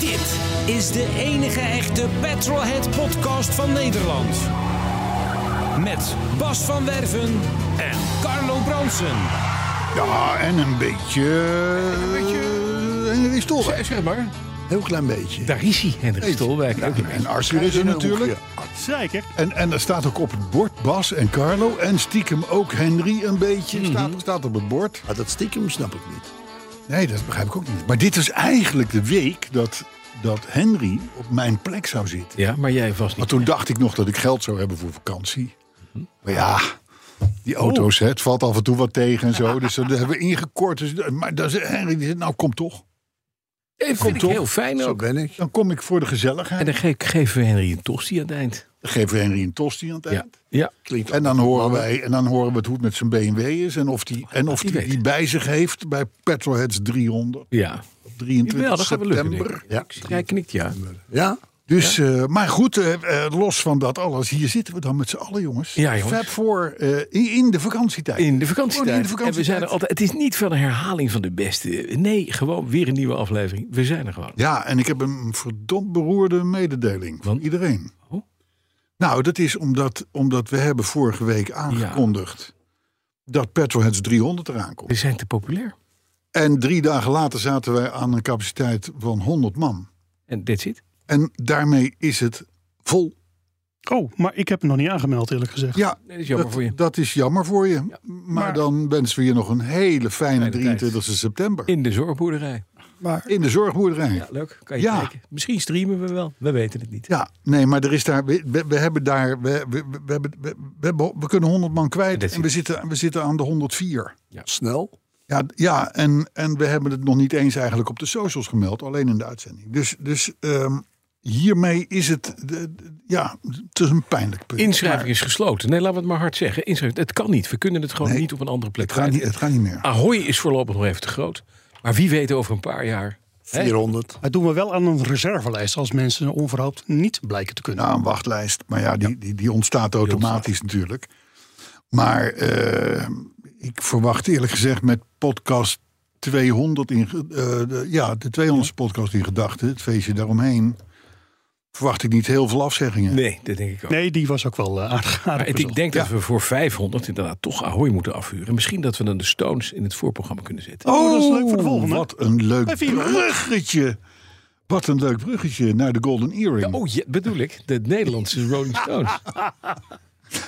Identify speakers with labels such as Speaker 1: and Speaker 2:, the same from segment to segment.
Speaker 1: Dit is de enige echte Petrolhead podcast van Nederland. Met Bas van Werven en Carlo Bronsen.
Speaker 2: Ja, en een beetje. Een beetje. Henry Stolwijk.
Speaker 3: Zeg maar.
Speaker 2: Heel klein beetje.
Speaker 3: Daar is hij, Hendrik Stolwijk. Ook
Speaker 2: En Arthur is er natuurlijk.
Speaker 3: Ah,
Speaker 4: Zeker.
Speaker 2: En, en er staat ook op het bord Bas en Carlo. En stiekem ook Henry een beetje.
Speaker 3: Mhm.
Speaker 2: staat, staat op het bord.
Speaker 5: Maar Ah, dat stiekem snap ik niet.
Speaker 2: Nee, dat begrijp ik ook niet. Maar dit is eigenlijk de week dat, dat Henry op mijn plek zou zitten.
Speaker 3: Ja, maar jij vast
Speaker 2: Maar
Speaker 3: niet.
Speaker 2: toen dacht ik nog dat ik geld zou hebben voor vakantie. Maar ja, die auto's, hè, het valt af en toe wat tegen en zo. Dus dat hebben we ingekort. Dus, maar dan zei Henry, die zei, nou kom toch.
Speaker 3: Even vind ik heel fijn
Speaker 5: Zo
Speaker 3: ook.
Speaker 5: Nou, ben ik.
Speaker 2: Dan kom ik voor de
Speaker 3: En
Speaker 2: gezelligheid.
Speaker 3: dan ge- geven we Henry een tosti aan het eind.
Speaker 2: Dan geven we Henry een tosti aan het eind.
Speaker 3: Ja. ja.
Speaker 5: Klinkt
Speaker 2: En dan horen wij, en dan horen we het hoe het met zijn BMW is en of die, en of
Speaker 3: Oh, die
Speaker 2: die,
Speaker 3: weet.
Speaker 2: die bij zich heeft bij Petrolheads 300
Speaker 3: ja.
Speaker 2: 23
Speaker 3: Jawel, dat gaat wel lukken,
Speaker 2: september.
Speaker 3: denk
Speaker 5: Ja.
Speaker 3: Jij knikt ja.
Speaker 5: ja.
Speaker 2: Dus, eh, maar goed, eh, eh, los van dat alles, hier zitten we dan met z'n allen, jongens.
Speaker 3: Ja, jongens.
Speaker 2: Fab voor eh, in, in de vakantietijd.
Speaker 3: Oh, In de
Speaker 2: Gewoon in
Speaker 3: vakantietijd.
Speaker 2: de
Speaker 3: En we
Speaker 2: vakantietijd.
Speaker 3: zijn er altijd. Het is niet van een herhaling van de beste. Nee, gewoon weer een nieuwe aflevering. We zijn er gewoon.
Speaker 2: Ja, en ik heb een verdomd beroerde mededeling van
Speaker 3: Want?
Speaker 2: iedereen.
Speaker 3: Oh.
Speaker 2: Nou, dat is omdat, omdat we hebben vorige week aangekondigd dat Petrolheads 300 eraan komt.
Speaker 3: We zijn te populair.
Speaker 2: En drie dagen later zaten wij aan een capaciteit van 100 man.
Speaker 3: En that's it.
Speaker 2: En daarmee is het vol.
Speaker 4: Oh, maar ik heb hem nog niet aangemeld, eerlijk gezegd.
Speaker 2: Ja,
Speaker 3: Nee, dat is jammer
Speaker 2: dat,
Speaker 3: voor je.
Speaker 2: dat is jammer voor je. maar,
Speaker 4: maar-
Speaker 2: dan wensen we je nog een hele fijne
Speaker 3: Fijne tijd.
Speaker 2: 23 september.
Speaker 3: In de zorgboerderij.
Speaker 2: In, de zorgboerderij.
Speaker 3: Ja,
Speaker 2: Ja.
Speaker 3: leuk. Kan je
Speaker 2: Ja.
Speaker 3: kijken. Misschien streamen we wel. We weten het niet.
Speaker 2: nee, maar er is daar. We, we- we hebben daar. We, we, we, we hebben- we, we hebben- we kunnen 100 man kwijt.
Speaker 3: Dat is-
Speaker 2: En we zitten, we zitten aan de 104.
Speaker 5: Snel.
Speaker 2: Ja, d- ja en, en we hebben het nog niet eens eigenlijk op de socials gemeld, alleen in de uitzending. Dus, dus ehm, hiermee is het, de- de- ja, het is een pijnlijk punt.
Speaker 3: Inschrijving is gesloten. Nee, laten we het maar hard zeggen. Inschrijving, het kan niet. We kunnen het gewoon
Speaker 2: Nee.
Speaker 3: niet op een andere plek
Speaker 2: Het gaat, niet, het gaat niet meer.
Speaker 3: Ahoy is voorlopig nog even te groot. Maar wie weet over een paar jaar. hè?
Speaker 5: 400.
Speaker 4: Dat doen we wel aan een reservelijst als mensen onverhoopt niet blijken te kunnen.
Speaker 2: Nou, een wachtlijst. Maar ja, die, die, die ontstaat automatisch natuurlijk. Maar eh, ik verwacht eerlijk gezegd met podcast 200 in, ge- eh, de, ja, de 200ste podcast in gedachten, het feestje daaromheen, verwacht ik niet heel veel afzeggingen.
Speaker 3: Nee, dat denk ik ook.
Speaker 4: Nee, die was ook wel eh, aardig. aardig
Speaker 3: Maar het- ik
Speaker 4: bezocht.
Speaker 3: denk Ah, dat we voor 500 inderdaad toch Ahoy moeten afhuren. Misschien dat we dan de Stones in het voorprogramma kunnen zetten.
Speaker 4: Oh, dat is leuk voor de volgende.
Speaker 2: Wat een leuk
Speaker 4: Bij 400.
Speaker 2: bruggetje. Wat een leuk bruggetje naar de Golden Earring.
Speaker 3: Oh, ja, bedoel ik. De Nederlandse Rolling Stones.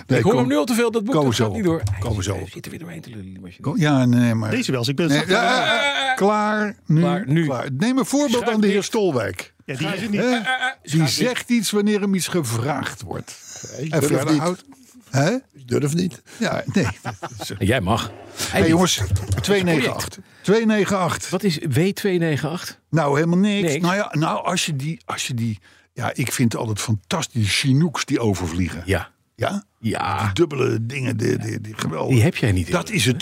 Speaker 2: Nee,
Speaker 3: ik hoor
Speaker 2: kom-
Speaker 3: hem nu al te veel. Dat boek
Speaker 2: Komen
Speaker 3: dat
Speaker 2: zo
Speaker 3: gaat niet door.
Speaker 2: op. Komen zo
Speaker 3: Hij
Speaker 2: op.
Speaker 3: zit er weer doorheen te lullen. die machine.
Speaker 2: kom- Ja, nee, maar...
Speaker 4: Deze wel, eens, ik ben
Speaker 2: Nee,
Speaker 4: zacht-
Speaker 2: ja, ja, ja. klaar, nu,
Speaker 3: Klaar, nu.
Speaker 2: Neem een voorbeeld
Speaker 3: Schuif
Speaker 2: aan de heer
Speaker 3: dicht.
Speaker 2: Stolwijk.
Speaker 4: Ja, die is het niet.
Speaker 2: Hè? Die
Speaker 3: Schuif
Speaker 2: zegt iets wanneer hem iets gevraagd wordt.
Speaker 5: Ik
Speaker 2: En
Speaker 5: durf
Speaker 2: verder
Speaker 5: niet.
Speaker 2: houdt... Hè?
Speaker 5: Ik durf niet.
Speaker 2: Ja, nee. dat is-
Speaker 3: En Jij mag. Hij
Speaker 2: Hey,
Speaker 3: niet.
Speaker 2: jongens, 298. 298.
Speaker 3: Wat is W298?
Speaker 2: Nou, helemaal niks.
Speaker 3: Niks.
Speaker 2: Nou ja, nou, als je die... Als je die ja, ik vind het altijd fantastisch Chinooks die overvliegen.
Speaker 3: Ja.
Speaker 2: Ja?
Speaker 3: Ja.
Speaker 2: Die dubbele dingen, die, die, die geweldig.
Speaker 3: Die heb jij niet.
Speaker 2: Dat is het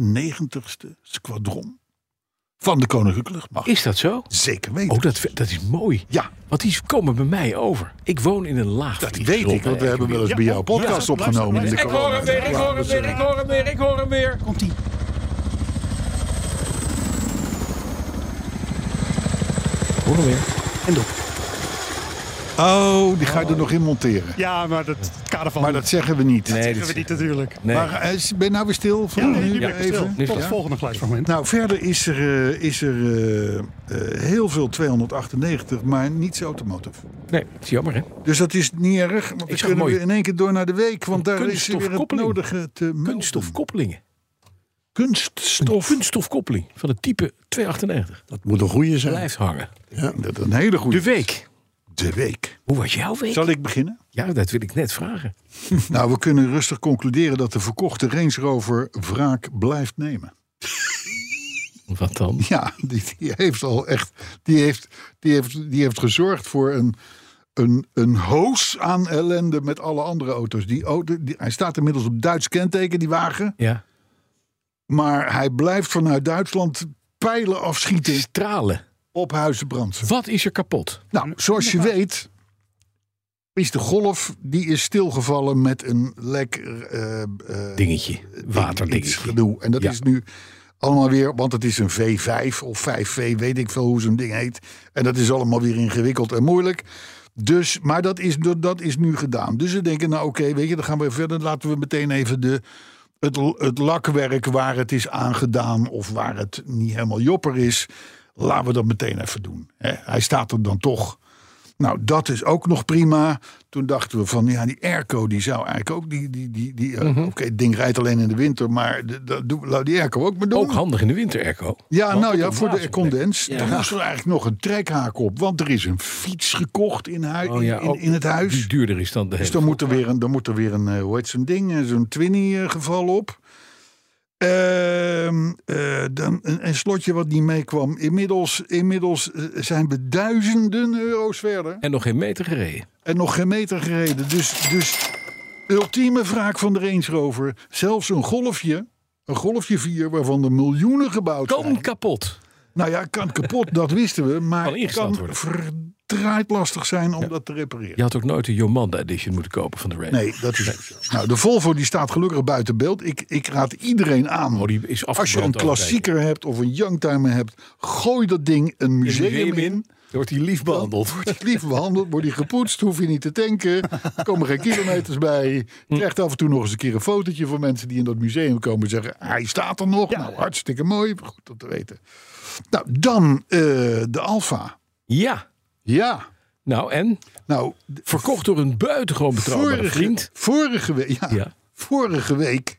Speaker 2: 298ste squadron van de Koninklijke Luchtmacht.
Speaker 3: Is dat zo?
Speaker 2: Zeker weten.
Speaker 3: Oh, dat, dat is mooi.
Speaker 2: Ja.
Speaker 3: Want die komen bij mij over. Ik woon in een laag.
Speaker 2: Dat weet ik, want we hebben wel eens bij jouw podcast
Speaker 4: luister,
Speaker 2: opgenomen. in de
Speaker 4: luister,
Speaker 2: corona.
Speaker 3: ik hoor hem weer, ik hoor hem weer, ik hoor hem weer.
Speaker 4: Komt die.
Speaker 3: Hoor hem weer.
Speaker 4: En door.
Speaker 2: Oh, die ga je er nog in monteren.
Speaker 4: Ja, maar dat het kader van.
Speaker 2: Maar dat zeggen we niet.
Speaker 3: Nee,
Speaker 4: hebben we niet natuurlijk.
Speaker 3: nee.
Speaker 2: Maar eh, ben je nou weer stil? Voor
Speaker 4: Ja, nee, nu
Speaker 2: nu
Speaker 4: ben ik
Speaker 2: even?
Speaker 4: stil.
Speaker 3: Nu
Speaker 4: Tot het
Speaker 3: ja.
Speaker 4: volgende geluidsfragment.
Speaker 2: Nou, verder is er, eh, is er eh, eh, heel veel 298, maar niets automotive.
Speaker 3: nee, het is jammer hè.
Speaker 2: Dus dat is niet erg, want dan
Speaker 3: zag
Speaker 2: kunnen
Speaker 3: mooi.
Speaker 2: we in één keer door naar de week. Want daar is er weer het
Speaker 3: kunststofkoppeling.
Speaker 2: nodige te melden.
Speaker 3: Kunststofkoppelingen. Een
Speaker 2: Kunststof.
Speaker 3: kunststofkoppeling van het type 298.
Speaker 5: Dat moet een goede zijn.
Speaker 3: Blijft hangen.
Speaker 2: Dat is een hele goede.
Speaker 3: De week.
Speaker 2: De week.
Speaker 3: Hoe was jouw week?
Speaker 2: Zal ik beginnen?
Speaker 3: Ja, dat wil ik net vragen.
Speaker 2: Nou, we kunnen rustig concluderen dat de verkochte Range Rover wraak blijft nemen.
Speaker 3: Wat dan?
Speaker 2: Ja, die, die heeft al echt. Die heeft, die heeft, die heeft gezorgd voor een, een, een hoos aan ellende met alle andere auto's. Die, auto- die, hij staat inmiddels op Duits kenteken, die wagen.
Speaker 3: Ja.
Speaker 2: Maar hij blijft vanuit Duitsland pijlen afschieten
Speaker 3: Stralen.
Speaker 2: op Huizenbrand.
Speaker 3: Wat is er kapot?
Speaker 2: Nou, zoals je weet. Is de golf die is stilgevallen met een lek eh, eh,
Speaker 3: Dingetje.
Speaker 2: iets
Speaker 3: Waterdingetje.
Speaker 2: gedoe. En dat
Speaker 3: Ja.
Speaker 2: is nu allemaal weer, want het is een V5 of 5V, weet ik veel hoe zo'n ding heet. En dat is allemaal weer ingewikkeld en moeilijk. Dus, maar dat is, dat is nu gedaan. Dus ze denken, nou oké, weet je, dan gaan we verder. Laten we meteen even de, het, l- het lakwerk waar het is aangedaan of waar het niet helemaal jopper is. Laten we dat meteen even doen. Hè? Hij staat er dan toch. Nou, dat is ook nog prima. Toen dachten we van, ja, die airco, die zou eigenlijk ook... Die, die, die, die,
Speaker 3: Mhm.
Speaker 2: eh, Oké, het ding rijdt alleen in de winter, maar d- dat doen we- laat die airco ook maar doen.
Speaker 3: Ook handig in de winter, Erco.
Speaker 2: ja,
Speaker 3: Want
Speaker 2: nou ja,
Speaker 3: dat
Speaker 2: voor de
Speaker 3: blazen-
Speaker 2: condens. Daar moesten we eigenlijk nog een trekhaak op. Want er is een fiets gekocht in, hui,
Speaker 3: Oh ja,
Speaker 2: in, in,
Speaker 3: ook-
Speaker 2: in het huis.
Speaker 3: Die duurder is dan de hele.
Speaker 2: Dus dan moet er weer een, dan moet er weer een eh, hoe heet zo'n ding, eh, zo'n Twinny-geval op. Ehm, eh, dan een, een slotje wat niet meekwam. Inmiddels, inmiddels eh, zijn we duizenden euro's verder
Speaker 3: En nog geen meter gereden.
Speaker 2: en nog geen meter gereden. Dus, dus ultieme wraak van de Range Rover. Zelfs een golfje, een golfje 4, waarvan er miljoenen gebouwd zijn.
Speaker 3: Kan kapot.
Speaker 2: Nou ja, kan kapot, dat wisten we.
Speaker 3: Kan
Speaker 2: Maar
Speaker 3: ingesteld
Speaker 2: kan
Speaker 3: worden.
Speaker 2: verdraaid lastig zijn om dat te repareren.
Speaker 3: Je had ook nooit de Jomanda Edition moeten kopen van de Range.
Speaker 2: Nee, dat is ook zo. Nou, de Volvo die staat gelukkig buiten beeld. Ik, ik raad iedereen aan.
Speaker 3: Oh, die is
Speaker 2: als je een
Speaker 3: afgebrand
Speaker 2: klassieker hebt of een youngtimer hebt, gooi dat ding een museum,
Speaker 3: museum in.
Speaker 2: in.
Speaker 3: Dan wordt hij lief behandeld.
Speaker 2: Wordt het lief behandeld, wordt die gepoetst, hoef je niet te tanken. Er komen geen kilometers bij. Je krijgt af en toe nog eens een keer een fotootje van mensen die in dat museum komen en zeggen: "Ah, Hij staat er nog. Nou, hartstikke mooi. Goed dat te weten. Nou, dan eh, de Alfa.
Speaker 3: Ja.
Speaker 2: Ja.
Speaker 3: Nou en?
Speaker 2: Nou,
Speaker 3: Verkocht door een buitengewoon betrouwbare vriend.
Speaker 2: Vorige, week, ja,
Speaker 3: Ja.
Speaker 2: vorige week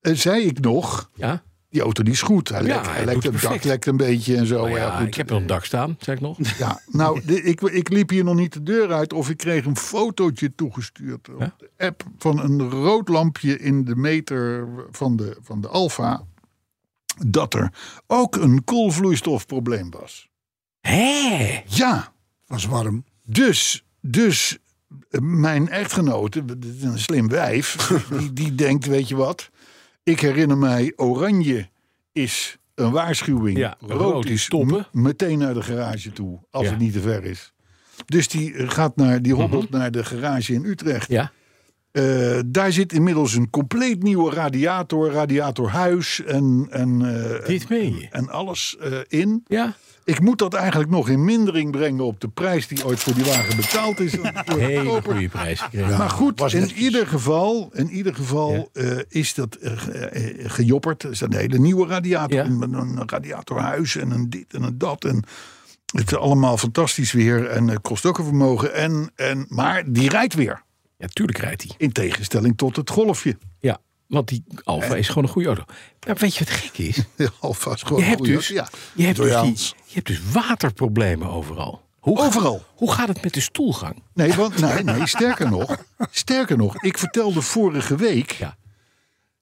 Speaker 2: eh, zei ik nog,
Speaker 3: Ja.
Speaker 2: die auto die is goed. Hij
Speaker 3: Ja,
Speaker 2: lekt,
Speaker 3: hij
Speaker 2: hij
Speaker 3: doet
Speaker 2: lekt
Speaker 3: het
Speaker 2: een dak
Speaker 3: perfect.
Speaker 2: lekt een beetje en zo.
Speaker 3: Nou
Speaker 2: Oh ja,
Speaker 3: ja,
Speaker 2: goed.
Speaker 3: ik heb er een dak staan, zeg ik nog.
Speaker 2: Ja, nou, de- ik, ik liep hier nog niet de deur uit of ik kreeg een fotootje toegestuurd op
Speaker 3: Ja?
Speaker 2: de app van een rood lampje in de meter van de, van de Alfa. Dat er ook een koolvloeistofprobleem was.
Speaker 3: Hé!
Speaker 2: Ja,
Speaker 5: was warm.
Speaker 2: Dus, dus eh, mijn echtgenote, dit is een slim wijf, die, die denkt, weet je wat? Ik herinner mij, oranje is een waarschuwing.
Speaker 3: Ja, rood is stoppen.
Speaker 2: m- meteen naar de garage toe, als
Speaker 3: Ja. Mhm.
Speaker 2: het niet te ver is. Dus die eh, gaat naar, die hobbelt naar de garage in Utrecht.
Speaker 3: Ja.
Speaker 2: Eh, daar zit inmiddels een compleet nieuwe radiator, radiatorhuis en, en, eh,
Speaker 3: Dit meen je?
Speaker 2: en alles eh, in.
Speaker 3: Ja.
Speaker 2: Ik moet dat eigenlijk nog in mindering brengen op de prijs die ooit voor die wagen betaald is. door de
Speaker 3: Hele
Speaker 2: koper.
Speaker 3: goede prijs gekregen.
Speaker 2: Maar goed,
Speaker 5: was
Speaker 2: in
Speaker 5: netjes.
Speaker 2: ieder geval, in ieder geval eh, is dat eh, ge- eh, gejopperd. Er staat een hele nieuwe radiator.
Speaker 3: Ja.
Speaker 2: in, Met een radiatorhuis en een dit en een dat. En het is allemaal fantastisch weer. En het kost ook een vermogen. En, en, maar die rijdt weer.
Speaker 3: Ja, tuurlijk rijdt hij.
Speaker 2: In tegenstelling tot het golfje.
Speaker 3: Ja. Want die Alfa is gewoon een goede auto. Maar weet je wat gek is?
Speaker 2: Alvast gewoon
Speaker 3: Je
Speaker 2: een
Speaker 3: hebt
Speaker 2: goede-
Speaker 3: dus,
Speaker 2: ja.
Speaker 3: je hebt dus,
Speaker 5: Doorgaans.
Speaker 3: die- je hebt dus waterproblemen overal. Hoe gaat-
Speaker 2: Overal.
Speaker 3: hoe gaat het met de stoelgang?
Speaker 2: Nee, want, nee, nee, sterker nog. Sterker nog, ik vertelde vorige week.
Speaker 3: Ja.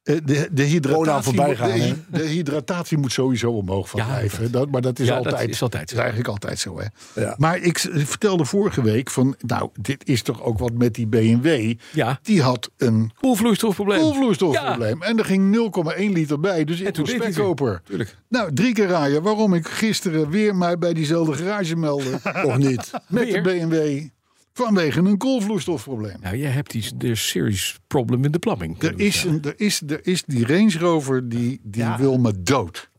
Speaker 2: Eh, De, de,
Speaker 5: Gewoon aan
Speaker 2: hydratatie,
Speaker 5: voorbij
Speaker 2: moet-
Speaker 5: gaan,
Speaker 2: de,
Speaker 5: hè?
Speaker 2: de hydratatie moet sowieso omhoog van
Speaker 3: Ja,
Speaker 2: blijven.
Speaker 3: dat-
Speaker 2: Dat, maar dat is,
Speaker 3: ja, dat
Speaker 2: altijd,
Speaker 3: is altijd zo.
Speaker 2: is eigenlijk altijd zo. Hè?
Speaker 5: Ja.
Speaker 2: Maar ik s- vertelde vorige week van... nou, dit is toch ook wat met die BMW.
Speaker 3: Ja.
Speaker 2: Die had een
Speaker 3: Koelvloeistofprobleem.
Speaker 2: koelvloeistofprobleem. En er ging 0,1 liter bij. Dus
Speaker 3: En
Speaker 2: ik
Speaker 3: toen
Speaker 2: was
Speaker 3: deed hij het
Speaker 2: spekkoper.
Speaker 3: weer. Tuurlijk.
Speaker 2: Nou, drie keer raaien waarom ik gisteren weer mij bij diezelfde garage meldde.
Speaker 5: Of niet?
Speaker 2: met de
Speaker 3: Weer?
Speaker 2: BMW. Vanwege een koolvloeistofprobleem.
Speaker 3: Nou, jij hebt die de serious problem in de plumbing.
Speaker 2: Er is, een, er, is, er is die Range Rover die, die
Speaker 4: Ja.
Speaker 2: wil me dood.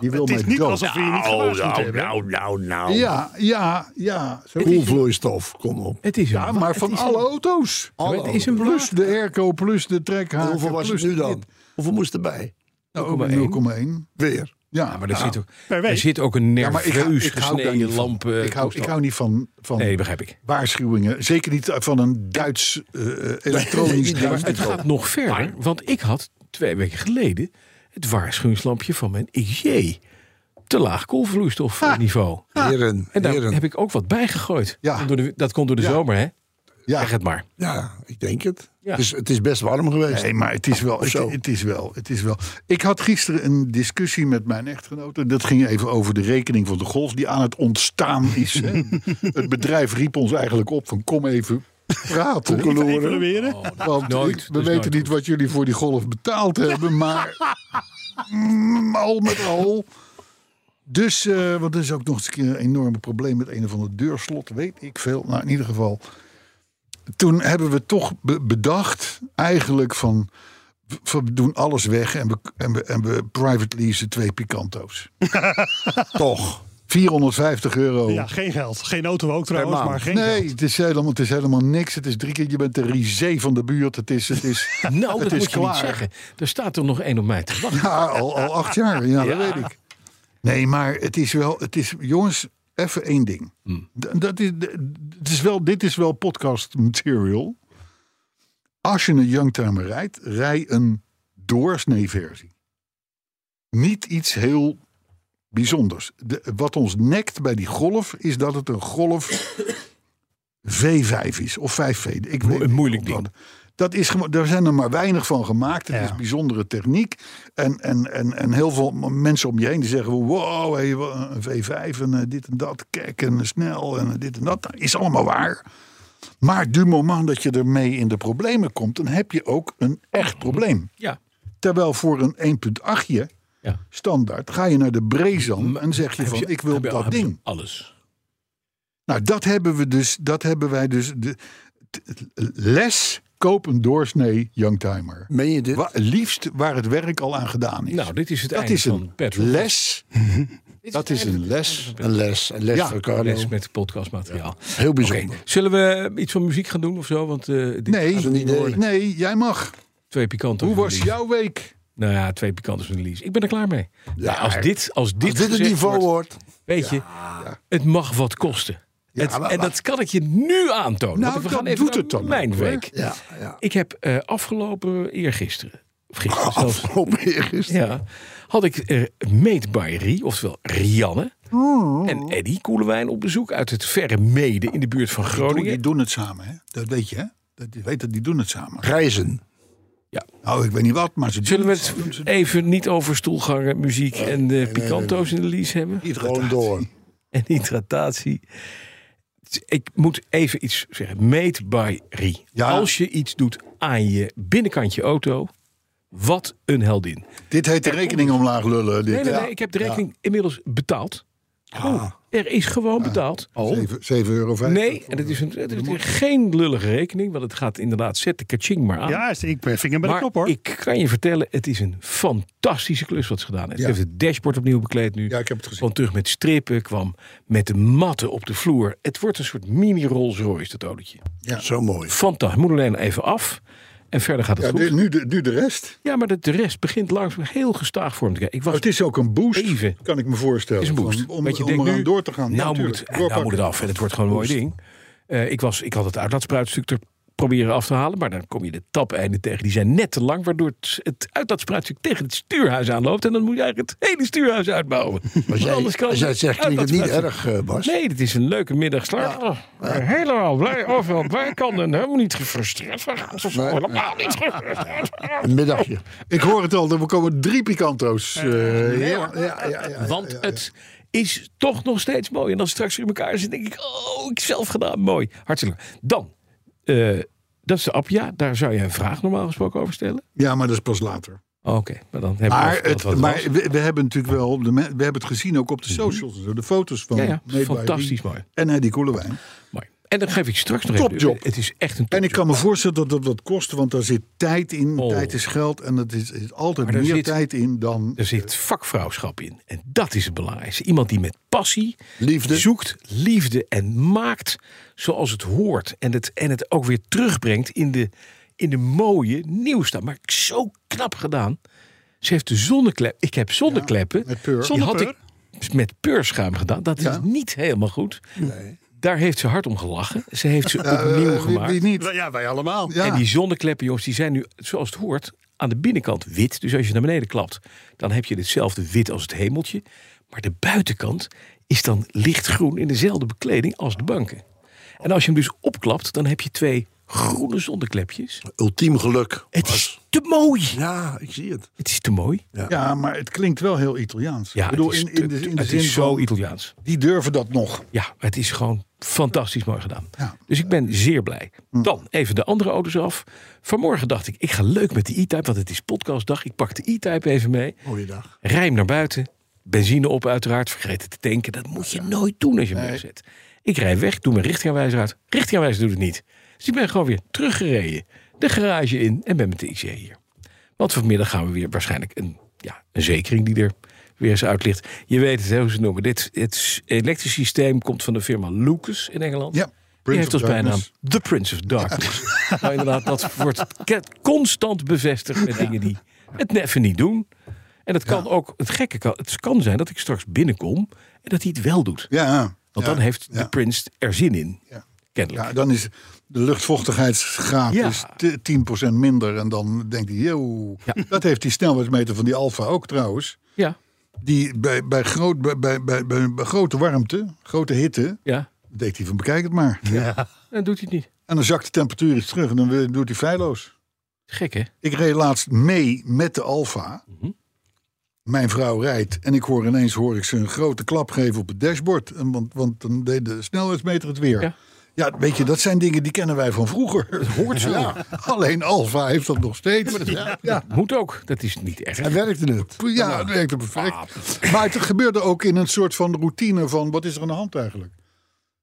Speaker 2: die wil
Speaker 4: het is
Speaker 2: me
Speaker 4: niet
Speaker 2: dood.
Speaker 4: alsof je je niet gewaarschuwd hebt. hè?
Speaker 5: nou, nou.
Speaker 2: Ja, ja, ja. Zo.
Speaker 5: Koelvloeistof, kom op.
Speaker 3: Het is een,
Speaker 2: Ja, maar van alle auto's.
Speaker 3: het is een
Speaker 2: Plus
Speaker 3: plus.
Speaker 2: de airco, plus de trekhaak.
Speaker 5: Hoeveel was het nu dan? Hoeveel moest erbij?
Speaker 2: Nou, 0,1.
Speaker 5: Weer.
Speaker 2: Ja,
Speaker 3: Ah, Maar er, zit ook,
Speaker 4: per week.
Speaker 3: er zit ook een
Speaker 2: Ja, maar ik,
Speaker 3: nerveus
Speaker 2: hou- ik hou daar
Speaker 3: gesneden
Speaker 2: niet van.
Speaker 3: lamp. eh,
Speaker 2: ik, hou, ik
Speaker 3: toestand.
Speaker 2: hou niet van, van
Speaker 3: Nee, begrijp ik.
Speaker 2: waarschuwingen. Zeker niet van een Duits eh,
Speaker 5: Nee,
Speaker 2: elektronisch
Speaker 5: niet waar.
Speaker 2: ding.
Speaker 3: Het gaat nog verder, want ik had twee weken geleden het waarschuwingslampje van mijn XJ. Te laag koolvloeistofniveau.
Speaker 5: Heren,
Speaker 3: En daar
Speaker 5: heren.
Speaker 3: heb ik ook wat bij gegooid.
Speaker 2: Ah, Ja.
Speaker 3: Komt door de- dat komt door de zomer, hè?
Speaker 2: Ja.
Speaker 3: Zeg het maar.
Speaker 5: Ja, ik denk het.
Speaker 3: Ja.
Speaker 5: Dus het is best warm geweest.
Speaker 2: Nee, maar het is, wel, het,
Speaker 5: zo.
Speaker 2: het is wel, het is wel. Ik had gisteren een discussie met mijn echtgenote. Dat ging even over de rekening van de golf die aan het ontstaan is. hè. het bedrijf riep ons eigenlijk op van kom even praten.
Speaker 3: nou,
Speaker 4: Evalueren.
Speaker 2: Want
Speaker 3: nooit,
Speaker 2: ik- we
Speaker 3: dat is
Speaker 2: weten
Speaker 3: nooit
Speaker 2: niet wat jullie voor die golf betaald hebben, maar Mm, al met al. Dus, eh, want er is ook nog eens een keer een enorme probleem met een of ander deurslot, weet ik veel. Nou, in ieder geval. Toen hebben we toch be- bedacht, eigenlijk van, we doen alles weg en we, en we, en we private leasen twee Picanto's. toch. 450 euro.
Speaker 4: Ja, geen geld. Geen auto ook trouwens, maar geen
Speaker 2: nee,
Speaker 4: geld.
Speaker 2: het is, helemaal, het is helemaal niks. Het is drie keer, je bent de risé van de buurt. Het is, het is,
Speaker 3: Nou,
Speaker 2: het
Speaker 3: dat
Speaker 2: is
Speaker 3: moet je
Speaker 2: klaar.
Speaker 3: niet zeggen. Er staat er nog één op mij te wachten.
Speaker 2: Ja, al, al acht jaar. Ja, dat weet ik. Nee, maar het is wel, het is, jongens, even één ding.
Speaker 3: Hmm.
Speaker 2: D- Dat is, d- het is wel, dit is wel podcast material. Als je een Youngtimer rijdt, rij een doorsnee versie. Niet iets heel bijzonders. De, wat ons nekt bij die golf, is dat het een golf V5 is. Of 5V. Ik weet
Speaker 3: een moeilijk
Speaker 2: niet wat.
Speaker 3: ding.
Speaker 2: Dat is gewoon, daar zijn er maar weinig van gemaakt. Het
Speaker 4: Ja.
Speaker 2: is bijzondere techniek. En, en, en, en heel veel m- mensen om je heen die zeggen: wow, hey, wa- een V5 en eh, dit en dat. Kijk, en eh, snel en eh, dit en dat. Nou, Is allemaal waar. Maar du moment dat je ermee in de problemen komt, dan heb je ook een echt probleem.
Speaker 3: Ja.
Speaker 2: Terwijl voor een 1.8
Speaker 3: Ja.
Speaker 2: standaard ga je naar de Brezan en zeg je
Speaker 3: Heb
Speaker 2: van
Speaker 3: Dus je-
Speaker 2: ik wil
Speaker 3: heb je-
Speaker 2: dat
Speaker 3: heb je
Speaker 2: ding.
Speaker 3: Alles.
Speaker 2: Nou, dat hebben we dus, dat hebben wij dus. De, t- les koop een doorsnee youngtimer.
Speaker 5: Meen je dit?
Speaker 2: Wa- liefst waar het werk al aan gedaan is.
Speaker 3: Nou, dit is het
Speaker 2: dat
Speaker 3: einde
Speaker 2: is
Speaker 3: van
Speaker 2: een
Speaker 3: Petrol.
Speaker 2: les.
Speaker 3: Dit
Speaker 2: Dat
Speaker 3: het
Speaker 2: is
Speaker 3: einde
Speaker 2: een les.
Speaker 5: Een les. Een les
Speaker 2: Ja,
Speaker 5: voor Carlo.
Speaker 3: Les met podcastmateriaal.
Speaker 5: Heel
Speaker 3: Oké,
Speaker 5: bijzonder.
Speaker 3: zullen we iets van muziek gaan doen of zo? Want eh, dit
Speaker 2: Nee,
Speaker 3: gaat het niet
Speaker 2: nee,
Speaker 3: worden.
Speaker 2: nee, jij mag.
Speaker 3: twee pikanten.
Speaker 2: Hoe
Speaker 3: van
Speaker 2: was
Speaker 3: Lies.
Speaker 2: jouw week?
Speaker 3: Nou ja, twee pikanten van Lies. Ik ben er klaar mee. Nou,
Speaker 5: Ja,
Speaker 3: als dit, als dit,
Speaker 5: Als dit het
Speaker 3: gezegd
Speaker 5: niveau
Speaker 3: wordt,
Speaker 5: wordt.
Speaker 3: weet je, het mag wat kosten. Het-
Speaker 5: maar-
Speaker 3: en dat kan ik je nu aantonen.
Speaker 2: Nou,
Speaker 3: want we
Speaker 2: dat
Speaker 3: gaan even
Speaker 2: doet
Speaker 3: naar
Speaker 2: het dan
Speaker 3: Mijn
Speaker 2: ook, hoor.
Speaker 3: week.
Speaker 5: Ja, ja.
Speaker 3: Ik heb eh, afgelopen eergisteren, of gisteren zelfs,
Speaker 5: Afgelopen eergisteren.
Speaker 3: ja, had ik eh Made by Rie, oftewel Rianne
Speaker 2: Oh.
Speaker 3: en Eddy Koelewijn op bezoek uit het verre mede in de buurt van
Speaker 2: Die
Speaker 3: Groningen.
Speaker 2: doen het samen, hè? Dat weet je, hè? Dat, je weet dat die doen het samen.
Speaker 5: Reizen.
Speaker 2: Nou, ik weet niet wat, maar ze
Speaker 3: Zullen
Speaker 2: doen
Speaker 3: we het
Speaker 2: samen. Doen ze-
Speaker 3: even niet over stoelgangen, muziek en eh picanto's in de lease hebben?
Speaker 5: Gewoon door.
Speaker 3: En hydratatie. Ik moet even iets zeggen. Made by Rie.
Speaker 2: Ja.
Speaker 3: Als je iets doet aan je binnenkant je auto, wat een heldin.
Speaker 2: Dit heet de rekening omlaag lullen. Dit.
Speaker 3: Nee, nee,
Speaker 2: Ja. Ah.
Speaker 3: nee, ik heb de rekening inmiddels betaald. Er is gewoon betaald.
Speaker 2: Zeven- 7,50 euro.
Speaker 3: Nee, en
Speaker 2: Oh.
Speaker 3: het is, een, het is geen lullige rekening, want het gaat inderdaad, zet de kaching maar aan.
Speaker 4: Ja, ik ben vinger bij de
Speaker 3: maar
Speaker 4: knop hoor.
Speaker 3: ik kan je vertellen, het is een fantastische klus wat ze gedaan heeft. Ze heeft het dashboard opnieuw bekleed nu.
Speaker 2: Ja, ik heb het gezien.
Speaker 3: Kwam terug met strippen, kwam met de matten op de vloer. Het wordt een soort mini Rolls Royce, dat autootje.
Speaker 5: Zo mooi.
Speaker 3: Fantastisch. Moet alleen even af. En verder gaat het
Speaker 2: Ja,
Speaker 3: goed.
Speaker 2: de- nu, de, nu de rest.
Speaker 3: Ja, maar de, de rest begint langzaam heel gestaag vorm te krijgen. Ik was
Speaker 2: Oh, het is ook een boost,
Speaker 3: Even.
Speaker 2: kan ik me voorstellen.
Speaker 3: Het is een boost.
Speaker 2: Om, om,
Speaker 3: Want je
Speaker 2: om
Speaker 3: denkt
Speaker 2: eraan
Speaker 3: nu,
Speaker 2: door te gaan. Ja,
Speaker 3: Nou, moet,
Speaker 2: natuurlijk.
Speaker 3: het, nou moet
Speaker 2: Doorpakken.
Speaker 3: het af. En het wordt gewoon een mooi ding. Eh, ik, was, ik had het uitlaatspruitstuk er proberen af te halen. Maar dan kom je de tapeinden tegen. Die zijn net te lang. Waardoor het, het uitlaatspruitstuk tegen het stuurhuis aanloopt. En dan moet je eigenlijk het hele stuurhuis uitbouwen.
Speaker 5: Als jij,
Speaker 3: Anders kan
Speaker 5: als jij het zegt, klinkt het niet
Speaker 3: uitlaatspruitstuk-
Speaker 5: erg, eh, Bas.
Speaker 3: Nee, dit is een leuke middagslag. Oh, Helemaal blij. Overal blij kan. En helemaal niet gefrustreerd. Helemaal niet gefrustreerd.
Speaker 5: Een middagje.
Speaker 2: Ik hoor het al, er komen drie Picanto's. eh, ja, ja, ja, ja, ja.
Speaker 3: Want het is toch nog steeds mooi. En als het straks weer in elkaar zit, denk ik, oh, ik zelf gedaan, mooi. Hartstikke leuk. Dan, eh, dat is de Appia. Daar zou je een vraag normaal gesproken over stellen.
Speaker 2: Ja, maar dat is pas later.
Speaker 3: Oké, maar dan hebben
Speaker 2: Maar,
Speaker 3: we afgehad
Speaker 2: het,
Speaker 3: wat het
Speaker 2: maar
Speaker 3: was.
Speaker 2: we, we hebben natuurlijk wel, de, me- we hebben het gezien ook op de socials, en zo, de foto's van
Speaker 3: Ja, ja,
Speaker 2: Made by
Speaker 3: fantastisch
Speaker 2: Rie
Speaker 3: mooi.
Speaker 2: en Eddie Koelewijn.
Speaker 3: mooi. En dan geef ik straks nog
Speaker 2: Topjob.
Speaker 3: even. Het is echt een
Speaker 2: En ik
Speaker 3: topjob.
Speaker 2: kan me voorstellen dat dat wat kost, want daar zit tijd in.
Speaker 3: Oh.
Speaker 2: Tijd is geld en het is, is altijd
Speaker 3: Maar daar
Speaker 2: meer
Speaker 3: zit-
Speaker 2: tijd in dan.
Speaker 3: Er zit vakvrouwschap in. En dat is het belangrijkste. Iemand die met passie
Speaker 5: Liefde.
Speaker 3: zoekt, liefde en maakt zoals het hoort. En het, en het ook weer terugbrengt in de, in de mooie nieuwstaat. Maar zo knap gedaan. Ze heeft de zonneklep. Ik heb zonnekleppen.
Speaker 2: met peur.
Speaker 3: Die had ik met peurschuim gedaan. Dat is niet helemaal goed. Daar heeft ze hard om gelachen. Ze heeft ze opnieuw
Speaker 2: Eh, wie,
Speaker 3: gemaakt.
Speaker 2: wie niet?
Speaker 4: Ja, wij allemaal.
Speaker 2: Ja.
Speaker 3: En die zonnekleppen, jongens, die zijn nu, zoals het hoort, aan de binnenkant wit. Dus als je naar beneden klapt, dan heb je hetzelfde wit als het hemeltje. Maar de buitenkant is dan lichtgroen in dezelfde bekleding als de banken. En als je hem dus opklapt, dan heb je twee groene zonneklepjes.
Speaker 5: Ultiem geluk.
Speaker 3: Het is te mooi.
Speaker 5: Ja, ik zie het.
Speaker 3: Het is te mooi.
Speaker 2: Ja, maar het klinkt wel heel Italiaans.
Speaker 3: Ja,
Speaker 2: ik bedoel,
Speaker 3: het is,
Speaker 2: in, in de, in de
Speaker 3: het
Speaker 2: zin
Speaker 3: is zo
Speaker 2: van,
Speaker 3: Italiaans.
Speaker 2: die durven dat nog.
Speaker 3: Ja, het is gewoon fantastisch mooi gedaan.
Speaker 2: Ja.
Speaker 3: Dus ik ben zeer blij.
Speaker 5: Hm.
Speaker 3: Dan even de andere auto's af. Vanmorgen dacht ik, ik ga leuk met de e-type, want het is podcastdag. Ik pak de e-type even mee.
Speaker 5: Mooie dag.
Speaker 3: Rijm naar buiten. Benzine op uiteraard. Vergeten te tanken. Dat moet je nooit doen als je hem wegzet. Ik rij weg. Doe mijn richtingaanwijzer uit. Richtingaanwijzer doet het niet. Dus ik ben gewoon weer teruggereden. De garage in. En ben met de IC hier. Want vanmiddag gaan we weer waarschijnlijk een, ja, een zekering die er weer eens uit ligt. Je weet het, hè, hoe ze het noemen. Dit, het elektrisch systeem komt van de firma Lucas in Engeland.
Speaker 2: Ja,
Speaker 3: Die
Speaker 2: Prince
Speaker 3: heeft
Speaker 2: of
Speaker 3: als bijnaam
Speaker 2: Darkness.
Speaker 3: The Prince of Darkness. Nou, inderdaad, dat wordt ke- constant bevestigd met dingen die het net even niet doen. En het kan ook, het gekke kan, het kan zijn dat ik straks binnenkom en dat hij het wel doet.
Speaker 2: Ja,
Speaker 3: Want
Speaker 2: ja,
Speaker 3: dan heeft
Speaker 2: ja.
Speaker 3: de prins er zin in.
Speaker 2: Ja.
Speaker 3: Kennelijk.
Speaker 2: Ja, dan is de luchtvochtigheidsgraad
Speaker 3: Ja.
Speaker 2: is te- 10% minder. En dan denkt hij, yo,
Speaker 3: Ja.
Speaker 2: dat heeft die snelheidsmeter van die Alfa ook trouwens.
Speaker 3: Ja,
Speaker 2: Die bij, bij, groot, bij, bij, bij, bij- bij grote warmte, grote hitte,
Speaker 3: ja.
Speaker 2: deed hij van bekijk het maar.
Speaker 3: Dan doet hij het niet.
Speaker 2: En dan zakt de temperatuur iets terug en dan weer- doet hij feilloos.
Speaker 3: Gek, hè?
Speaker 2: Ik reed laatst mee met de Alfa.
Speaker 3: Mhm.
Speaker 2: Mijn vrouw rijdt en ik hoor ineens hoor ik ze een grote klap geven op het dashboard. En want, want dan deed de snelheidsmeter het weer.
Speaker 3: Ja.
Speaker 2: Ja. weet je, dat zijn dingen die kennen wij van vroeger. Het hoort zo. Alleen Alfa heeft dat nog steeds. Ja, ja.
Speaker 3: Moet ook. Dat is niet erg.
Speaker 5: En werkte het?
Speaker 2: het werkte perfect. Maar het gebeurde ook in een soort van routine van wat is er aan de hand eigenlijk?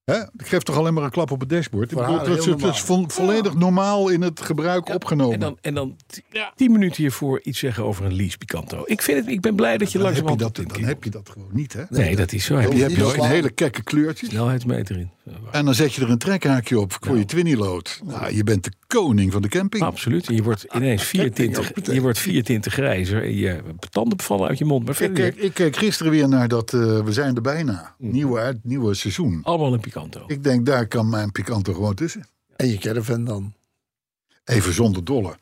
Speaker 2: Hè? Ik geef toch alleen maar een klap op het dashboard. Ik
Speaker 5: Voor
Speaker 2: bedoel,
Speaker 5: haar
Speaker 2: dat is-
Speaker 5: heel
Speaker 2: dat is vo- volledig normaal in het gebruik opgenomen.
Speaker 3: En dan, en dan t- tien minuten hiervoor iets zeggen over een lease Picanto. Ik, vind het, ik ben blij dat je
Speaker 2: dan, heb je
Speaker 3: langzamerhand...
Speaker 2: dat,
Speaker 3: op dit
Speaker 2: dan
Speaker 3: keer-
Speaker 2: heb je dat gewoon niet, hè?
Speaker 3: Nee, dat is zo. Heb
Speaker 2: Die
Speaker 3: je
Speaker 2: heb je ook in
Speaker 5: slaan.
Speaker 2: hele kekke kleurtjes.
Speaker 3: snelheidsmeter in. Ja, waar.
Speaker 2: En dan zet je er een trekhaakje op voor je twinnylood. Nou, je bent de koning van de camping.
Speaker 3: Absoluut. En je wordt
Speaker 2: Ah,
Speaker 3: ineens vier tinten, je wordt vier tinten grijzer. En je tanden vallen uit je mond. Maar
Speaker 2: Ik
Speaker 3: verder
Speaker 2: keek,
Speaker 3: niet.
Speaker 2: ik keek gisteren weer naar dat eh, We zijn er bijna. Nieuwe, uit- nieuwe seizoen.
Speaker 3: allemaal een Picanto.
Speaker 2: Ik denk, daar kan mijn Picanto gewoon tussen.
Speaker 5: En je caravan dan?
Speaker 2: Even zonder dolle.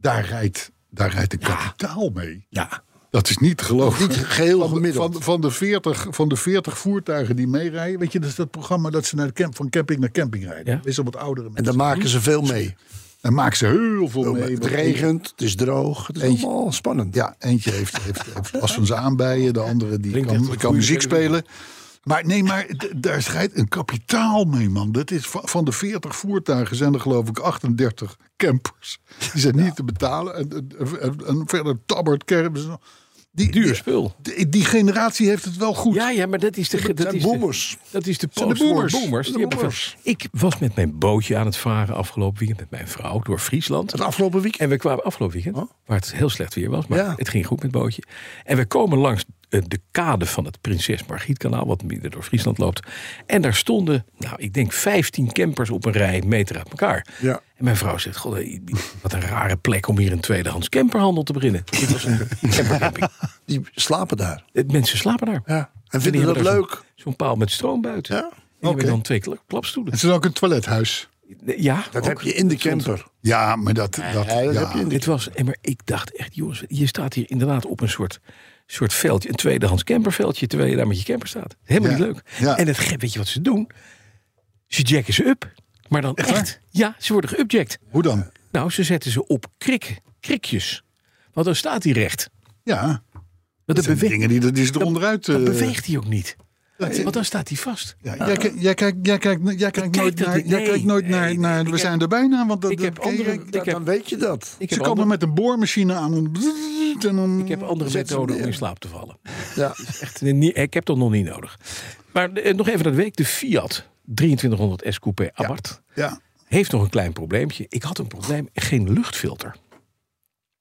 Speaker 2: Daar rijdt, daar rijdt een kapitaal mee.
Speaker 3: Ja.
Speaker 2: Dat is niet te geloven.
Speaker 5: Niet geheel
Speaker 2: Van de,
Speaker 5: gemiddeld.
Speaker 2: van, van, de 40, van de 40 voertuigen die meerijden. Weet je, dat is dat programma dat ze naar de camp, van camping naar camping rijden.
Speaker 3: Ja.
Speaker 2: Meestal wat oudere mensen.
Speaker 5: En daar maken ze veel mee.
Speaker 2: Dan maken ze heel veel mee.
Speaker 5: Het
Speaker 2: Want-
Speaker 5: regent, het is droog. Het is
Speaker 2: Eentje.
Speaker 5: allemaal spannend.
Speaker 2: Ja, eentje heeft, heeft, heeft last van zijn aanbijen. De andere die
Speaker 3: Klinkt
Speaker 2: kan,
Speaker 3: echt een
Speaker 2: kan
Speaker 3: goede
Speaker 2: muziek
Speaker 3: televisie.
Speaker 2: spelen. Maar nee, maar d- daar schijnt een kapitaal mee, man. Dat is van, van de 40 voertuigen zijn er geloof ik 38 campers. Die zijn niet te betalen. En, en- en- en verder tabbert, kermis. Die,
Speaker 3: Duur
Speaker 2: die,
Speaker 3: spul.
Speaker 2: die- die generatie heeft het wel goed.
Speaker 3: Ja, ja, maar dat is de... ge- Dat
Speaker 5: zijn
Speaker 3: is de
Speaker 5: boomers.
Speaker 3: dat is de
Speaker 2: zijn de
Speaker 3: post voor
Speaker 2: boomers.
Speaker 3: boomers.
Speaker 2: De
Speaker 3: Die hebben
Speaker 2: boomers.
Speaker 3: veel- Ik was met mijn bootje aan het varen afgelopen weekend met mijn vrouw door Friesland.
Speaker 5: Het afgelopen weekend.
Speaker 3: En we kwamen afgelopen weekend, waar het heel slecht weer was, maar
Speaker 5: Ja.
Speaker 3: het ging goed met het bootje. En we komen langs eh, de kade van het Prinses Margrietkanaal, wat midden door Friesland loopt. En daar stonden, nou, ik denk 15 campers op een rij, meter uit elkaar.
Speaker 5: Ja.
Speaker 3: En mijn vrouw zegt, god, eh, wat een rare plek om hier een tweedehands camperhandel te beginnen. Dit was een campercamping.
Speaker 5: Die slapen daar.
Speaker 3: Eh, Mensen slapen daar.
Speaker 5: Ja. En
Speaker 3: En die
Speaker 5: vinden dat
Speaker 3: hebben daar zo'n-
Speaker 5: leuk?
Speaker 3: Zo'n paal met stroom buiten.
Speaker 5: Ja,
Speaker 3: En die hebben dan twee kla- klapstoelen.
Speaker 2: Het is ook een toilethuis.
Speaker 3: Ja,
Speaker 5: Dat
Speaker 3: ook.
Speaker 5: heb je in de camper.
Speaker 2: Ja, maar dat... dat,
Speaker 5: Ja, dat
Speaker 2: ja.
Speaker 5: heb je in de
Speaker 3: Dit was, en maar ik dacht echt, jongens, je staat hier inderdaad op een soort, soort veldje, een tweedehands camperveldje, terwijl je daar met je camper staat. Helemaal
Speaker 2: Ja,
Speaker 3: niet leuk.
Speaker 2: ja.
Speaker 3: En het, ge- weet je wat ze doen? Ze jacken ze up, maar dan echt. Ja, ze worden geupjacked.
Speaker 2: Hoe dan?
Speaker 3: Nou, ze zetten ze op krikken, krikjes. Want dan staat hij recht.
Speaker 2: Ja,
Speaker 3: Want
Speaker 2: dat
Speaker 3: dan,
Speaker 2: zijn
Speaker 3: bewe-
Speaker 2: dingen die, die ze eronder uit...
Speaker 3: dan
Speaker 2: eh,
Speaker 3: beweegt hij ook niet. Want dan staat hij vast.
Speaker 2: Ja, jij, ki- jij kijkt, jij kijkt, jij kijkt nooit
Speaker 3: dat
Speaker 2: naar,
Speaker 3: niet.
Speaker 2: jij
Speaker 3: Nee,
Speaker 2: kijkt nooit
Speaker 3: nee,
Speaker 2: naar,
Speaker 3: nee,
Speaker 2: naar
Speaker 3: ik
Speaker 2: we
Speaker 3: heb-
Speaker 2: zijn er bijna, want dat,
Speaker 3: Ik heb
Speaker 2: dat-
Speaker 3: andere,
Speaker 2: kijk,
Speaker 3: ik heb,
Speaker 5: Dan weet je dat.
Speaker 3: ik
Speaker 2: ze
Speaker 3: heb
Speaker 2: komen
Speaker 3: andere,
Speaker 2: met een boormachine aan en, en dan,
Speaker 3: ik heb andere
Speaker 5: Mm, Zet ze
Speaker 3: methoden om
Speaker 5: neer.
Speaker 3: in slaap te vallen.
Speaker 5: Ja.
Speaker 3: Echt, nee, niet- ik heb dat nog niet nodig. Maar eh, nog even dat week, de Fiat 2300 S Coupé Abarth.
Speaker 2: ja,
Speaker 3: heeft nog een klein probleempje. Ik had een probleem, geen luchtfilter.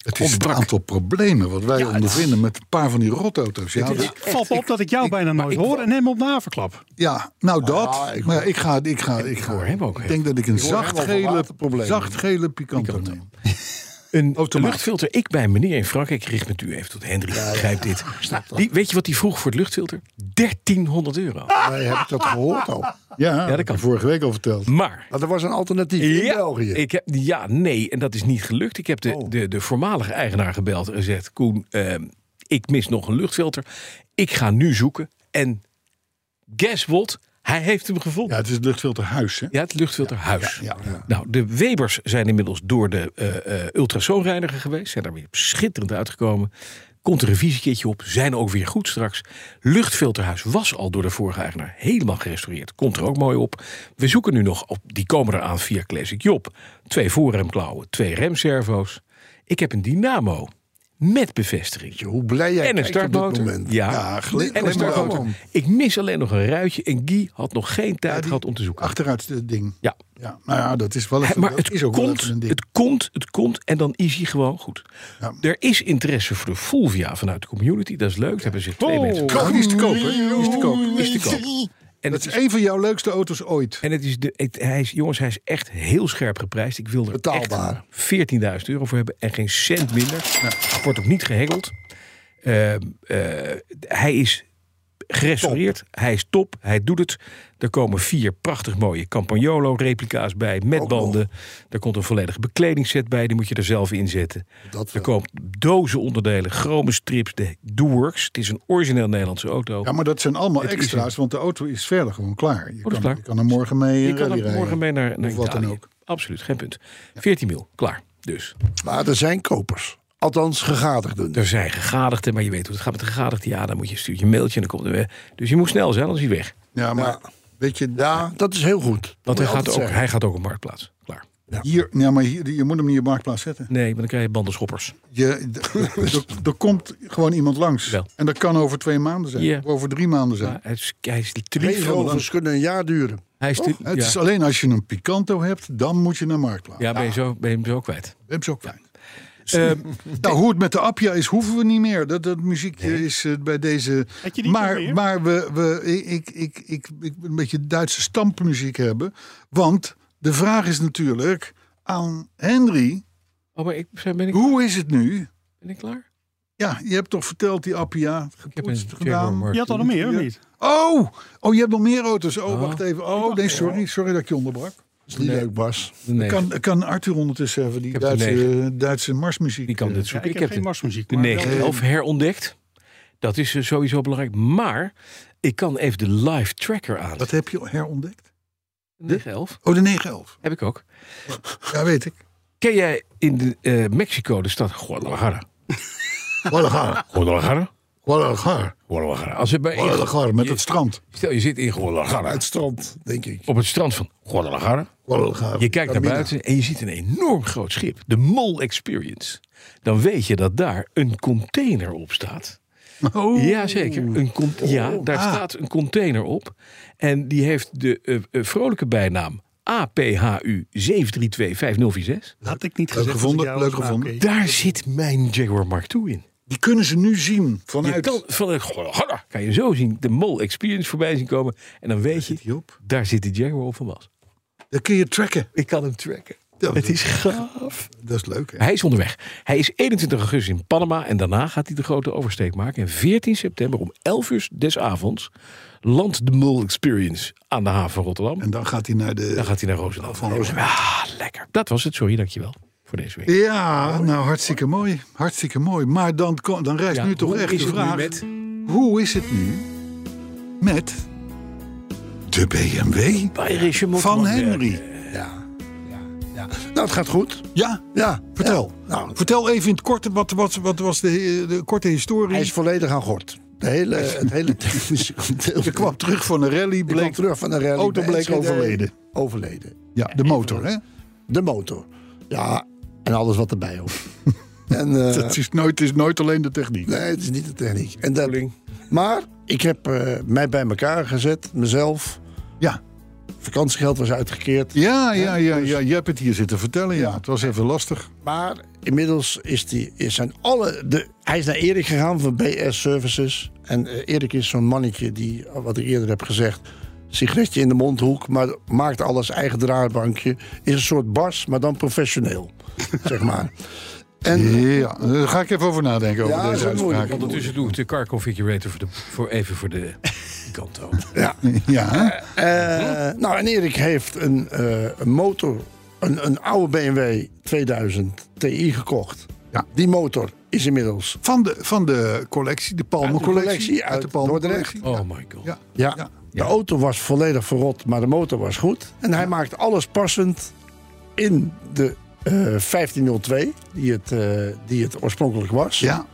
Speaker 2: het is
Speaker 3: Ontbrak.
Speaker 2: een aantal problemen wat wij
Speaker 3: Ja, het-
Speaker 2: ondervinden met een paar van die rotauto's. Ja,
Speaker 3: is-
Speaker 2: dat-
Speaker 4: Valt op dat ik jou bijna nooit
Speaker 3: ik-
Speaker 4: hoor en hem op de haverklap.
Speaker 2: ja nou dat,
Speaker 5: ja, ik
Speaker 2: maar ja, ik ga, ik ga, ik ga.
Speaker 3: hoor hem ook
Speaker 2: Ik
Speaker 3: even.
Speaker 2: denk dat ik een
Speaker 5: hoor hem over
Speaker 2: zachtgele,
Speaker 5: waterproblemen.
Speaker 2: zachtgele picanto neem.
Speaker 3: Een
Speaker 2: Automaat.
Speaker 3: luchtfilter. Ik bij een meneer in Frankrijk, ik richt me u even tot Hendrik, begrijp dit. Die, weet je wat die vroeg voor het luchtfilter? 1300 euro.
Speaker 5: Wij hebben dat gehoord al.
Speaker 2: Ja,
Speaker 3: dat
Speaker 2: dat
Speaker 3: kan.
Speaker 2: kan. Vorige week al verteld.
Speaker 3: Maar
Speaker 2: Nou,
Speaker 5: Maar er was een alternatief in België.
Speaker 3: Ik heb, ja, nee, en dat is niet gelukt. Ik heb de,
Speaker 5: Oh.
Speaker 3: de, de voormalige eigenaar gebeld en gezegd... Koen, ehm, ik mis nog een luchtfilter. Ik ga nu zoeken. En guess what? Hij heeft hem gevonden.
Speaker 2: Ja, het is het luchtfilterhuis, hè?
Speaker 3: Ja, het luchtfilterhuis.
Speaker 2: Ja, ja.
Speaker 3: Nou, de Webers zijn inmiddels door de eh, eh, ultrasoonreiniger geweest. Zijn daar weer schitterend uitgekomen. Komt er een visiekeertje op. Zijn ook weer goed straks. Luchtfilterhuis was al door de vorige eigenaar helemaal gerestaureerd. Komt er ook mooi op. We zoeken nu nog op. Die komen eraan via Classic Job. Twee voorremklauwen, twee remservo's. Ik heb een dynamo. Met bevestiging.
Speaker 5: Hoe blij jij
Speaker 3: En een
Speaker 5: kijkt op dit
Speaker 3: startmotor.
Speaker 5: moment.
Speaker 3: Ja.
Speaker 2: Ja, glim-
Speaker 3: en een
Speaker 2: glimlach
Speaker 3: startmotor.
Speaker 2: om.
Speaker 3: Ik mis alleen nog een ruitje. En Guy had nog geen tijd
Speaker 2: Ja, die-
Speaker 3: gehad om te zoeken.
Speaker 2: Achteruit het ding.
Speaker 3: Ja.
Speaker 2: ja. Nou ja, dat is wel even,
Speaker 3: Hè, maar
Speaker 2: dat
Speaker 3: het
Speaker 2: is ook wel
Speaker 3: komt,
Speaker 2: even een ding.
Speaker 3: het komt, het komt en dan is hij gewoon goed.
Speaker 2: Ja.
Speaker 3: Er is interesse voor de Fulvia vanuit de community, dat is leuk. Daar hebben ze twee mensen. voor.
Speaker 2: Oh, die is te koop, hè? Die is te koop.
Speaker 3: Is te koop. En
Speaker 2: Dat
Speaker 3: het
Speaker 2: is
Speaker 3: is,
Speaker 2: een van jouw leukste auto's ooit.
Speaker 3: en het is de, het- hij is, jongens, hij is echt heel scherp geprijsd. Ik wil er
Speaker 5: Betaalbaar.
Speaker 3: echt 14.000 euro voor hebben en geen cent minder. Wordt ook niet gehengeld. Ehm, eh, hij is gerestaureerd. Hij is top. Hij doet het. Er komen vier prachtig mooie Campagnolo-replica's bij met
Speaker 5: Ook nog.
Speaker 3: banden. Er komt een volledige bekledingset bij. Die moet je er zelf in zetten.
Speaker 5: Dat
Speaker 3: er
Speaker 5: wel.
Speaker 3: komen dozen onderdelen, chrome strips, de Doeworks. Het is een origineel Nederlandse auto.
Speaker 2: Ja, maar dat zijn allemaal
Speaker 3: Het is Oh,
Speaker 2: extra's, want de auto is verder gewoon klaar. Je,
Speaker 3: is
Speaker 2: kan,
Speaker 3: klaar.
Speaker 2: je kan er morgen mee
Speaker 3: je
Speaker 2: eh,
Speaker 3: kan
Speaker 2: rally
Speaker 3: er
Speaker 2: rijden.
Speaker 3: morgen mee naar, naar
Speaker 2: Of wat
Speaker 3: Italië.
Speaker 2: dan ook.
Speaker 3: Absoluut, geen punt. 14 mil, klaar. Dus
Speaker 5: Maar er zijn kopers. Althans, gegadigden.
Speaker 2: Dus-
Speaker 3: er zijn gegadigden, maar je weet hoe het gaat met de gegadigden. Ja, dan moet je stuurt je een mailtje en dan komt er weer. Dus je moet snel zijn, anders is hij weg.
Speaker 2: Ja, maar
Speaker 5: Ja.
Speaker 2: weet je,
Speaker 5: Ja, dat is heel goed.
Speaker 3: Want
Speaker 5: Moet
Speaker 3: hij
Speaker 5: je
Speaker 3: gaat,
Speaker 5: altijd
Speaker 3: ook,
Speaker 5: zeggen.
Speaker 3: hij gaat ook op marktplaats. Klaar.
Speaker 2: hier, ja, maar hier, je moet hem niet op marktplaats zetten.
Speaker 3: Nee, maar dan krijg je bandenschoppers.
Speaker 2: Je, d- d- er komt gewoon iemand langs.
Speaker 3: Wel.
Speaker 2: En dat kan over twee maanden zijn.
Speaker 3: Ja.
Speaker 2: Of over drie maanden zijn.
Speaker 3: Ja, hij is, hij is die
Speaker 5: Leefrovers kunnen een jaar duren.
Speaker 3: Hij is te-
Speaker 2: Oh, Het
Speaker 3: ja.
Speaker 2: is alleen als je een Picanto hebt, dan moet je naar marktplaats.
Speaker 3: ja, ben je zo, ben je hem zo kwijt.
Speaker 2: Dat is ook fijn.
Speaker 3: Ehm,
Speaker 2: Nou, hoe het met de Appia is, hoeven we niet meer. Dat, dat muziekje is eh, bij deze.
Speaker 4: Had je die
Speaker 2: Maar,
Speaker 4: toen weer?
Speaker 2: maar we, we, ik, ik, ik, ik wil een beetje Duitse stampmuziek hebben. Want de vraag is natuurlijk aan Henry:
Speaker 3: oh, maar ik, ben, ik,
Speaker 2: hoe is het nu?
Speaker 3: ben ik klaar?
Speaker 2: Ja, je hebt toch verteld die Appia.
Speaker 3: Ik heb
Speaker 2: Gepoetst,
Speaker 3: een
Speaker 2: gedaan.
Speaker 3: Jaguar Mark
Speaker 4: Je had al
Speaker 3: II.
Speaker 4: nog meer, of
Speaker 2: Ja.
Speaker 4: niet?
Speaker 2: Oh, oh, je hebt nog meer auto's. Oh,
Speaker 3: Oh.
Speaker 2: wacht even. Oh, nee, sorry. Sorry dat ik je onderbrak.
Speaker 5: Dat is niet
Speaker 3: Nee.
Speaker 5: leuk, Bas.
Speaker 3: Nee,
Speaker 2: Kan, kan Arthur ondertussen even die
Speaker 3: heb de
Speaker 2: Duitse, Duitse marsmuziek?
Speaker 3: die kan
Speaker 2: eh,
Speaker 3: dit
Speaker 4: Ja,
Speaker 3: zoeken.
Speaker 4: ik,
Speaker 3: ik,
Speaker 4: heb
Speaker 3: heb
Speaker 4: geen
Speaker 3: de,
Speaker 4: marsmuziek.
Speaker 3: de
Speaker 4: maar wel-
Speaker 3: 911 herontdekt. Dat is eh, sowieso belangrijk. Maar ik kan even de live tracker aan.
Speaker 2: Wat heb je herontdekt?
Speaker 3: De 911
Speaker 2: Oh, de 911.
Speaker 3: heb ik ook.
Speaker 2: Ja, weet ik.
Speaker 3: Ken jij in de, eh, Mexico de stad Guadalajara?
Speaker 2: Guadalajara.
Speaker 3: Guadalajara?
Speaker 2: Guadalajara.
Speaker 3: Guadalajara. Als we bij,
Speaker 2: Guadalajara met het strand.
Speaker 3: stel je zit in Guadalajara.
Speaker 5: Het strand, denk ik.
Speaker 3: Op het strand van Guadalajara.
Speaker 2: Guadalajara.
Speaker 3: Je kijkt naar buiten en je ziet een enorm groot schip. De Mol Experience. Dan weet je dat daar een container op staat.
Speaker 2: Oh.
Speaker 3: Jazeker. Een con- ja, daar
Speaker 2: Ah.
Speaker 3: staat een container op. En die heeft de eh, eh, vrolijke bijnaam APHU 7325046.
Speaker 4: Had ik niet
Speaker 2: Leuk
Speaker 4: gezegd.
Speaker 2: gevonden,
Speaker 4: dat ik jou
Speaker 2: leuk
Speaker 4: was, maar
Speaker 2: gevonden.
Speaker 4: oké.
Speaker 3: Daar zit mijn Jaguar Mark II in.
Speaker 2: Die kunnen ze nu zien
Speaker 3: Je
Speaker 2: vanuit.
Speaker 3: kan, van, een- Guadalajara kan je zo zien de Mol Experience voorbij zien komen. En dan weet
Speaker 2: zit
Speaker 3: je,
Speaker 2: hij op.
Speaker 3: daar zit de Jaguar op van was.
Speaker 2: Dan kun je tracken.
Speaker 3: Ik kan hem tracken.
Speaker 2: Ja,
Speaker 3: Het is gaaf.
Speaker 2: Dat is leuk, hè?
Speaker 3: Hij is onderweg. Hij is 21 augustus in Panama en daarna gaat hij de grote oversteek maken. En 14 september om 11 uur des avonds landt de Mul Experience aan de haven van Rotterdam.
Speaker 2: En dan gaat hij naar de...
Speaker 3: Dan gaat hij naar Roosendaal.
Speaker 2: Van Roosendaal.
Speaker 3: Ah, lekker. Dat was het. Sorry, dankjewel voor deze week.
Speaker 2: Ja, nou, hartstikke mooi. Hartstikke mooi. Maar dan, ko- dan rijst
Speaker 3: Ja,
Speaker 2: nu toch
Speaker 3: hoe
Speaker 2: echt
Speaker 3: is
Speaker 2: de
Speaker 3: het nu
Speaker 2: vraag...
Speaker 3: met-
Speaker 2: Hoe is het nu met de BMW
Speaker 3: Bayerische
Speaker 2: van
Speaker 3: Motormanwerk.
Speaker 2: Henry?
Speaker 5: Ja. ja. Nou, het gaat goed.
Speaker 2: Ja,
Speaker 5: Ja.
Speaker 2: vertel.
Speaker 5: Ja. Nou,
Speaker 2: Vertel even in het kort, wat, wat, wat was de, de korte historie?
Speaker 5: hij is volledig aan gort. De hele, het hele technische
Speaker 2: Je
Speaker 5: gedeelte.
Speaker 2: kwam terug van een rally,
Speaker 5: Ik kwam
Speaker 2: bleek
Speaker 5: terug van de rally.
Speaker 2: auto
Speaker 5: bij
Speaker 2: bleek
Speaker 5: Enschede.
Speaker 2: overleden.
Speaker 5: Overleden.
Speaker 2: Ja, de motor, hè?
Speaker 5: De motor. Ja, en alles wat erbij hoort. en, eh,
Speaker 2: Dat is nooit, het is nooit alleen de techniek.
Speaker 5: Nee, het is niet de techniek. En dat,
Speaker 3: Koeling.
Speaker 5: maar ik heb eh, mij bij elkaar gezet, mezelf.
Speaker 2: Ja.
Speaker 5: Vakantiegeld was uitgekeerd.
Speaker 2: Ja, ja, ja, ja, je hebt het hier zitten vertellen. Ja, het was even lastig.
Speaker 5: Maar inmiddels is die, is zijn alle. De, hij is naar Erik gegaan van BS Services. En eh, Erik is zo'n mannetje die, wat ik eerder heb gezegd. Sigaretje in de mondhoek, maar maakt alles eigen draaibankje. Is een soort bars, maar dan professioneel. zeg maar. En
Speaker 2: Ja, daar ga ik even over nadenken over
Speaker 5: Ja,
Speaker 2: deze
Speaker 5: dat is wel
Speaker 2: uitspraak.
Speaker 3: Ondertussen doe ik de car configurator voor de, voor even voor de kanto.
Speaker 5: ja,
Speaker 2: Ja, hè?
Speaker 5: Eh, nou, en Erik heeft een, eh, een motor, een, een oude BMW 2000 Ti gekocht.
Speaker 2: Ja.
Speaker 5: Die motor is inmiddels.
Speaker 2: van de, van de collectie, de
Speaker 5: Uit de
Speaker 2: Palmen-collectie.
Speaker 5: collectie, uit
Speaker 2: Palmen-collectie.
Speaker 3: Oh my god.
Speaker 2: Ja.
Speaker 5: Ja.
Speaker 2: Ja.
Speaker 3: Ja.
Speaker 5: De auto was volledig verrot, maar de motor was goed. En hij maakt alles passend in de eh, 1502, die het, eh, die het oorspronkelijk was.
Speaker 2: Ja,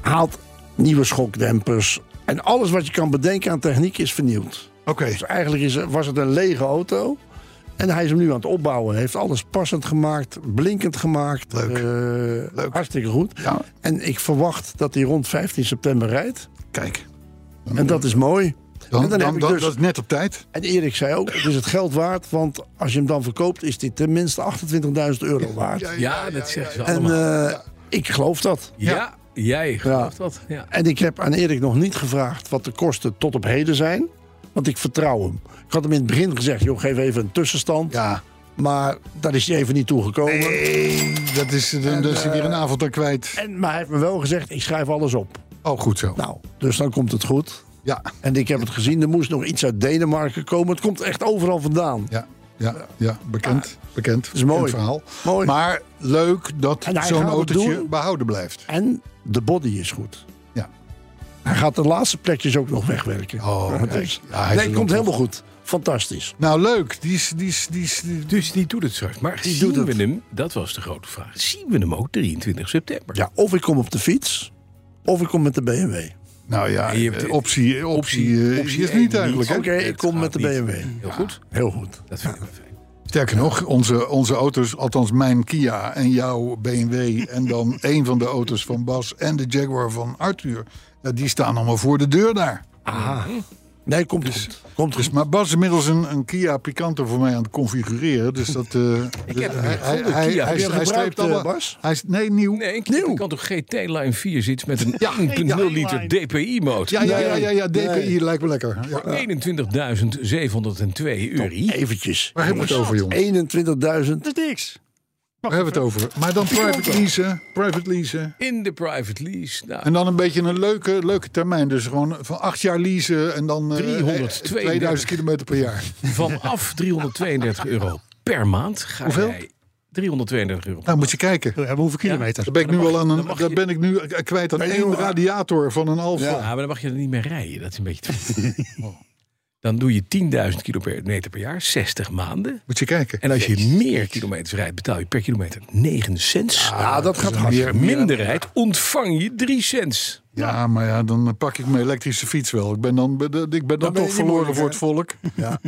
Speaker 5: Haalt nieuwe schokdempers. En alles wat je kan bedenken aan techniek is vernieuwd.
Speaker 2: oké.
Speaker 5: Dus eigenlijk is, was het een lege auto. En hij is hem nu aan het opbouwen. Hij heeft alles passend gemaakt, blinkend gemaakt.
Speaker 2: Leuk.
Speaker 5: Eh,
Speaker 2: Leuk.
Speaker 5: Hartstikke goed.
Speaker 2: Ja,
Speaker 5: En ik verwacht dat hij rond 15 september rijdt.
Speaker 2: kijk.
Speaker 5: En dat is mooi.
Speaker 2: Dan,
Speaker 5: En
Speaker 2: dan,
Speaker 5: dan heb
Speaker 2: dan,
Speaker 5: ik dus-
Speaker 2: dat is net op tijd.
Speaker 5: En Erik zei ook, het is het geld waard. Want als je hem dan verkoopt, is dit tenminste 28.000 euro waard.
Speaker 3: Ja, dat zeggen ze
Speaker 5: en
Speaker 3: allemaal.
Speaker 5: eh, ik geloof dat.
Speaker 3: ja, jij gelooft dat. Ja.
Speaker 5: En ik heb aan Erik nog niet gevraagd wat de kosten tot op heden zijn. Want ik vertrouw hem. Ik had hem in het begin gezegd, joh, geef even een tussenstand.
Speaker 2: Ja.
Speaker 5: Maar daar is hij even niet toegekomen.
Speaker 2: Nee, dat is, dan dan is hij
Speaker 5: eh,
Speaker 2: weer een avond aan kwijt.
Speaker 5: En, maar hij heeft me wel gezegd, ik schrijf alles op.
Speaker 2: Oh, goed zo.
Speaker 5: Nou, dus dan komt het goed.
Speaker 2: Ja,
Speaker 5: En ik heb het gezien, er moest nog iets uit Denemarken komen. Het komt echt overal vandaan.
Speaker 2: ja, ja, ja. Bekend, bekend.
Speaker 5: is mooi.
Speaker 2: Bekend verhaal.
Speaker 5: Mooi.
Speaker 2: Maar leuk dat
Speaker 5: En hij
Speaker 2: zo'n
Speaker 5: gaat het
Speaker 2: autootje
Speaker 5: doen.
Speaker 2: behouden blijft.
Speaker 5: En de body is goed.
Speaker 2: Ja.
Speaker 5: Hij gaat de laatste plekjes ook nog wegwerken.
Speaker 2: Oh,
Speaker 5: Dus-
Speaker 2: kijk. Ja, hij is
Speaker 5: nee,
Speaker 2: een
Speaker 5: het komt
Speaker 2: ontwerp.
Speaker 5: helemaal goed. Fantastisch.
Speaker 2: Nou, leuk. Die is, die is, die is, die-
Speaker 3: Dus die doet het straks. Maar
Speaker 5: Die
Speaker 3: zien
Speaker 5: doet het.
Speaker 3: we hem, dat was de grote vraag, zien we hem ook 23 september?
Speaker 5: Ja, of ik kom op de fiets, of ik kom met de BMW.
Speaker 2: Nou ja,
Speaker 3: Je hebt-
Speaker 2: eh, optie, optie, eh, is
Speaker 3: één
Speaker 2: niet eigenlijk.
Speaker 5: Oké,
Speaker 2: hè?
Speaker 5: ik
Speaker 3: Het
Speaker 5: kom
Speaker 3: gaat
Speaker 5: met de
Speaker 3: niet.
Speaker 5: BMW.
Speaker 3: Heel goed,
Speaker 5: Heel goed.
Speaker 3: dat vinden we fijn.
Speaker 2: Sterker nog, onze, onze auto's, althans mijn Kia en jouw BMW... en dan één van de auto's van Bas en de Jaguar van Arthur... ja, die staan allemaal voor de deur daar.
Speaker 5: Nee, komt goed. Komt
Speaker 2: Dus,
Speaker 5: goed.
Speaker 2: maar Bas is inmiddels een, een Kia Picanto voor mij aan het configureren. Dus dat... eh, dus
Speaker 3: heb een
Speaker 2: hij- hij-
Speaker 3: gevonden
Speaker 2: hij-
Speaker 3: Kia.
Speaker 2: hij-
Speaker 3: Heb je
Speaker 5: hem
Speaker 2: Hij
Speaker 5: gebruikt,
Speaker 2: streept allemaal...
Speaker 5: eh, Bas?
Speaker 2: Hij is, nee, nieuw.
Speaker 3: Nee, ik, ik kan toch GT Line 4 zit met een 1.0 liter
Speaker 4: Line.
Speaker 3: DPI-motor.
Speaker 2: Ja, ja, ja, ja, ja, DPI
Speaker 5: Nee.
Speaker 2: lijkt me lekker. Ja.
Speaker 3: 21.702 euro.
Speaker 5: Eventjes.
Speaker 2: Waar hebben we het over, jongen?
Speaker 5: 21.000.
Speaker 4: Dat is niks.
Speaker 2: Waar hebben we het over? Maar dan private leasen, private leasen.
Speaker 3: In de private lease. Nou,
Speaker 2: En dan een beetje een leuke, leuke termijn. Dus gewoon van acht jaar leasen en dan eh,
Speaker 3: 332.
Speaker 2: 2000 kilometer per jaar.
Speaker 3: vanaf 332 euro per maand ga
Speaker 2: Hoeveel?
Speaker 3: jij 332 euro.
Speaker 2: Nou, moet je kijken.
Speaker 4: We hebben hoeveel kilometer?
Speaker 2: Daar ben ik nu al aan een, daar ben ik nu kwijt aan één radiator van een Alfa.
Speaker 3: Ja, maar dan mag je er niet meer rijden. Dat is een beetje. te- Dan doe je 10.000 kilometer per jaar, 60 maanden.
Speaker 2: Moet je kijken.
Speaker 3: En als je meer kilometers rijdt, betaal je per kilometer 9 cents.
Speaker 5: Ja, dat gaat
Speaker 3: Ah, als
Speaker 5: hard.
Speaker 3: je minder rijdt, ontvang je 3 cents.
Speaker 2: Ja, maar ja, dan eh, pak ik mijn elektrische fiets wel. Ik ben dan, ben- ik ben dan,
Speaker 5: ben je
Speaker 2: toch
Speaker 5: niet
Speaker 2: verloren
Speaker 5: moeilijk,
Speaker 2: voor het volk. Ja.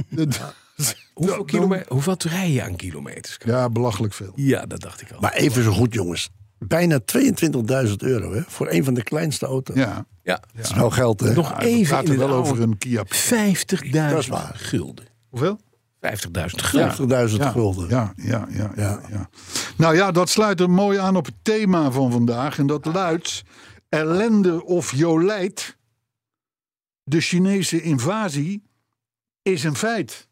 Speaker 3: Hoeveel,
Speaker 2: dan-
Speaker 3: kilometer, hoeveel rij je aan kilometers?
Speaker 2: ja, belachelijk veel.
Speaker 3: Ja, dat dacht ik al.
Speaker 5: Maar even zo goed, jongens. Bijna 22.000 euro hè, voor een van de kleinste auto's.
Speaker 2: Ja,
Speaker 3: ja.
Speaker 5: Dat is wel geld, hè?
Speaker 3: Nog
Speaker 2: het
Speaker 3: even
Speaker 2: gaat er
Speaker 3: in het
Speaker 2: wel
Speaker 3: oude-
Speaker 2: over een Kia.
Speaker 3: 50.000
Speaker 5: Dat is waar.
Speaker 3: gulden. 50.000
Speaker 2: Hoeveel?
Speaker 3: gulden.
Speaker 5: 50.000 gulden.
Speaker 2: Ja, ja, ja, ja, ja. Nou ja, dat sluit er mooi aan op het thema van vandaag. En dat luidt: ellende of jolijt. De Chinese invasie is een feit.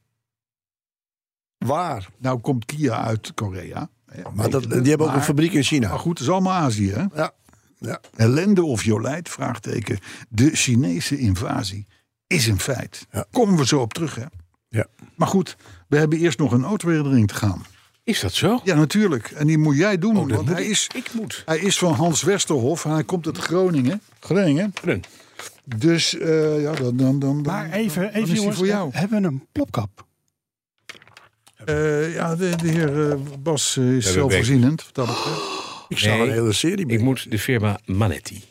Speaker 5: Waar?
Speaker 2: Nou komt Kia uit Korea.
Speaker 5: Maar dat, die hebben ook een
Speaker 2: Maar-
Speaker 5: fabriek in China.
Speaker 2: Maar Nou goed, het is allemaal Azië, hè?
Speaker 5: Ja. Ja.
Speaker 2: Ellende of jolijt? Vraagteken. De Chinese invasie is een feit.
Speaker 5: Ja.
Speaker 2: Komen we zo op terug, hè?
Speaker 5: Ja.
Speaker 2: Maar goed, we hebben eerst nog een autoherinnering te gaan.
Speaker 3: Is dat zo?
Speaker 2: Ja, natuurlijk. En die moet jij doen,
Speaker 3: Oh, dat
Speaker 2: want
Speaker 3: moet
Speaker 2: hij
Speaker 3: ik.
Speaker 2: is,
Speaker 3: Ik moet.
Speaker 2: hij is van Hans Westerhof. Hij komt uit Groningen. Groningen.
Speaker 3: Run.
Speaker 2: Dus eh, ja, dan, dan, dan,
Speaker 4: Maar
Speaker 2: dan-
Speaker 4: even,
Speaker 2: is
Speaker 4: even
Speaker 2: die
Speaker 4: jongens,
Speaker 2: voor jou.
Speaker 4: hebben we een plopkap?
Speaker 2: Eh, ja, de, de heer eh, Bas eh, is
Speaker 3: we
Speaker 2: zelfvoorzienend. wat dat betreft.
Speaker 5: Ik zou
Speaker 3: Nee,
Speaker 5: een hele serie
Speaker 3: Ik
Speaker 5: mee.
Speaker 3: moet de firma Manetti.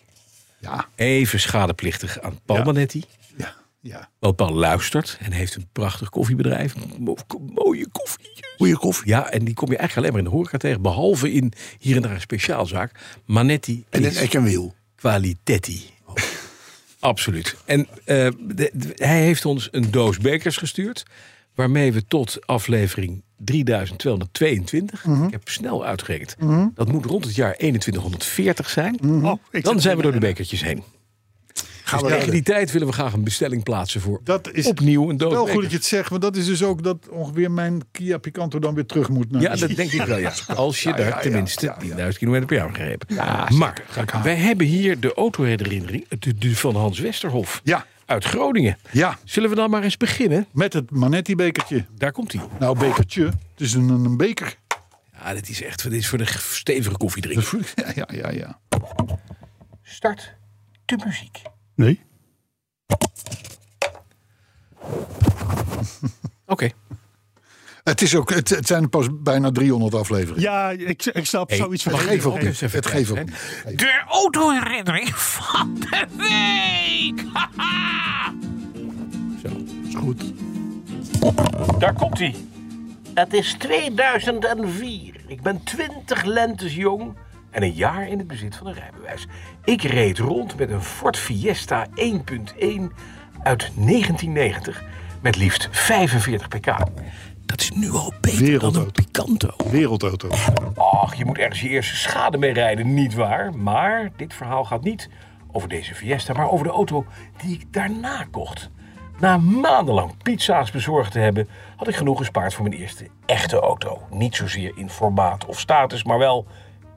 Speaker 2: Ja,
Speaker 3: Even schadeplichtig aan Paul
Speaker 2: Ja.
Speaker 3: Manetti.
Speaker 2: ja, ja.
Speaker 3: Want Paul luistert en heeft een prachtig koffiebedrijf. Mo- ko- Mooie koffietjes.
Speaker 5: Goeie koffie.
Speaker 3: Ja, en die kom je eigenlijk alleen maar in de horeca tegen. Behalve in hier en daar een speciaalzaak. Manetti
Speaker 5: En een
Speaker 3: is
Speaker 5: ek en wiel.
Speaker 3: kwalitetti. Absoluut. En eh, de- de- hij heeft ons een doos bekers gestuurd. Waarmee we tot aflevering 3222. Ik heb snel uitgerekend. Dat moet rond het jaar 2140 zijn.
Speaker 4: Oh, ik
Speaker 3: Dan
Speaker 4: zit-
Speaker 3: zijn we door de bekertjes heen.
Speaker 5: Gaan we
Speaker 3: Tegen
Speaker 5: rijden.
Speaker 3: die tijd willen we graag een bestelling plaatsen voor
Speaker 2: Dat is
Speaker 3: opnieuw een
Speaker 2: wel goed dat
Speaker 3: doodbeker.
Speaker 2: je het zegt. Want dat is dus ook dat ongeveer mijn Kia Picanto dan weer terug moet. Naar
Speaker 3: Ja, dat denk ik wel, ja. Als je daar tenminste 10.000 kilometer per jaar gaat rijden. maar wij hebben hier de autoherinnering de- de van Hans Westerhof
Speaker 2: Ja.
Speaker 3: uit Groningen.
Speaker 2: Ja,
Speaker 3: Zullen we dan maar eens beginnen?
Speaker 2: met het Manetti-bekertje.
Speaker 3: Daar komt hij.
Speaker 2: Nou, bekertje. Het is een, een beker.
Speaker 3: Ja, dit is echt dit is voor de stevige koffiedrinker.
Speaker 2: Ja, ja, ja. ja.
Speaker 3: Start de muziek.
Speaker 4: Nee.
Speaker 2: Het, is ook, het, het zijn pas bijna 300 afleveringen.
Speaker 4: Ja, ik, ik snap zoiets van.
Speaker 2: het geeft ook niet.
Speaker 6: eens even
Speaker 2: Het geeft ook
Speaker 6: kijken,
Speaker 2: niet.
Speaker 7: De autoherinnering van de week.
Speaker 5: Is goed.
Speaker 3: Daar komt hij. Het is 2004. Ik ben 20 lentes jong en een jaar in het bezit van een rijbewijs. Ik reed rond met een Ford Fiesta 1.1 uit 1990 met liefst 45 pk.
Speaker 6: Dat is nu al beter dan een
Speaker 2: Wereldauto.
Speaker 6: Picanto.
Speaker 2: Wereldauto.
Speaker 3: Och, je moet ergens je eerste schade mee rijden, nietwaar? Maar dit verhaal gaat niet over deze Fiesta, maar over de auto die ik daarna kocht. Na maandenlang pizza's bezorgd te hebben, had ik genoeg gespaard voor mijn eerste echte auto. Niet zozeer in formaat of status, maar wel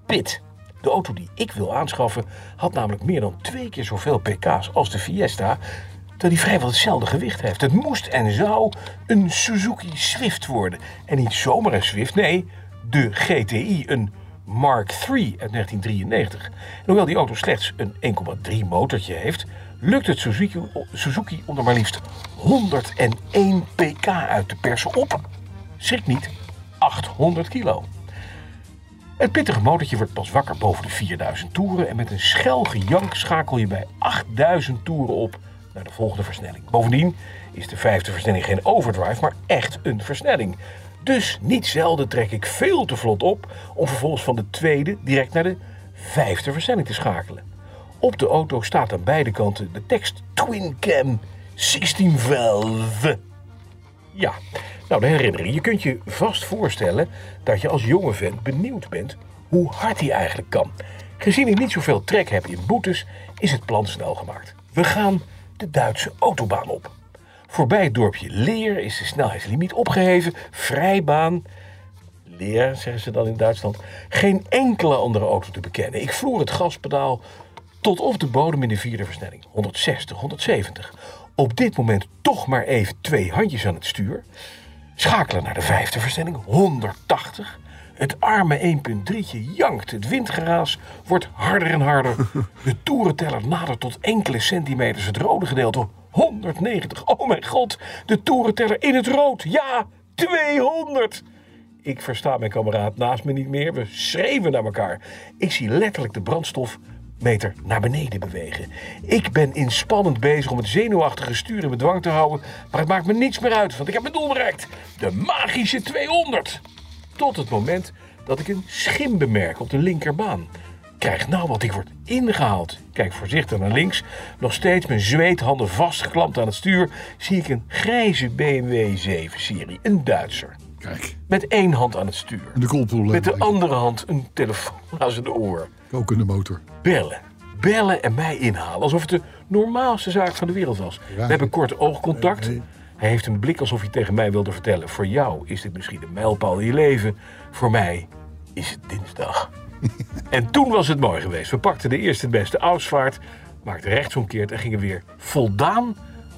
Speaker 3: pit. De auto die ik wil aanschaffen had namelijk meer dan twee keer zoveel pk's als de Fiesta, terwijl die vrijwel hetzelfde gewicht heeft. Het moest en zou een Suzuki Swift worden. En niet zomaar een Swift, nee, de GTI, een Mark III uit 1993. En hoewel die auto slechts een 1,3 motortje heeft, lukt het Suzuki, Suzuki om er maar liefst 101 pk uit te persen op, schrik niet, 800 kilo. Het pittige motortje wordt pas wakker boven de 4000 toeren en met een schel gejank schakel je bij 8000 toeren op naar de volgende versnelling. Bovendien is de vijfde versnelling geen overdrive, maar echt een versnelling. Dus niet zelden trek ik veel te vlot op om vervolgens van de tweede direct naar de vijfde versnelling te schakelen. Op de auto staat aan beide kanten de tekst Twin Cam 16 valve. Ja, nou de herinnering. Je kunt je vast voorstellen dat je als jonge vent benieuwd bent hoe hard hij eigenlijk kan. Gezien ik niet zoveel trek heb in boetes, is het plan snel gemaakt. We gaan de Duitse autobaan op. Voorbij het dorpje Leer is de snelheidslimiet opgeheven, vrijbaan. Leer, zeggen ze dan in Duitsland. Geen enkele andere auto te bekennen. Ik vloer het gaspedaal tot op de bodem in de vierde versnelling. 160, 170. Op dit moment toch maar even twee handjes aan het stuur. Schakelen naar de vijfde versnelling, 180. Het arme 1.3'tje jankt. Het windgeraas wordt harder en harder. De toerenteller nadert tot enkele centimeters het rode gedeelte. 190. Oh mijn god, de toerenteller in het rood. Ja, 200. Ik versta mijn kameraad naast me niet meer. We schreeuwen naar elkaar. Ik zie letterlijk de brandstofmeter naar beneden bewegen. Ik ben inspannend bezig om het zenuwachtige stuur in bedwang te houden. Maar het maakt me niets meer uit, want ik heb mijn doel bereikt. De magische 200. Tot het moment dat ik een schim bemerk op de linkerbaan. Krijg nou wat ik word ingehaald. Kijk voorzichtig naar links. Nog steeds mijn zweethanden vastgeklampt aan het stuur. Zie ik een grijze BMW 7-serie. Een Duitser
Speaker 2: Kijk,
Speaker 3: met één hand aan het stuur.
Speaker 2: de koelpoel.
Speaker 3: Met de andere hand een telefoon aan zijn oor.
Speaker 2: Ook in de motor.
Speaker 3: Bellen. Bellen en mij inhalen. Alsof het de normaalste zaak van de wereld was. We hebben kort oogcontact. Hij heeft een blik alsof hij tegen mij wilde vertellen. Voor jou is dit misschien een mijlpaal in je leven. Voor mij is het dinsdag. en toen was het mooi geweest. We pakten de eerste het beste Ausvaart. Maakten rechtsomkeert en gingen weer voldaan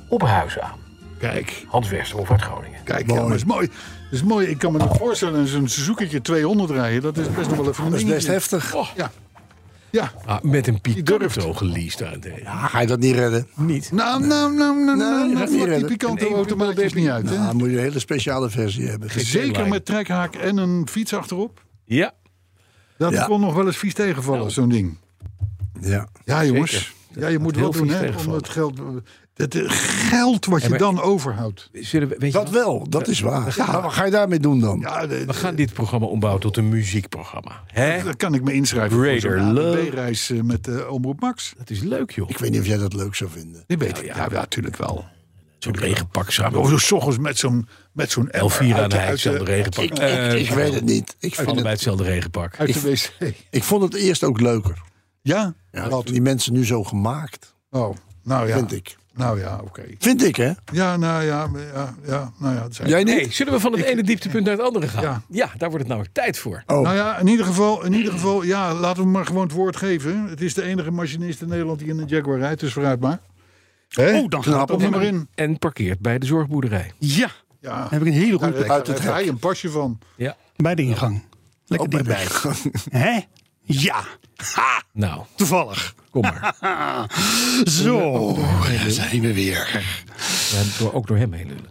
Speaker 3: op huis aan.
Speaker 2: Kijk,
Speaker 3: Hans Westerhof uit Groningen.
Speaker 2: kijk. Ja, maar is mooi. is mooi. Ik kan me nog voorstellen, zo'n Suzuki'tje 200 rijden, dat is best nog wel even een
Speaker 5: Dat is best
Speaker 2: dingetje.
Speaker 5: heftig.
Speaker 2: Ja. Ja.
Speaker 6: Ah, met een Picanto
Speaker 2: Oh. durft.
Speaker 6: geleased daarentegen.
Speaker 5: Ah, ga je dat niet redden?
Speaker 6: Niet.
Speaker 2: Nou, nou, nou, nou, nou,
Speaker 5: dat
Speaker 2: nou,
Speaker 5: gaat
Speaker 2: nou,
Speaker 5: niet
Speaker 2: die
Speaker 5: redden.
Speaker 2: pikante
Speaker 6: Een
Speaker 2: auto maakt het niet uit.
Speaker 5: Nou,
Speaker 2: Hè?
Speaker 5: dan moet je een hele speciale versie hebben.
Speaker 2: Zeker
Speaker 6: lijn.
Speaker 2: met trekhaak en een fiets achterop.
Speaker 6: Ja.
Speaker 2: Dat
Speaker 5: Ja.
Speaker 2: kon nog wel eens vies tegenvallen,
Speaker 6: Nou,
Speaker 2: zo'n ding.
Speaker 5: Ja.
Speaker 2: Ja, jongens. Ja, je moet
Speaker 6: heel
Speaker 2: wel doen,
Speaker 6: vies
Speaker 2: hè. Om
Speaker 6: tegenvallen.
Speaker 2: het geld, het eh, geld wat je
Speaker 6: maar-
Speaker 2: dan overhoudt.
Speaker 6: Zullen we, weet je
Speaker 5: Dat
Speaker 6: wat?
Speaker 5: wel, dat is waar. Maar wat ga je daarmee doen dan?
Speaker 2: Ja, de-
Speaker 6: we gaan dit programma ombouwen tot een muziekprogramma. Hè?
Speaker 2: daar kan ik me inschrijven voor
Speaker 6: Greater
Speaker 2: zo'n
Speaker 6: love. Nou
Speaker 2: ADB-reis eh, met eh Omroep Max.
Speaker 6: Dat is leuk, joh.
Speaker 5: Ik weet niet of jij dat leuk zou vinden.
Speaker 2: Die weet ik. Ja, ja, natuurlijk wel.
Speaker 6: Zo'n regenpak samen.
Speaker 2: Of zo ochtends met zo'n met zo'n
Speaker 6: Elvira
Speaker 2: emmer
Speaker 6: en
Speaker 2: uit de-
Speaker 6: hij,
Speaker 2: uit
Speaker 6: hetzelfde
Speaker 2: de-
Speaker 6: regenpak.
Speaker 5: Ik,
Speaker 6: Eh,
Speaker 5: ik, ik weet het niet. Ik, vind
Speaker 6: Allebei
Speaker 5: het,
Speaker 6: hetzelfde regenpak.
Speaker 2: Uit de wc.
Speaker 5: ik vond het eerst ook leuker.
Speaker 2: Ja?
Speaker 5: Ja, dat die mensen nu zo gemaakt,
Speaker 2: Oh, nou ja.
Speaker 5: vind ik.
Speaker 2: Nou ja, oké.
Speaker 5: Vind ik, hè?
Speaker 2: Ja, nou ja, maar ja, ja, nou ja. Het zijn...
Speaker 5: Jij niet?
Speaker 6: Nee, zullen we van het ene dieptepunt naar het andere gaan?
Speaker 2: Ja.
Speaker 6: daar wordt het namelijk tijd voor.
Speaker 5: Oh,
Speaker 2: Nou ja, in ieder geval, in ieder geval, ja, laten we maar gewoon het woord geven. Het is de enige machinist in Nederland die in een Jaguar rijdt, dus vooruit maar. Hè?
Speaker 4: Oh, dan gaat
Speaker 2: knap
Speaker 4: het
Speaker 2: op
Speaker 4: op.
Speaker 2: maar in.
Speaker 6: En parkeert bij de zorgboerderij.
Speaker 4: Ja,
Speaker 2: Ja,
Speaker 4: daar heb ik een hele goede plek.
Speaker 2: uit
Speaker 5: uit
Speaker 2: het
Speaker 5: het
Speaker 2: rij een pasje van.
Speaker 6: Ja.
Speaker 4: Bij de ingang. Lekker
Speaker 5: bij de
Speaker 4: dichtbij. Hè? Ja. Ha,
Speaker 6: Nou,
Speaker 4: toevallig.
Speaker 6: kom maar.
Speaker 2: Oh,
Speaker 4: Zo, daar zijn we weer.
Speaker 6: We hebben het door- ook door hem heen lullen.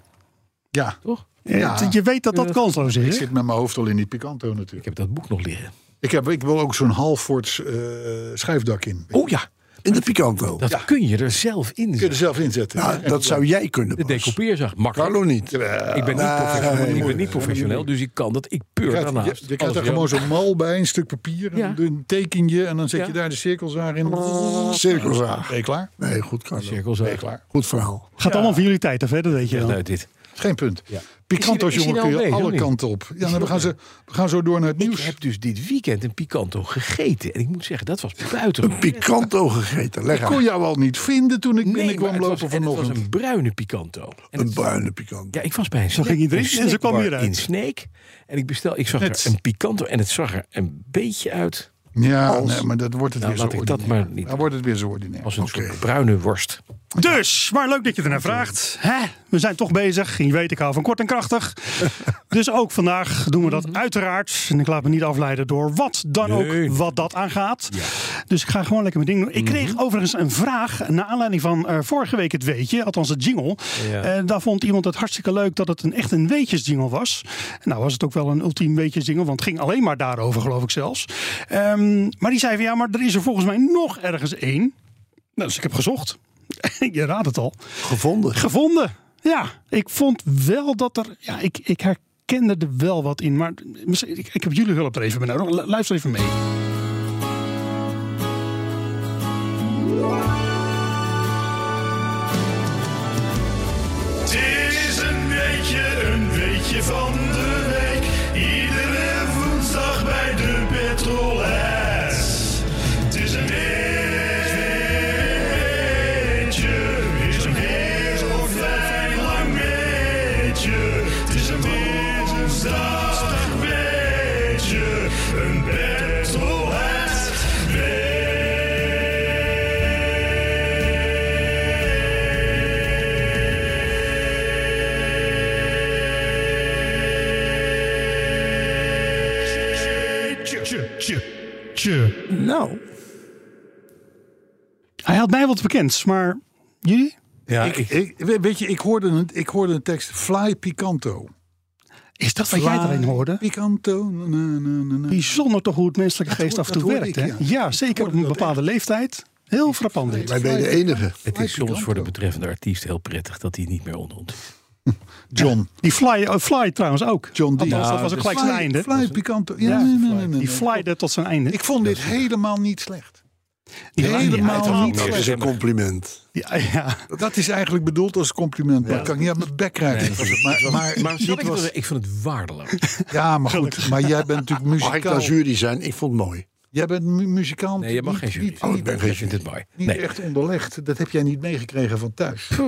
Speaker 2: Ja,
Speaker 6: Toch?
Speaker 2: Ja.
Speaker 4: Het- Je weet dat dat kansloos
Speaker 2: Ik
Speaker 4: is. hè?
Speaker 2: zit met mijn hoofd al in die Picanto
Speaker 3: Ik
Speaker 2: natuurlijk.
Speaker 3: heb dat boek nog liggen.
Speaker 2: Ik, heb, ik wil ook zo'n halfvoorts eh schuifdak in.
Speaker 3: Oh ja,
Speaker 5: In de Picanto.
Speaker 3: dat kun je er zelf in.
Speaker 2: Kun je
Speaker 3: zetten.
Speaker 2: er zelf inzetten.
Speaker 5: Ja, dat zou jij kunnen,
Speaker 3: De
Speaker 5: Bas.
Speaker 3: decoupeerzak, makkelijk.
Speaker 5: Carlo niet.
Speaker 3: Ik ben niet,
Speaker 5: Nee,
Speaker 3: professioneel, ik ben
Speaker 5: moeilijk.
Speaker 3: niet professioneel, dus ik kan dat. Ik peur
Speaker 2: Je krijgt-
Speaker 3: daarnaast.
Speaker 2: je- Je
Speaker 3: Alles
Speaker 2: krijgt er
Speaker 3: weer.
Speaker 2: gewoon zo'n mal bij, een stuk papier, en
Speaker 3: Ja.
Speaker 2: dan een tekenje en dan zet
Speaker 3: Ja. Oh.
Speaker 2: je daar de cirkelzaar in.
Speaker 5: Cirkelzaag.
Speaker 2: Ben je klaar?
Speaker 5: Nee, goed, Carlo.
Speaker 2: Ben je
Speaker 3: cirkelzaak.
Speaker 2: klaar?
Speaker 5: Goed verhaal.
Speaker 4: Gaat allemaal van jullie tijd af, hè? dat weet je
Speaker 3: Echt
Speaker 4: wel.
Speaker 3: uit dit.
Speaker 2: Is Geen punt.
Speaker 3: Is
Speaker 2: Picanto's,
Speaker 3: hij- is
Speaker 2: jongen,
Speaker 3: hij
Speaker 2: kun je
Speaker 3: nou mee,
Speaker 2: alle
Speaker 3: of niet?
Speaker 2: kanten op. Ja, nou, we,
Speaker 3: ook
Speaker 2: gaan ze, we gaan zo door naar het
Speaker 3: Ik
Speaker 2: nieuws.
Speaker 3: heb dus dit weekend een picanto gegeten. En ik moet zeggen, dat was
Speaker 5: Een
Speaker 3: buitengewoon.
Speaker 5: Picanto gegeten. Leg
Speaker 2: Ik kon
Speaker 5: uit.
Speaker 2: jou al niet vinden toen ik
Speaker 3: Nee, maar
Speaker 2: binnenkwam
Speaker 3: het was-
Speaker 2: lopen
Speaker 3: en het was
Speaker 2: vanochtend.
Speaker 3: een bruine picanto. En
Speaker 5: Een
Speaker 3: het-
Speaker 5: bruine Picanto.
Speaker 3: ja, ik was bij een snack-
Speaker 4: ging je erin
Speaker 3: een
Speaker 4: en ze kwam
Speaker 3: snackbar
Speaker 4: hieruit.
Speaker 3: in Sneek. En ik bestel, ik zag
Speaker 2: Net.
Speaker 3: er een picanto en het zag er een beetje uit
Speaker 2: Ja,
Speaker 5: Als-
Speaker 2: nee, maar dat wordt het
Speaker 3: Nou,
Speaker 2: weer zo
Speaker 3: laat ik dat
Speaker 2: ordinair.
Speaker 3: maar niet
Speaker 2: Dan wordt het weer zo ordinair.
Speaker 3: als een
Speaker 5: Oké.
Speaker 3: soort bruine worst.
Speaker 4: Dus, maar leuk dat je ernaar vraagt. Hè? We zijn toch bezig. Je weet, ik hou van kort en krachtig. dus ook vandaag doen we dat uiteraard. En ik laat me niet afleiden door wat dan
Speaker 3: Nee. Mhm.
Speaker 4: ook wat dat aangaat. Dus ik ga gewoon lekker mijn ding doen. Ik kreeg overigens een vraag naar aanleiding van eh, vorige week het weetje. Althans het jingle.
Speaker 3: Ja.
Speaker 4: Eh, daar vond iemand het hartstikke leuk dat het een echt een weetjesjingle was. Nou was het ook wel een ultiem weetjesjingle. Want het ging alleen maar daarover geloof ik zelfs. Ehm, maar die zei van ja, maar er is er volgens mij nog ergens één. Nou, dus ik heb gezocht. Je raadt het al.
Speaker 5: Gevonden.
Speaker 4: Gevonden. Ja, ik vond wel dat er. Ja, ik, ik herkende er wel wat in. Maar misschien- ik, ik heb jullie hulp er even bij nodig. Lu- Luister even mee.
Speaker 8: Dit is een beetje, een beetje van de week. Iedere woensdag bij de Petrolheads. Het is een beetje, is een heel fijn lang beetje. Het is een woensdag beetje, een Petrolheads weetje.
Speaker 5: Nou,
Speaker 4: Hij had mij wat bekend, maar jullie?
Speaker 3: Ja,
Speaker 2: Ik, ik- we- weet je, ik hoorde, een, ik hoorde een tekst. Fly Picanto.
Speaker 4: Is dat wat jij erin hoorde?
Speaker 2: Picanto. na, na, na, na.
Speaker 4: Bijzonder toch hoe het menselijke geest
Speaker 2: hoor-
Speaker 4: af en toe
Speaker 2: dat hoorde
Speaker 4: werkt.
Speaker 2: ik,
Speaker 4: hè?
Speaker 2: ja.
Speaker 4: Ja, zeker op een bepaalde leeftijd. Heel frappant. dit.
Speaker 5: wij ben je de enige.
Speaker 3: het
Speaker 2: Fly
Speaker 3: is soms voor de
Speaker 2: Picanto.
Speaker 3: betreffende artiest heel prettig dat hij niet meer onderhoudt.
Speaker 2: John.
Speaker 4: Die fly, eh, fly trouwens ook.
Speaker 2: John
Speaker 3: Nou,
Speaker 2: Deere.
Speaker 4: Althans, dat was ook gelijk zijn einde.
Speaker 2: Fly Picanto. Ja,
Speaker 4: Ja,
Speaker 2: nee, nee, nee, nee,
Speaker 4: Die
Speaker 2: nee.
Speaker 4: flyde tot zijn einde.
Speaker 2: Ik vond dit helemaal niet slecht.
Speaker 4: Die
Speaker 2: helemaal
Speaker 4: ja,
Speaker 2: niet
Speaker 5: Dat is
Speaker 2: slecht.
Speaker 5: een compliment.
Speaker 4: Ja, ja.
Speaker 2: Dat is eigenlijk bedoeld als compliment. Maar ik kan ik niet aan mijn bek krijgen. maar, maar,
Speaker 3: Zal ik, het wel zeggen? ik vond het waardeloos.
Speaker 2: ja, maar goed. Maar jij bent natuurlijk
Speaker 5: Mag ik
Speaker 2: muzikaal.
Speaker 5: als jury zijn? Ik vond het mooi.
Speaker 2: Jij bent mu- muzikant.
Speaker 3: Nee, je mag
Speaker 2: niet-
Speaker 3: geen jury
Speaker 2: niet-
Speaker 3: zijn.
Speaker 5: ik ben geen
Speaker 3: Jij vindt het mooi.
Speaker 2: Niet
Speaker 3: Nee.
Speaker 2: echt onderlegd. Dat heb jij niet meegekregen van thuis.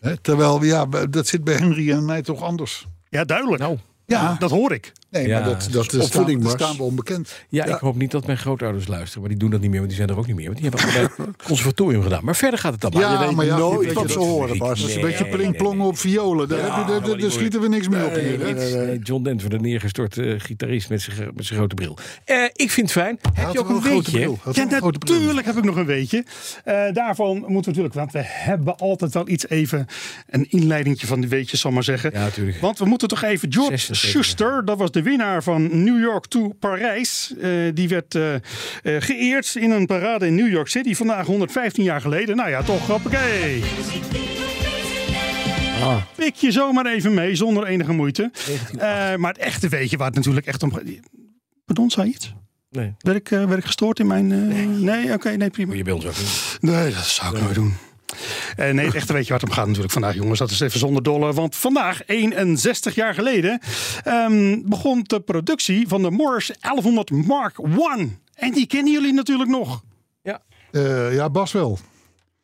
Speaker 2: Hè, terwijl, ja, dat zit bij Henry en mij toch anders.
Speaker 4: ja, duidelijk.
Speaker 2: Nou. Ja.
Speaker 4: Dat hoor ik.
Speaker 2: Nee,
Speaker 3: Ja,
Speaker 2: maar dat,
Speaker 3: het
Speaker 2: dat,
Speaker 3: is
Speaker 2: dat staan,
Speaker 5: opvoeding,
Speaker 2: dat
Speaker 5: Bas.
Speaker 2: staan we onbekend.
Speaker 3: Ja, ik hoop niet dat mijn grootouders luisteren. Maar die doen dat niet meer, want die zijn er ook niet meer. Want die hebben allebei het conservatorium gedaan. Maar verder gaat het allemaal.
Speaker 2: Ja, maar ja,
Speaker 5: nooit
Speaker 2: weet je,
Speaker 5: wat
Speaker 2: dat
Speaker 5: ze
Speaker 2: is
Speaker 5: horen,
Speaker 2: muziek.
Speaker 5: Bas.
Speaker 2: Dat is een
Speaker 3: Nee,
Speaker 2: beetje
Speaker 3: nee,
Speaker 2: plingplongen
Speaker 3: nee,
Speaker 2: op violen. Daar,
Speaker 3: Ja,
Speaker 2: heb je- daar-
Speaker 3: maar
Speaker 2: daar
Speaker 3: die
Speaker 2: schieten we niks meer op hier.
Speaker 3: Nee,
Speaker 2: hè?
Speaker 3: nee, John Denver, de neergestort eh, gitarist met zijn gro- met zijn grote bril. Eh, ik vind het fijn. Heb
Speaker 2: Had
Speaker 3: je ook
Speaker 2: wel
Speaker 3: een
Speaker 2: grote
Speaker 3: beetje?
Speaker 2: bril. Had
Speaker 4: Ja,
Speaker 2: wel een grote bril.
Speaker 4: natuurlijk heb ik nog een weetje. Eh, daarvan moeten we natuurlijk, want we hebben altijd wel iets even een inleidingtje van die weetjes, zal ik maar zeggen.
Speaker 3: Ja, natuurlijk.
Speaker 4: Want we moeten toch even George
Speaker 3: 60 zeker.
Speaker 4: Schuster, dat was de winnaar van New York to Parijs. eh, die werd eh, eh, geëerd in een parade in New York City vandaag 115 jaar geleden. Nou ja, toch hoppakee. Pik je zomaar even mee, zonder enige moeite. Eh, maar het echte weetje waar het natuurlijk echt om gaat. Pardon, zei je iets?
Speaker 3: Nee,
Speaker 4: Ben ik, eh, ben ik gestoord in mijn... eh, nee, oké, nee, prima.
Speaker 3: moet je bij ons ook niet.
Speaker 4: Nee, dat zou ik nooit doen. Eh, nee, echt een beetje waar het om gaat natuurlijk vandaag, jongens. Dat is even zonder dolle. Want vandaag, 61 jaar geleden, ehm, begon de productie van de Morris 1100 Mark I. En die kennen jullie natuurlijk nog.
Speaker 2: Eh, ja, Bas wel.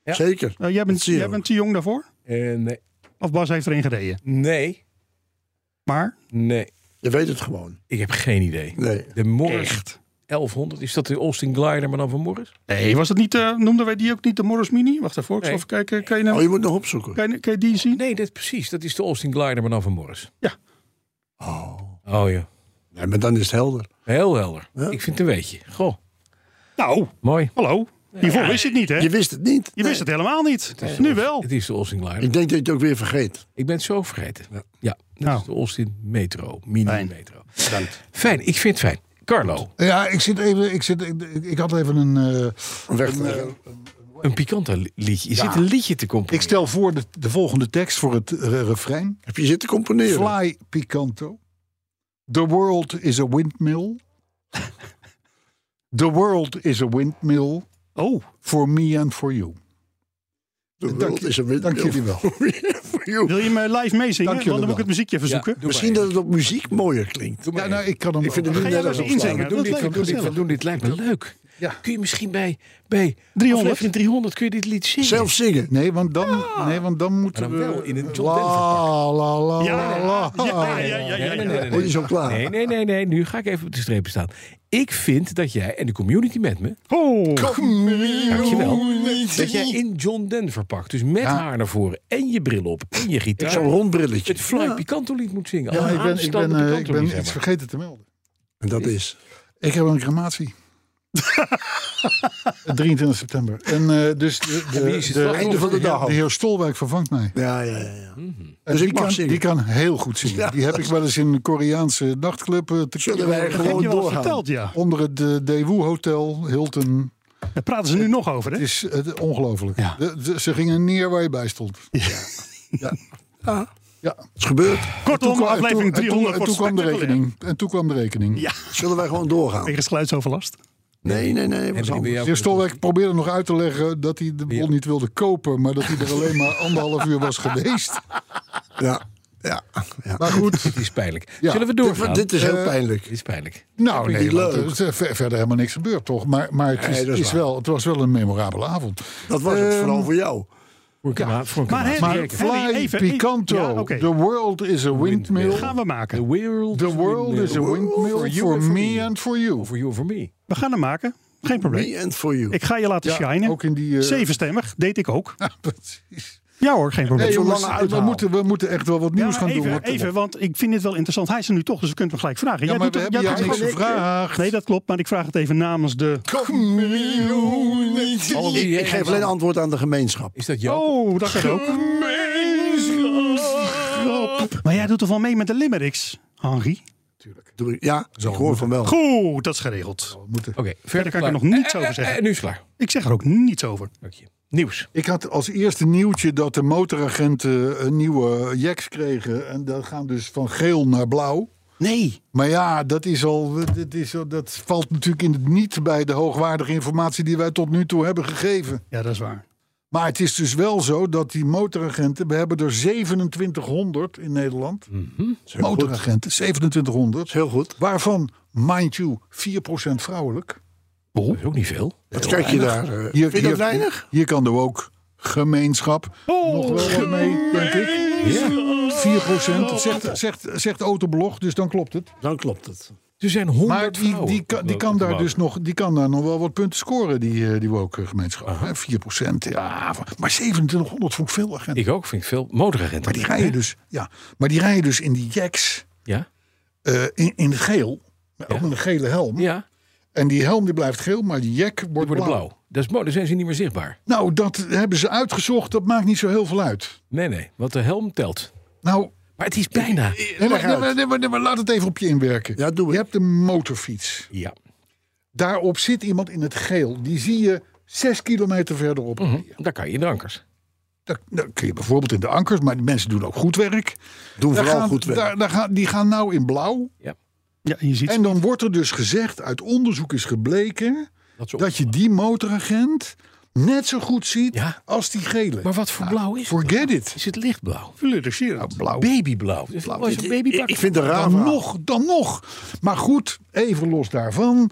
Speaker 5: Zeker.
Speaker 4: Eh, jij, bent,
Speaker 5: Zero.
Speaker 4: jij bent te jong daarvoor?
Speaker 3: Eh, nee.
Speaker 4: Of Bas heeft erin gereden?
Speaker 3: nee,
Speaker 4: Maar,
Speaker 3: nee.
Speaker 5: Je weet het gewoon.
Speaker 3: Ik heb geen idee.
Speaker 5: Nee.
Speaker 3: De Morris 1100, is dat de Austin Glider, maar dan van Morris?
Speaker 4: nee, was dat niet, eh, noemden wij die ook niet de Morris Mini? Wacht even, ik zal
Speaker 3: Nee.
Speaker 4: even kijken. Kan je, nou,
Speaker 5: Oh, je moet nog opzoeken.
Speaker 4: kan je, kan je die zien?
Speaker 3: Nee, dat, precies. Dat is de Austin Glider, maar dan van Morris.
Speaker 4: Ja.
Speaker 3: Oh. Oh ja.
Speaker 5: Nee, maar dan is het helder.
Speaker 3: Heel helder. Ik vind het een beetje. Goh,
Speaker 4: Nou,
Speaker 3: mooi.
Speaker 4: hallo. Hiervoor wist je het niet, hè?
Speaker 5: Je
Speaker 4: Je
Speaker 5: wist het niet. Nee.
Speaker 4: wist het helemaal niet. Nu wel.
Speaker 3: Het is de Olsing Line.
Speaker 5: Ik denk dat je het ook weer vergeet.
Speaker 3: Ik ben het zo vergeten. Ja, dat
Speaker 4: Nou.
Speaker 3: is de Olstin Metro. Mini
Speaker 4: Fijn.
Speaker 3: Metro. Fijn, ik vind het fijn. Carlo,
Speaker 2: Ja, ik zit even. Ik, zit, ik, ik had even een. eh,
Speaker 5: Weg.
Speaker 3: een pikante li- liedje. Je zit een liedje te
Speaker 2: ik
Speaker 3: componeren.
Speaker 2: stel voor de, de volgende tekst voor het eh, refrein:
Speaker 5: heb je zitten componeren?
Speaker 2: Fly Picanto. The world is a windmill. The world is a windmill
Speaker 4: Oh,
Speaker 2: for me and for you.
Speaker 5: De
Speaker 2: Dank
Speaker 5: wereld
Speaker 2: je-
Speaker 5: is een
Speaker 2: Dank jullie wel.
Speaker 4: wil je me live meezingen?
Speaker 2: Dank
Speaker 4: Want
Speaker 2: jullie
Speaker 4: dan moet
Speaker 2: wel.
Speaker 4: ik het muziekje
Speaker 3: Ja,
Speaker 4: verzoeken.
Speaker 3: doe
Speaker 5: Misschien
Speaker 3: maar
Speaker 5: dat het op muziek mooier klinkt.
Speaker 2: Ja, nou, ik kan hem. Ik
Speaker 5: vind het
Speaker 4: Ga
Speaker 5: nu
Speaker 4: jij nou
Speaker 5: net
Speaker 4: wel eens
Speaker 5: als opslaan.
Speaker 4: inzingen?
Speaker 3: We doen, dit, we,
Speaker 4: Dat lijkt me
Speaker 3: doen dit, we
Speaker 4: gezellig.
Speaker 3: doen dit, lijkt me leuk. Kun je misschien bij, bij
Speaker 4: 300?
Speaker 3: 300. 300 kun je dit lied zingen?
Speaker 5: Zelf zingen.
Speaker 2: Nee, want dan, nee, want dan moeten
Speaker 3: Maar dan
Speaker 2: we.
Speaker 3: wel in een John
Speaker 2: la,
Speaker 3: Denver
Speaker 2: la, la, la,
Speaker 4: Ja,
Speaker 2: la.
Speaker 4: Oh. ja, ja, ja, ja, ja.
Speaker 5: Hoor je zo klaar?
Speaker 3: Nee, nee, nee, nee. Nu ga ik even op de strepen staan. Ik vind dat jij en de community met me,
Speaker 4: Oh,
Speaker 3: dankjewel, dat jij in John Denver pakt. Dus met
Speaker 2: Ja.
Speaker 3: haar naar voren en je bril op en je gitaar.
Speaker 5: Zo'n rond brilletje.
Speaker 3: het Fly Picanto lied moet zingen.
Speaker 2: Ja,
Speaker 3: Als
Speaker 2: ik ben, ik ben,
Speaker 3: aanstaande
Speaker 2: eh, ik
Speaker 3: Picanto
Speaker 2: ben
Speaker 3: lied, zeg
Speaker 2: iets
Speaker 3: maar.
Speaker 2: vergeten te melden.
Speaker 5: En dat is.
Speaker 2: Ik heb een crematie. 23 september. En eh, dus de, de,
Speaker 3: wie is het slachtoffer?
Speaker 5: Einde van de dag.
Speaker 2: heer- heer Stolwijk vervangt mij.
Speaker 5: Ja, ja, ja. ja.
Speaker 2: En
Speaker 5: Dus
Speaker 2: die,
Speaker 5: ik mag
Speaker 2: kan,
Speaker 5: zingen.
Speaker 2: die kan heel goed zingen.
Speaker 5: Ja.
Speaker 2: Die heb ik wel eens in een Koreaanse nachtclub eh, te
Speaker 5: Zullen wij
Speaker 4: dat heb
Speaker 5: gewoon
Speaker 4: je wel
Speaker 5: doorgaan?
Speaker 4: verteld, ja.
Speaker 2: Onder het eh, Daewoo Hotel, Hilton.
Speaker 4: Daar praten ze nu nog over, hè?
Speaker 2: Het is eh, ongelooflijk.
Speaker 4: Ja.
Speaker 2: De- de- ze gingen neer waar je bij stond.
Speaker 5: Ah. Het is gebeurd.
Speaker 4: Kortom,
Speaker 2: en
Speaker 4: aflevering
Speaker 2: toen- en
Speaker 4: 300
Speaker 2: toen,
Speaker 4: wordt
Speaker 2: kwam de
Speaker 4: spectaculair.
Speaker 2: rekening. En toen kwam de rekening.
Speaker 4: Ja,
Speaker 5: Zullen wij gewoon doorgaan?
Speaker 4: tegen geluidsoverlast.
Speaker 5: Nee, nee, nee.
Speaker 3: En
Speaker 5: was
Speaker 3: ben je bij
Speaker 5: anders.
Speaker 3: jou-
Speaker 2: De heer Stolwijk probeerde nog uit te leggen dat hij de bol niet wilde kopen, maar dat hij er alleen maar anderhalf uur was geweest.
Speaker 5: Ja, ja. ja.
Speaker 2: Maar goed,
Speaker 3: Dit is pijnlijk.
Speaker 2: Ja.
Speaker 3: Zullen we doorgaan?
Speaker 5: Dit, dit is heel
Speaker 2: Eh,
Speaker 5: pijnlijk.
Speaker 3: Dit is pijnlijk.
Speaker 2: nou nee,
Speaker 5: niet
Speaker 2: want
Speaker 5: leuk.
Speaker 2: er is eh, ver- verder helemaal niks gebeurd, toch? Maar, maar het, is,
Speaker 5: Nee, dat is
Speaker 2: is
Speaker 5: waar.
Speaker 2: wel, het was wel een memorabele avond.
Speaker 5: Dat was het
Speaker 2: Ehm,
Speaker 5: vooral voor jou.
Speaker 3: Voor een kama- voor een
Speaker 4: Maar
Speaker 3: kama-
Speaker 4: Henry,
Speaker 2: Maar
Speaker 4: Henry,
Speaker 2: Fly
Speaker 4: even-
Speaker 2: Picanto,
Speaker 4: ja, oké.
Speaker 2: the world is a windmill.
Speaker 4: Gaan we maken.
Speaker 3: The world,
Speaker 2: The world is a windmill for me and for you.
Speaker 3: For you and for me.
Speaker 4: We gaan hem maken. Geen probleem.
Speaker 5: Me and for you.
Speaker 4: Ik ga je laten
Speaker 2: Ja,
Speaker 4: shinen.
Speaker 2: ook in die... eh,
Speaker 4: Zevenstemmig, deed ik ook.
Speaker 2: precies.
Speaker 4: Ja hoor, geen probleem.
Speaker 2: Nee, jongens,
Speaker 5: lange
Speaker 2: we,
Speaker 5: uithaal.
Speaker 2: moeten, we moeten echt wel wat
Speaker 4: Ja,
Speaker 2: nieuws
Speaker 4: maar
Speaker 2: gaan doen.
Speaker 4: even,
Speaker 2: hoor.
Speaker 4: even, want ik vind dit wel interessant. Hij is er nu toch, dus we kunnen hem gelijk vragen.
Speaker 2: Ja,
Speaker 4: Jij
Speaker 2: maar we
Speaker 4: doet het-
Speaker 2: hebben
Speaker 4: jij
Speaker 2: jou
Speaker 4: doet
Speaker 2: niks
Speaker 4: het-
Speaker 2: gevraagd.
Speaker 4: Nee, dat klopt, maar ik vraag het even namens de...
Speaker 5: Ik, ik geef alleen antwoord aan de gemeenschap.
Speaker 3: Is dat jou?
Speaker 4: Oh, dat gaat ook. Maar jij doet toch wel mee met de limericks, Henri?
Speaker 5: Doe ik- Ja, ik hoor van wel.
Speaker 4: Goed, dat is geregeld.
Speaker 3: Oké,
Speaker 4: Verder kan ik er nog
Speaker 3: klaar.
Speaker 4: niets
Speaker 3: Eh,
Speaker 4: over
Speaker 3: eh,
Speaker 4: zeggen.
Speaker 3: eh, nu is het klaar.
Speaker 4: Ik zeg er ook niets over.
Speaker 3: Dank je. Nieuws.
Speaker 2: Ik had als eerste nieuwtje dat de motoragenten eh, een nieuwe jacks kregen. En dat gaan dus van geel naar blauw.
Speaker 4: Nee.
Speaker 2: Maar ja, dat, is al, dat, is al, dat valt natuurlijk in het niet bij de hoogwaardige informatie die wij tot nu toe hebben gegeven.
Speaker 4: Ja, dat is waar.
Speaker 2: Maar het is dus wel zo dat die motoragenten, we hebben er 2700 in Nederland. Motoragenten, 2700.
Speaker 5: Mm. Heel goed.
Speaker 2: Waarvan, mind you, 4% vrouwelijk.
Speaker 3: Dat is ook niet veel.
Speaker 5: Wat kijk je daar? eh,
Speaker 2: Hier,
Speaker 5: Vind je dat weinig?
Speaker 2: hier kan er ook gemeenschap nog wel wat mee, denk ik.
Speaker 3: Ja.
Speaker 2: 4%, dat zegt, zegt, zegt Autoblog, dus dan klopt het.
Speaker 5: Dan klopt het.
Speaker 3: Er zijn honderd
Speaker 2: Maar die, die, kan, die, kan daar dus nog, die kan daar nog wel wat punten scoren, die, eh, die woke gemeenschap. hè. 4%, ja. Maar 2700 vond ik veel agenten.
Speaker 3: Ik ook, vind ik veel. Motoragenten.
Speaker 2: Maar die rijden dus, ja, maar die rijden dus in die jacks
Speaker 3: Ja?
Speaker 2: eh, in, in het geel. Maar Ook met een gele helm.
Speaker 3: Ja,
Speaker 2: En die helm die blijft geel, maar die jack Hm? wordt,
Speaker 3: die worden
Speaker 2: blauw.
Speaker 3: blauw. Dat is mooi, dan zijn ze niet meer zichtbaar.
Speaker 2: Nou, dat hebben ze uitgezocht. Dat maakt niet zo heel veel uit.
Speaker 3: Nee, nee, want de helm telt.
Speaker 2: Nou,
Speaker 3: Maar het is bijna.
Speaker 2: nee, maar, nee, maar- nee, maar- nee, maar laat het even op je inwerken.
Speaker 5: Eh, Ja, doe
Speaker 2: je
Speaker 5: ik.
Speaker 2: hebt een motorfiets.
Speaker 3: Ja.
Speaker 2: Daarop zit iemand in het geel. Die zie je zes kilometer verderop.
Speaker 5: Mhm.
Speaker 3: Daar kan je in de ankers.
Speaker 2: Dat, dat kun je bijvoorbeeld in de ankers, maar die mensen doen ook goed werk.
Speaker 5: Doen
Speaker 2: Daar
Speaker 5: vooral
Speaker 2: gaan-
Speaker 5: goed werk.
Speaker 2: Daar, daar gaan, die gaan nou in blauw.
Speaker 4: Ja, je ziet
Speaker 2: En dan wordt er dus gezegd, uit onderzoek is gebleken...
Speaker 3: Dat ze op-
Speaker 2: dat je die motoragent net zo goed ziet
Speaker 3: Ja.
Speaker 2: als die gele.
Speaker 3: Maar wat
Speaker 5: Ah,
Speaker 3: voor blauw is het?
Speaker 2: Forget it.
Speaker 3: Is het lichtblauw?
Speaker 4: fluorescerend.
Speaker 2: Blauw.
Speaker 3: Babyblauw. Dus blauw is een babybak.
Speaker 5: Nou, Ik, ik vind het raar.
Speaker 2: Dan
Speaker 5: verhaal.
Speaker 2: nog, dan nog. Maar goed, even los daarvan.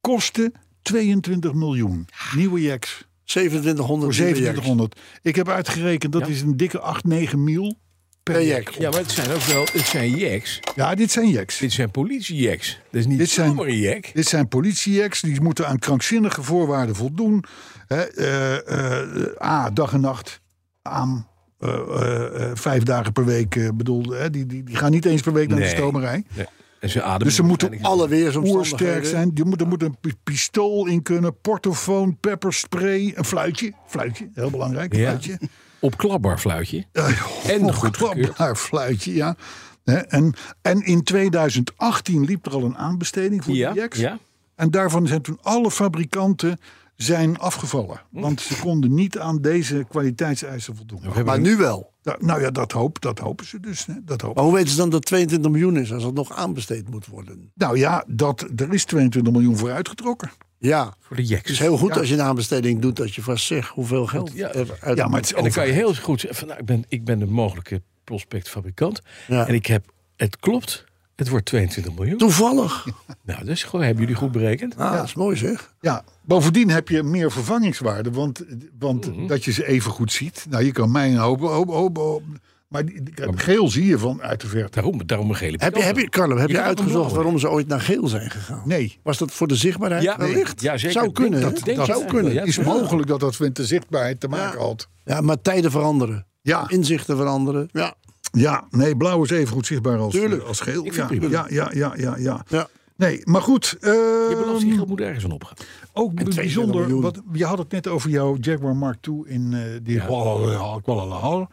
Speaker 2: Kosten 22 miljoen. Nieuwe jacks.
Speaker 5: 2700
Speaker 2: Voor 2700. Ik heb uitgerekend, dat is een dikke 8, 9 mil per jack.
Speaker 5: project.
Speaker 3: Ja, maar het zijn ook wel, het zijn jacks.
Speaker 2: Ja, dit zijn jacks.
Speaker 3: Dit zijn politiejacks. Dat is niet
Speaker 2: Dit zijn-
Speaker 3: zomaar een jack.
Speaker 2: Dit zijn politiejacks, die moeten aan krankzinnige voorwaarden voldoen. Hè, eh, eh, A, dag en nacht aan. eh, eh, eh, vijf dagen per week eh, bedoel, hè, die, die, die gaan niet eens per week naar
Speaker 3: Nee.
Speaker 2: de stomerij.
Speaker 3: Nee. En ze ademen.
Speaker 2: Dus ze moeten
Speaker 3: waarschijnlijk-
Speaker 5: Alle weersomstandigheden.
Speaker 2: oersterk zijn. Je moet, er moet een pi- pistool in kunnen, portofoon, pepperspray, een fluitje. Fluitje, heel belangrijk.
Speaker 3: Ja.
Speaker 2: Fluitje.
Speaker 3: Opklapbaar fluitje. En
Speaker 2: Nog
Speaker 3: goed
Speaker 2: een
Speaker 3: gekeurd.
Speaker 2: klapbaar fluitje, ja. Hè, En, en in 2018 liep er al een aanbesteding voor
Speaker 3: Ja,
Speaker 2: die Jax.
Speaker 3: ja.
Speaker 2: En daarvan zijn toen alle fabrikanten zijn afgevallen.
Speaker 3: Hm.
Speaker 2: Want ze konden niet aan deze kwaliteitseisen voldoen.
Speaker 5: Maar nu wel.
Speaker 2: Da- Nou ja, dat, hoop, dat hopen ze dus. Hè. Dat hopen.
Speaker 3: Oh.
Speaker 5: Maar hoe weten ze dan dat 22 miljoen is als dat nog aanbesteed moet worden?
Speaker 2: Nou ja, dat, er is 22 miljoen voor uitgetrokken.
Speaker 5: Ja,
Speaker 3: Voor de
Speaker 5: het is
Speaker 3: jeks.
Speaker 5: heel goed als je een aanbesteding doet dat je vast zegt hoeveel geld
Speaker 3: Ja.
Speaker 5: er uit
Speaker 2: Oh, Ja, maar het is
Speaker 3: En dan
Speaker 2: over.
Speaker 3: kan je heel goed zeggen, van, nou, ik, ben, ik ben de mogelijke prospectfabrikant.
Speaker 5: Ja.
Speaker 3: En ik heb, het klopt, het wordt 22 miljoen.
Speaker 5: Toevallig.
Speaker 3: Nou, dat is gewoon, hebben jullie goed berekend?
Speaker 5: Ah, dat is mooi zeg.
Speaker 2: Ja, bovendien heb je meer vervangingswaarde, want, want
Speaker 3: Mhm.
Speaker 2: dat je ze even goed ziet. Nou, je kan mij een hoop, hoop, hoop, hoop- maar die- die-
Speaker 3: Oh.
Speaker 2: geel zie je van uit de verte.
Speaker 3: Daarom, daarom een gele
Speaker 5: Heb je, heb je, Carlo, heb
Speaker 3: Je
Speaker 5: je,
Speaker 3: kan het
Speaker 5: uitgezocht
Speaker 3: omhoog.
Speaker 5: waarom ze ooit naar geel zijn gegaan?
Speaker 2: Nee,
Speaker 5: Was dat voor de zichtbaarheid
Speaker 3: Ja, nee.
Speaker 5: wellicht?
Speaker 3: Ja, zeker.
Speaker 5: Zou
Speaker 3: Denk
Speaker 5: kunnen.
Speaker 3: dat-
Speaker 5: hè?
Speaker 3: denk
Speaker 5: zou
Speaker 3: dat-
Speaker 5: kunnen.
Speaker 3: ja.
Speaker 2: is mogelijk dat dat met de zichtbaarheid te maken
Speaker 5: Ja.
Speaker 2: had.
Speaker 5: Ja, maar tijden veranderen.
Speaker 2: Ja,
Speaker 5: Inzichten veranderen. Ja.
Speaker 2: ja, nee, blauw is even goed zichtbaar als,
Speaker 5: Tuurlijk.
Speaker 2: als geel.
Speaker 3: Ik
Speaker 2: ja,
Speaker 3: vind het
Speaker 2: ja, ja, ja, ja, ja.
Speaker 5: Ja.
Speaker 2: Nee, maar goed. eh,
Speaker 3: Je belastinggeld moet ergens aan opgaan.
Speaker 2: ook bijzonder,
Speaker 5: miljoen.
Speaker 2: wat, je had het net over jouw Jaguar Mark II in eh die Kuala- Kuala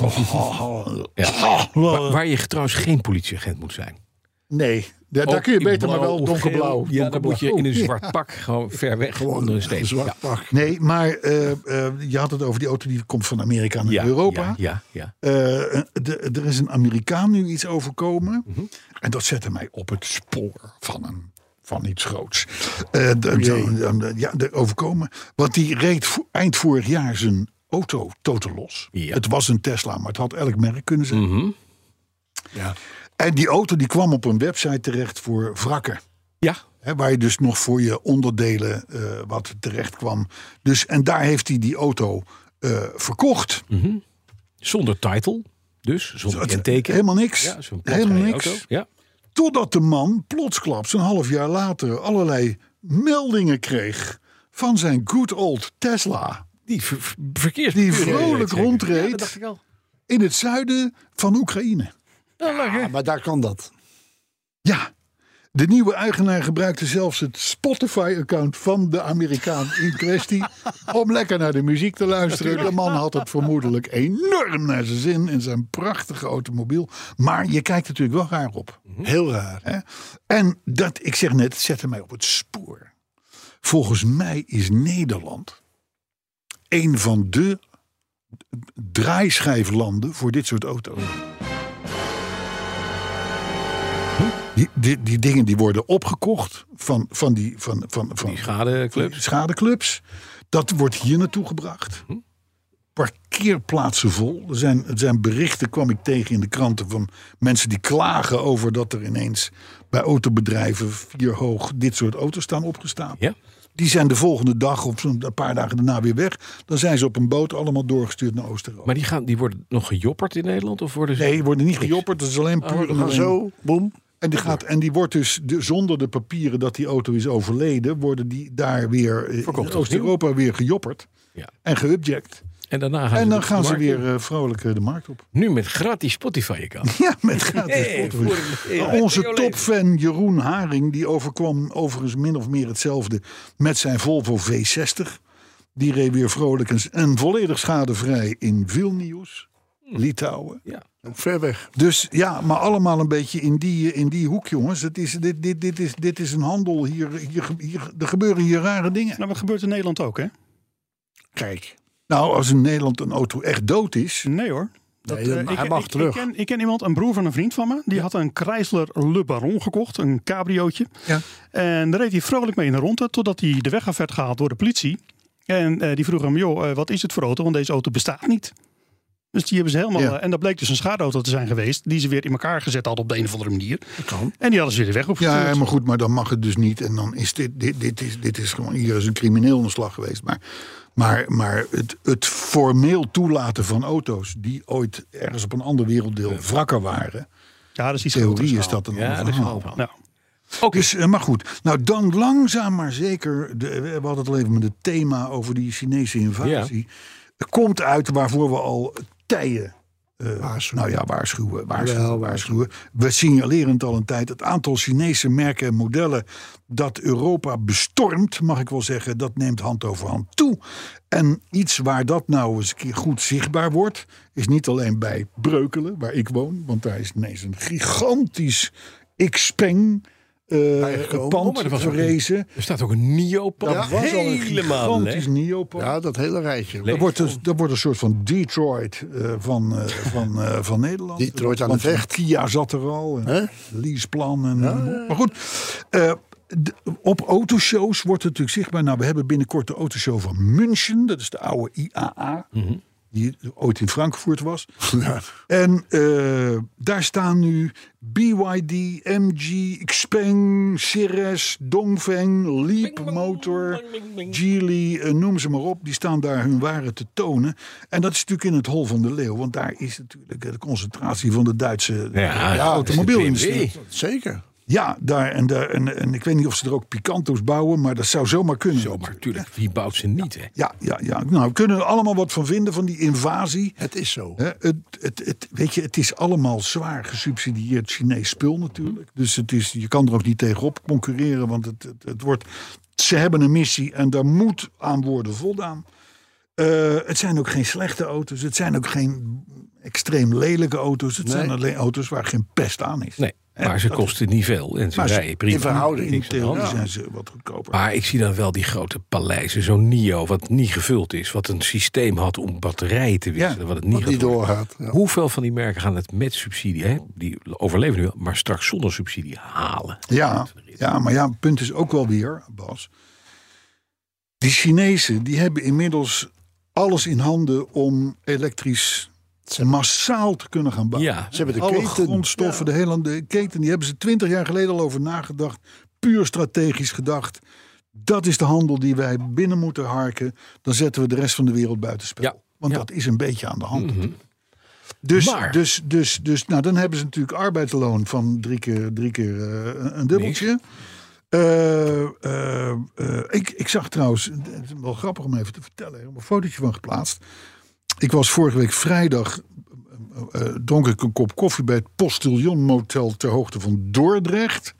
Speaker 2: Lumpur.
Speaker 3: Ja. Waar,
Speaker 2: eh,
Speaker 3: waar je trouwens geen politieagent moet zijn.
Speaker 2: Nee, Eh, daar, daar
Speaker 3: Ook
Speaker 2: kun je
Speaker 3: in
Speaker 2: beter maar
Speaker 3: blauw
Speaker 2: wel
Speaker 3: of
Speaker 2: donkerblauw.
Speaker 3: geel. Ja, dan
Speaker 2: donkerblauw.
Speaker 3: moet je in een
Speaker 2: Oh, ja.
Speaker 3: zwart pak gewoon ver weg onder een steen.
Speaker 5: Zwart
Speaker 3: Ja.
Speaker 5: pak.
Speaker 2: Nee, maar eh, eh, je had het over die auto die komt van Amerika naar
Speaker 3: Ja,
Speaker 2: Europa.
Speaker 3: Ja, ja, ja.
Speaker 2: Eh, de- er is een Amerikaan nu iets overkomen.
Speaker 3: Mhm.
Speaker 2: En dat zette mij op het spoor van, een, van iets groots. Eh,
Speaker 3: Oh
Speaker 2: de- de- de- ja, de overkomen. Want die reed vo- eind vorig jaar zijn auto totaal los.
Speaker 3: Ja.
Speaker 2: Het was een Tesla, maar het had elk merk kunnen zijn.
Speaker 3: Mhm.
Speaker 2: En die auto die kwam op een website terecht voor wrakken.
Speaker 3: ja.
Speaker 2: Hè, waar je dus nog voor je onderdelen eh, wat terecht kwam. Dus, en daar heeft hij die auto eh, verkocht.
Speaker 3: Zonder title, dus zonder
Speaker 2: Het-
Speaker 3: kenteken.
Speaker 2: Helemaal niks.
Speaker 3: ja, zo'n
Speaker 2: helemaal
Speaker 3: platgereden
Speaker 2: niks.
Speaker 3: auto. Ja.
Speaker 2: Totdat de man plotsklaps een half jaar later allerlei meldingen kreeg van zijn good old Tesla.
Speaker 3: Die ver, ver- verkeers
Speaker 2: Die vrolijk
Speaker 3: zeker.
Speaker 2: rondreed.
Speaker 3: Ja, dat dacht ik al.
Speaker 2: In het zuiden van Oekraïne.
Speaker 3: Ja, leuk, hè?
Speaker 5: Ja, Ah, maar daar kan dat.
Speaker 2: Ja. De nieuwe eigenaar gebruikte zelfs het Spotify-account van de Amerikaan in kwestie. om lekker naar de muziek te luisteren. De man had het vermoedelijk enorm naar zijn zin in zijn prachtige automobiel. Maar je kijkt natuurlijk wel raar op.
Speaker 5: Mhm. Heel raar.
Speaker 2: Hè? En dat, ik zeg net, het zette mij op het spoor. Volgens mij is Nederland een van de draaischijflanden voor dit soort auto's. Die, die, die dingen die worden opgekocht van, van die, van, van, van,
Speaker 3: Die schadeclub.
Speaker 2: die schadeclubs. Dat wordt hier naartoe gebracht. Parkeerplaatsen vol. Er zijn, er zijn berichten, kwam ik tegen in de kranten, van mensen die klagen over dat er ineens bij autobedrijven vier hoog dit soort auto's staan opgestaan.
Speaker 3: Ja.
Speaker 2: Die zijn de volgende dag of zo'n een paar dagen daarna weer weg. Dan zijn ze op een boot allemaal doorgestuurd naar Oostenrijk.
Speaker 3: Maar die, gaan, die worden nog gejopperd in Nederland? Of worden ze...
Speaker 2: Nee, die worden niet gejopperd. Dat is alleen puur en
Speaker 5: Maar
Speaker 2: alleen-
Speaker 5: zo, boem.
Speaker 2: en die, gaat, en die wordt dus de, zonder de papieren dat die auto is overleden, worden die daar weer eh,
Speaker 3: Verkocht
Speaker 2: in Oost-Europa weer gejopperd
Speaker 3: Ja.
Speaker 2: en geubject.
Speaker 3: En daarna gaan
Speaker 2: En
Speaker 3: ze,
Speaker 2: dan
Speaker 3: de
Speaker 2: gaan ze
Speaker 3: markt in.
Speaker 2: weer eh, vrolijk eh, de markt op.
Speaker 3: Nu met gratis Spotify-account.
Speaker 2: Ja, met gratis
Speaker 3: Hey,
Speaker 2: Spotify.
Speaker 3: voor een- ja,
Speaker 2: Nou, Onze
Speaker 3: heel leven.
Speaker 2: topfan Jeroen Haring, die overkwam overigens min of meer hetzelfde met zijn Volvo V60. Die reed weer vrolijk en, en volledig schadevrij in Vilnius, Litouwen.
Speaker 3: Hm. Ja.
Speaker 5: Ook ver weg.
Speaker 2: Dus ja, maar allemaal een beetje in die, in die hoek, jongens. Het is, dit, dit, dit, is, dit is een handel. Hier, hier, hier, er gebeuren hier rare dingen.
Speaker 4: Nou, wat gebeurt in Nederland ook, hè?
Speaker 5: Kijk.
Speaker 2: Nou, als in Nederland een auto echt dood is.
Speaker 4: Nee hoor.
Speaker 5: Nee, dat-
Speaker 4: eh,
Speaker 5: hij mag
Speaker 4: ik,
Speaker 5: terug.
Speaker 4: Ik ken, ik ken iemand, een broer van een vriend van me. Die had een Chrysler Le Baron gekocht. Een cabriootje.
Speaker 2: Ja.
Speaker 4: En daar reed hij vrolijk mee in de ronde. Totdat hij de weg af werd gehaald door de politie. En eh, die vroeg hem, joh, eh, wat is het voor auto? Want deze auto bestaat niet. Dus die hebben ze helemaal...
Speaker 2: Ja.
Speaker 4: eh, en dat bleek dus een schadeauto te zijn geweest. Die ze weer in elkaar gezet hadden op de een of andere manier.
Speaker 5: kan.
Speaker 4: En die hadden ze weer de weg opgestuurd.
Speaker 2: Ja, maar goed, maar dan mag het dus niet. En dan is dit, dit, dit, is, dit is gewoon, hier is een crimineel aan de slag geweest. Maar, maar, maar het, het formeel toelaten van auto's die ooit ergens op een ander werelddeel wrakker waren.
Speaker 4: Ja, dat is iets
Speaker 2: Theorie
Speaker 4: groter Nou,
Speaker 2: is dat een
Speaker 3: Ja,
Speaker 2: ander
Speaker 3: dat is een
Speaker 2: verhaal.
Speaker 3: ander verhaal.
Speaker 4: schaal. Ja.
Speaker 2: Dus, eh, maar goed, nou dan langzaam maar zeker, de, we hadden het al even met het thema over die Chinese invasie, komt uit waarvoor we al tijden eh,
Speaker 5: Waarschuwen.
Speaker 2: nou ja, waarschuwen, waarschuwen,
Speaker 5: Jawel,
Speaker 2: waarschuwen. We signaleren het al een tijd. Het aantal Chinese merken en modellen dat Europa bestormt, mag ik wel zeggen, dat neemt hand over hand toe. En iets waar dat nou eens een keer goed zichtbaar wordt, is niet alleen bij Breukelen, waar ik woon, want daar is ineens een gigantisch Xpeng eh
Speaker 5: Bijgekomen.
Speaker 2: pand
Speaker 3: Oh, maar dat was ook
Speaker 2: verrezen.
Speaker 3: Er staat ook een Nio-pand.
Speaker 2: Dat was al een
Speaker 3: helemaal
Speaker 2: gigantisch neopand.
Speaker 5: Ja, dat hele rijtje.
Speaker 2: Dat wordt, een, dat wordt een soort van Detroit eh, van, eh, van, eh, van Nederland.
Speaker 5: Detroit aan
Speaker 2: Want
Speaker 5: de vecht.
Speaker 2: Kia zat er al. En
Speaker 5: Hè?
Speaker 2: Leaseplan. En, Maar goed, eh, d- op autoshows wordt het natuurlijk zichtbaar. Nou, we hebben binnenkort de autoshow van München. Dat is de oude IAA. Die ooit in Frankfurt was. En eh, daar staan nu BYD, MG, Xpeng, Ceres, Dongfeng, Leap Motor, Geely, eh, noem ze maar op. Die staan daar hun ware te tonen. En dat is natuurlijk in het hol van de leeuw. Want daar is natuurlijk de concentratie van de Duitse
Speaker 3: Ja,
Speaker 2: ja, automobielindustrie.
Speaker 3: BMW.
Speaker 5: Zeker.
Speaker 2: Ja, daar en, daar en, en ik weet niet of ze er ook Picanto's bouwen, maar dat zou zomaar kunnen.
Speaker 3: Maar natuurlijk, wie bouwt ze niet, hè?
Speaker 2: Ja, ja, ja. Nou, we kunnen er allemaal wat van vinden van die invasie.
Speaker 5: Het is zo.
Speaker 2: Hè, het, het, het, weet je, het is allemaal zwaar gesubsidieerd Chinees spul natuurlijk. Dus het is, je kan er ook niet tegenop concurreren, want het, het, het wordt, ze hebben een missie en daar moet aan worden voldaan. Eh, het zijn ook geen slechte auto's, het zijn ook geen extreem lelijke auto's. Het zijn alleen auto's waar geen pest aan is.
Speaker 3: Nee,
Speaker 2: Hè,
Speaker 3: maar ze
Speaker 2: dat-
Speaker 3: kosten niet veel en ze
Speaker 2: Maar ze-
Speaker 3: rijden prima.
Speaker 5: in verhouding.
Speaker 2: In
Speaker 3: Niks aan de hand.
Speaker 2: theorie zijn ze wat goedkoper.
Speaker 3: Maar ik zie dan wel die grote paleizen, zo'n NIO, wat niet gevuld is. Wat een systeem had om batterijen te wisselen, wat het niet
Speaker 5: Wat
Speaker 3: gaat
Speaker 5: niet
Speaker 3: worden.
Speaker 5: doorgaat. Ja.
Speaker 3: Hoeveel van die merken gaan het met subsidie, hè? die overleven nu wel, maar straks zonder subsidie halen?
Speaker 2: Ja, ja, maar ja, het punt is ook wel weer, Bas. Die Chinezen die hebben inmiddels alles in handen om elektrisch massaal te kunnen gaan bouwen.
Speaker 3: Ja,
Speaker 5: Ze hebben de
Speaker 2: Alle
Speaker 5: keten.
Speaker 2: grondstoffen, de hele de keten, die hebben ze twintig jaar geleden al over nagedacht. Puur strategisch gedacht. Dat is de handel die wij binnen moeten harken. Dan zetten we de rest van de wereld buitenspel.
Speaker 3: Ja,
Speaker 2: Want
Speaker 3: ja.
Speaker 2: dat is een beetje aan de hand. natuurlijk. Dus,
Speaker 3: Maar-
Speaker 2: dus, dus, dus nou, dan hebben ze natuurlijk arbeidsloon van drie keer, drie keer eh, een- een dubbeltje. Eh, eh, eh, ik, ik zag trouwens, het is wel grappig om even te vertellen, ik heb een fotootje van geplaatst. Ik was vorige week vrijdag, eh, eh, dronk ik een kop koffie bij het Postillon Motel ter hoogte van Dordrecht.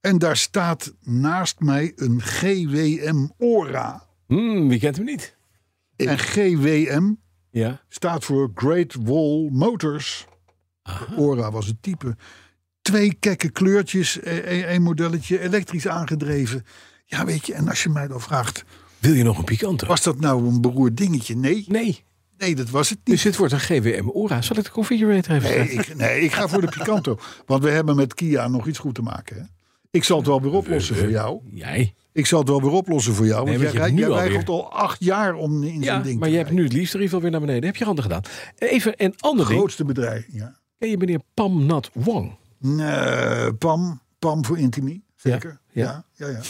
Speaker 2: En daar staat naast mij een GWM Ora.
Speaker 3: Hmm, wie kent hem niet?
Speaker 2: En GWM
Speaker 3: Ja.
Speaker 2: staat voor Great Wall Motors. Ora was het type. Twee kekke kleurtjes, één modelletje, elektrisch aangedreven. Ja, weet je, en als je mij dan vraagt,
Speaker 3: Wil je nog een Picanto?
Speaker 2: was dat nou een beroerd dingetje? Nee,
Speaker 3: Nee,
Speaker 2: nee, dat was het niet.
Speaker 3: dus dit wordt een GWM Ora. Zal ik de configurator even
Speaker 2: Nee
Speaker 3: zetten?
Speaker 2: ik, nee, ik ga voor de Picanto. Want we hebben met Kia nog iets goed te maken. Hè? Ik zal het wel weer oplossen voor jou.
Speaker 3: Jij?
Speaker 2: Ik zal het wel weer oplossen voor jou. Want
Speaker 3: want je
Speaker 2: jij, jij
Speaker 3: hebt nu alweer-
Speaker 2: weigert al acht jaar om in
Speaker 3: Ja,
Speaker 2: zo'n ding
Speaker 3: maar
Speaker 2: te
Speaker 3: je hebt nu het liefst er weer naar beneden. Heb je handen gedaan. Even een ander
Speaker 2: Het
Speaker 3: ding.
Speaker 2: grootste bedrijf. Ja.
Speaker 3: Ken je meneer Pam Nat Wang?
Speaker 2: Nee, Eh, Pam, Pam voor Intimie, zeker.
Speaker 3: ja.
Speaker 2: ja, ja. ja.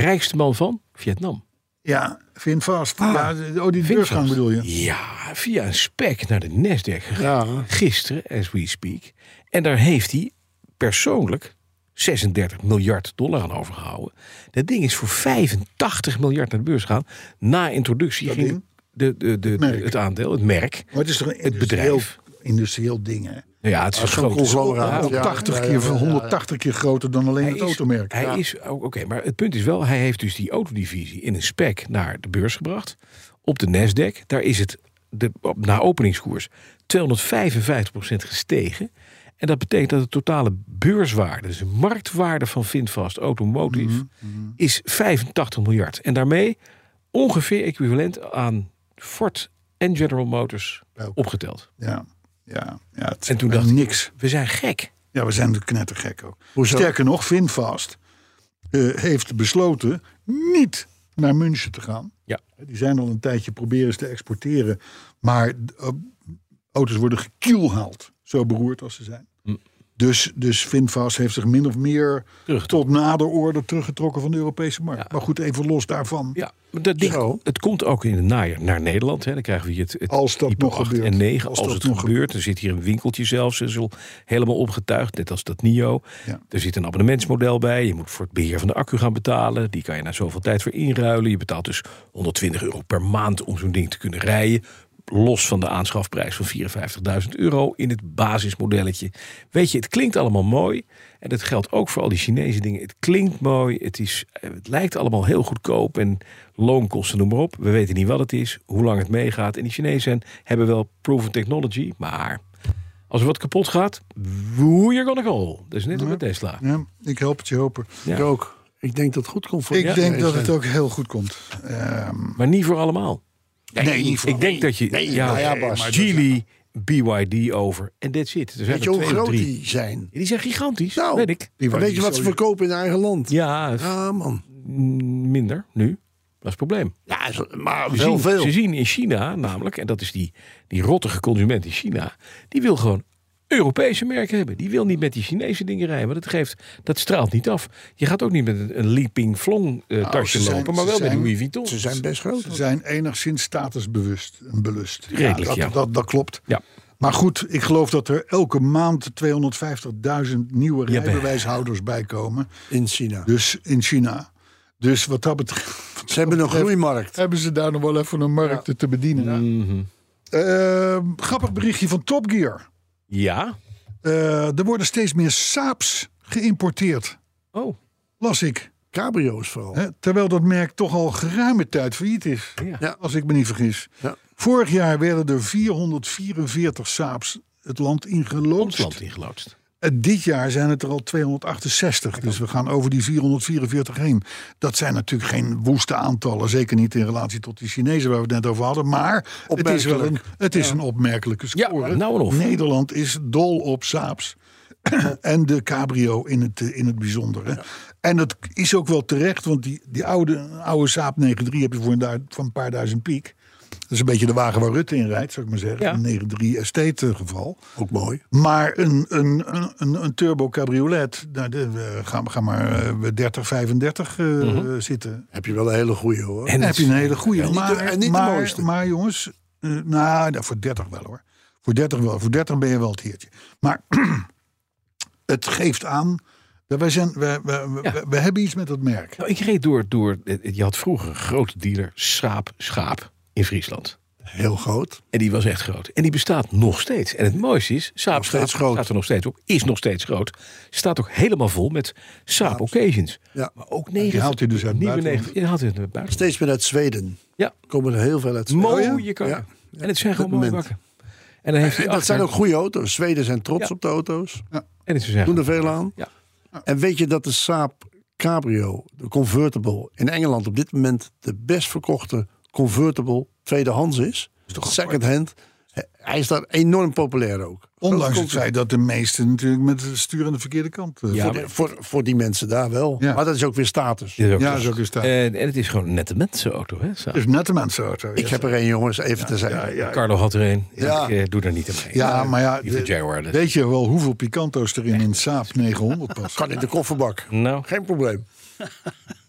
Speaker 3: Rijkste man van Vietnam.
Speaker 2: Ja, vind vast. ja, oh, die
Speaker 3: Vindvast.
Speaker 2: deursgang bedoel je?
Speaker 3: Ah, Ja, via een spec naar de Nasdaq gegaan. Gisteren, as we speak. En daar heeft hij persoonlijk 36 miljard dollar aan overgehouden. Dat ding is voor 85 miljard naar de beurs gegaan. Na introductie ging
Speaker 2: ding?
Speaker 3: de, de, de,
Speaker 2: merk.
Speaker 3: het aandeel, het merk.
Speaker 2: Maar het is toch een
Speaker 3: Het
Speaker 2: industrieel-
Speaker 3: bedrijf.
Speaker 2: Industrieel ding, hè?
Speaker 3: Nou ja, het is een
Speaker 5: zo'n
Speaker 3: grote-
Speaker 5: conglomeraat,
Speaker 3: Ja,
Speaker 5: ja.
Speaker 2: 80 keer, 180 keer groter dan alleen het
Speaker 3: is-
Speaker 2: automerk.
Speaker 3: Hij is, oh, oké, maar het punt is wel, hij heeft dus die autodivisie in een spec naar de beurs gebracht. Op de Nasdaq, daar is het de, op- na openingskoers 255% gestegen. En dat betekent dat de totale beurswaarde, dus de marktwaarde van Vindvast Automotive,
Speaker 2: Mhm,
Speaker 3: is 85 miljard. En daarmee ongeveer equivalent aan Ford en General Motors opgeteld.
Speaker 2: Ja, ja, ja. Het
Speaker 3: En toen
Speaker 2: is
Speaker 3: dacht ik-
Speaker 2: niks.
Speaker 3: We zijn gek.
Speaker 2: Ja, we zijn natuurlijk knettergek ook.
Speaker 5: Hoezo?
Speaker 2: Sterker nog, Finfast eh, heeft besloten niet naar München te gaan.
Speaker 3: Ja.
Speaker 2: Die zijn al een tijdje proberen ze te exporteren. Maar eh, auto's worden gekielhaald. Zo beroerd als ze zijn.
Speaker 3: Hm.
Speaker 2: Dus, dus Finfast heeft zich min of meer tot nader orde teruggetrokken van de Europese markt. Maar goed, even los daarvan.
Speaker 3: Ja, maar dat ding,
Speaker 5: Zo.
Speaker 3: het komt ook in het najaar naar Nederland. Hè. Dan krijgen we hier het, het
Speaker 2: Als dat
Speaker 3: type
Speaker 2: nog
Speaker 3: 8
Speaker 2: gebeurt.
Speaker 3: en 9.
Speaker 2: Als
Speaker 3: Als,
Speaker 2: dat
Speaker 3: het
Speaker 2: nog
Speaker 3: gebeurt, er zit hier een winkeltje zelfs. en zo helemaal opgetuigd, net als dat NIO.
Speaker 2: Ja.
Speaker 3: Er zit een abonnementsmodel bij. Je moet voor het beheer van de accu gaan betalen. Die kan je na zoveel tijd weer inruilen. Je betaalt dus 120 euro per maand om zo'n ding te kunnen rijden. los van de aanschafprijs van 54.000 euro in het basismodelletje. Weet je, het klinkt allemaal mooi. En dat geldt ook voor al die Chinese dingen. Het klinkt mooi, het, is, eh, het lijkt allemaal heel goedkoop en loonkosten, noem maar op. We weten niet wat het is, hoe lang het meegaat. En die Chinezen hebben wel proven technology, maar als er wat kapot gaat, we're gonna go. Dat is net als met Tesla.
Speaker 2: Ja, ik help het je hopen.
Speaker 3: Ja.
Speaker 5: Ik ook. Ik denk dat het goed komt voor
Speaker 2: Ik
Speaker 5: de
Speaker 2: denk dat
Speaker 5: Chinezen.
Speaker 2: het ook heel goed komt. Ehm,
Speaker 3: Maar niet voor allemaal.
Speaker 2: nee, niet voor
Speaker 3: Ik denk dat je
Speaker 5: Nee,
Speaker 3: ja,
Speaker 5: nou ja, Bas.
Speaker 3: Geely, BYD over en that's it. Er zijn
Speaker 5: Weet je
Speaker 3: er
Speaker 5: hoe
Speaker 3: twee of
Speaker 5: groot
Speaker 3: drie.
Speaker 5: die zijn?
Speaker 3: Die zijn gigantisch,
Speaker 5: Nou, Ah.
Speaker 3: weet ik.
Speaker 2: die waren
Speaker 5: Weet je wat ze
Speaker 2: sowieso-
Speaker 5: verkopen in eigen land?
Speaker 3: Ja, het is
Speaker 5: Ja, man.
Speaker 3: minder nu. Dat is het probleem.
Speaker 5: Ja, zo- maar
Speaker 3: We
Speaker 5: wel
Speaker 3: zien,
Speaker 5: veel.
Speaker 3: ze zien in China namelijk, en dat is die, die rottige consument in China, die wil gewoon Europese merken hebben. Die wil niet met die Chinese dingen rijden, want dat, geeft, dat straalt niet af. Je gaat ook niet met een, een Leaping Flong eh, tasje
Speaker 2: ze zijn-
Speaker 3: lopen, maar
Speaker 2: ze
Speaker 3: wel met
Speaker 2: zijn-
Speaker 3: Louis Vuitton.
Speaker 5: Ze zijn best groot.
Speaker 2: Ze zijn enigszins statusbewust en belust.
Speaker 3: Redelijk,
Speaker 2: dat,
Speaker 3: ja.
Speaker 2: Dat, dat klopt.
Speaker 3: Ja.
Speaker 2: Maar goed, ik geloof dat er elke maand 250.000 nieuwe
Speaker 3: Ja, bij-
Speaker 2: rijbewijshouders bij komen.
Speaker 5: In China.
Speaker 2: Dus in China. Dus wat dat betreft
Speaker 5: Ze hebben een groeimarkt.
Speaker 2: hebben ze daar nog wel even een markt te bedienen.
Speaker 3: Mhm.
Speaker 2: Eh, grappig berichtje van Top Gear.
Speaker 3: Ja.
Speaker 2: Eh, er worden steeds meer Saabs geïmporteerd,
Speaker 3: Oh,
Speaker 2: las ik.
Speaker 5: Cabrio's vooral.
Speaker 2: Hè, terwijl dat merk toch al geruime tijd failliet is.
Speaker 3: Ja.
Speaker 5: Ja.
Speaker 2: Als ik me niet vergis.
Speaker 5: Ja.
Speaker 2: Vorig jaar werden er 444 Saabs het land
Speaker 3: ons land
Speaker 2: ingeloodst.
Speaker 3: ingeloodst.
Speaker 2: En Eh, dit jaar zijn het er al 268. Dus we gaan over die 444 heen. Dat zijn natuurlijk geen woeste aantallen. Zeker niet in relatie tot die Chinezen waar we het net over hadden. Maar het is wel een, het is een opmerkelijke
Speaker 3: Ja,
Speaker 2: score.
Speaker 3: nou en of.
Speaker 2: Nederland is dol op Saabs. en de cabrio in het, eh, in het bijzondere. En dat is ook wel terecht, want die, die oude, oude Saab 93 heb je voor een, duid- van een paar duizend piek. Dat is een beetje de wagen waar Rutte in rijdt, zou ik maar zeggen.
Speaker 3: Ja.
Speaker 2: Een 93 Estate eh, geval.
Speaker 5: Ook mooi.
Speaker 2: Maar een, een, een, een, een turbo cabriolet, nou, de, we gaan, gaan maar eh, 30, 35 eh, zitten.
Speaker 5: Mhm. Heb je wel een hele goede hoor.
Speaker 3: En
Speaker 2: Dan heb
Speaker 3: het-
Speaker 2: je een hele goede.
Speaker 5: niet de-
Speaker 2: maar,
Speaker 5: en niet de
Speaker 2: maar,
Speaker 5: mooiste.
Speaker 2: Maar jongens, eh, nou, nou, voor 30 wel hoor. Voor 30 wel. Voor 30 ben je wel het heertje. Maar het geeft aan. dat Wij zijn, we, we, we,
Speaker 3: Ja.
Speaker 2: we- we hebben iets met dat merk.
Speaker 3: Nou, ik reed door, door. eh, Je had vroeger een grote dealer, Saap Schaap, in Friesland.
Speaker 5: Heel groot.
Speaker 3: En die was echt groot. En die bestaat nog steeds. En het mooiste is, Saap Schaap
Speaker 5: steeds groot.
Speaker 3: staat er nog steeds op. Is nog steeds groot. Staat ook helemaal vol met Saap Occasions.
Speaker 5: Ja.
Speaker 3: Maar ook 90.
Speaker 2: Die haalt hij dus uit het
Speaker 3: nieuwe
Speaker 2: buitenland.
Speaker 3: 90. Ja, haalt hij uit het buitenland.
Speaker 5: Steeds meer uit Zweden.
Speaker 3: Ja.
Speaker 5: Komen er heel veel uit Zweden.
Speaker 3: Mooie
Speaker 5: Oh ja?
Speaker 3: karren.
Speaker 5: Ja.
Speaker 3: En het zijn gewoon
Speaker 5: Op
Speaker 3: mooie
Speaker 5: dit
Speaker 3: bakken. En dan heeft hij
Speaker 5: En dat
Speaker 3: achter-
Speaker 5: zijn ook goede auto's. Zweden zijn trots
Speaker 3: Ja.
Speaker 5: op de auto's.
Speaker 3: En ze zeggen,
Speaker 5: Doen er veel aan.
Speaker 3: Ja.
Speaker 5: En weet je dat de Saab Cabrio, de convertible, in Engeland op dit moment de best verkochte convertible tweedehands is? Second hand. Hij is daar enorm populair ook.
Speaker 2: Ondanks
Speaker 5: Grote
Speaker 2: het feit dat de meesten natuurlijk met het stuur aan de verkeerde kant. eh,
Speaker 3: Ja,
Speaker 5: Voor, de- voor, voor die mensen daar wel.
Speaker 2: Ja.
Speaker 5: Maar dat is ook weer status.
Speaker 3: dit is ook
Speaker 2: ja
Speaker 3: zo.
Speaker 2: zo is dat.
Speaker 3: en, en het is gewoon een nette mensenauto. Hè, Saab.
Speaker 2: dus net een mensenauto.
Speaker 5: Ik heb er een, jongens, even te zeggen.
Speaker 2: ja, ja,
Speaker 3: Carlo had er een.
Speaker 5: Ja.
Speaker 3: Ik eh, doe daar niet aan mee.
Speaker 2: Ja, maar ja,
Speaker 3: Die van
Speaker 2: de-
Speaker 3: Jaguar. dat-
Speaker 2: weet je wel hoeveel Picanto's er in een Saab 900 past?
Speaker 5: Kan in de kofferbak.
Speaker 3: Nou,
Speaker 5: Geen probleem.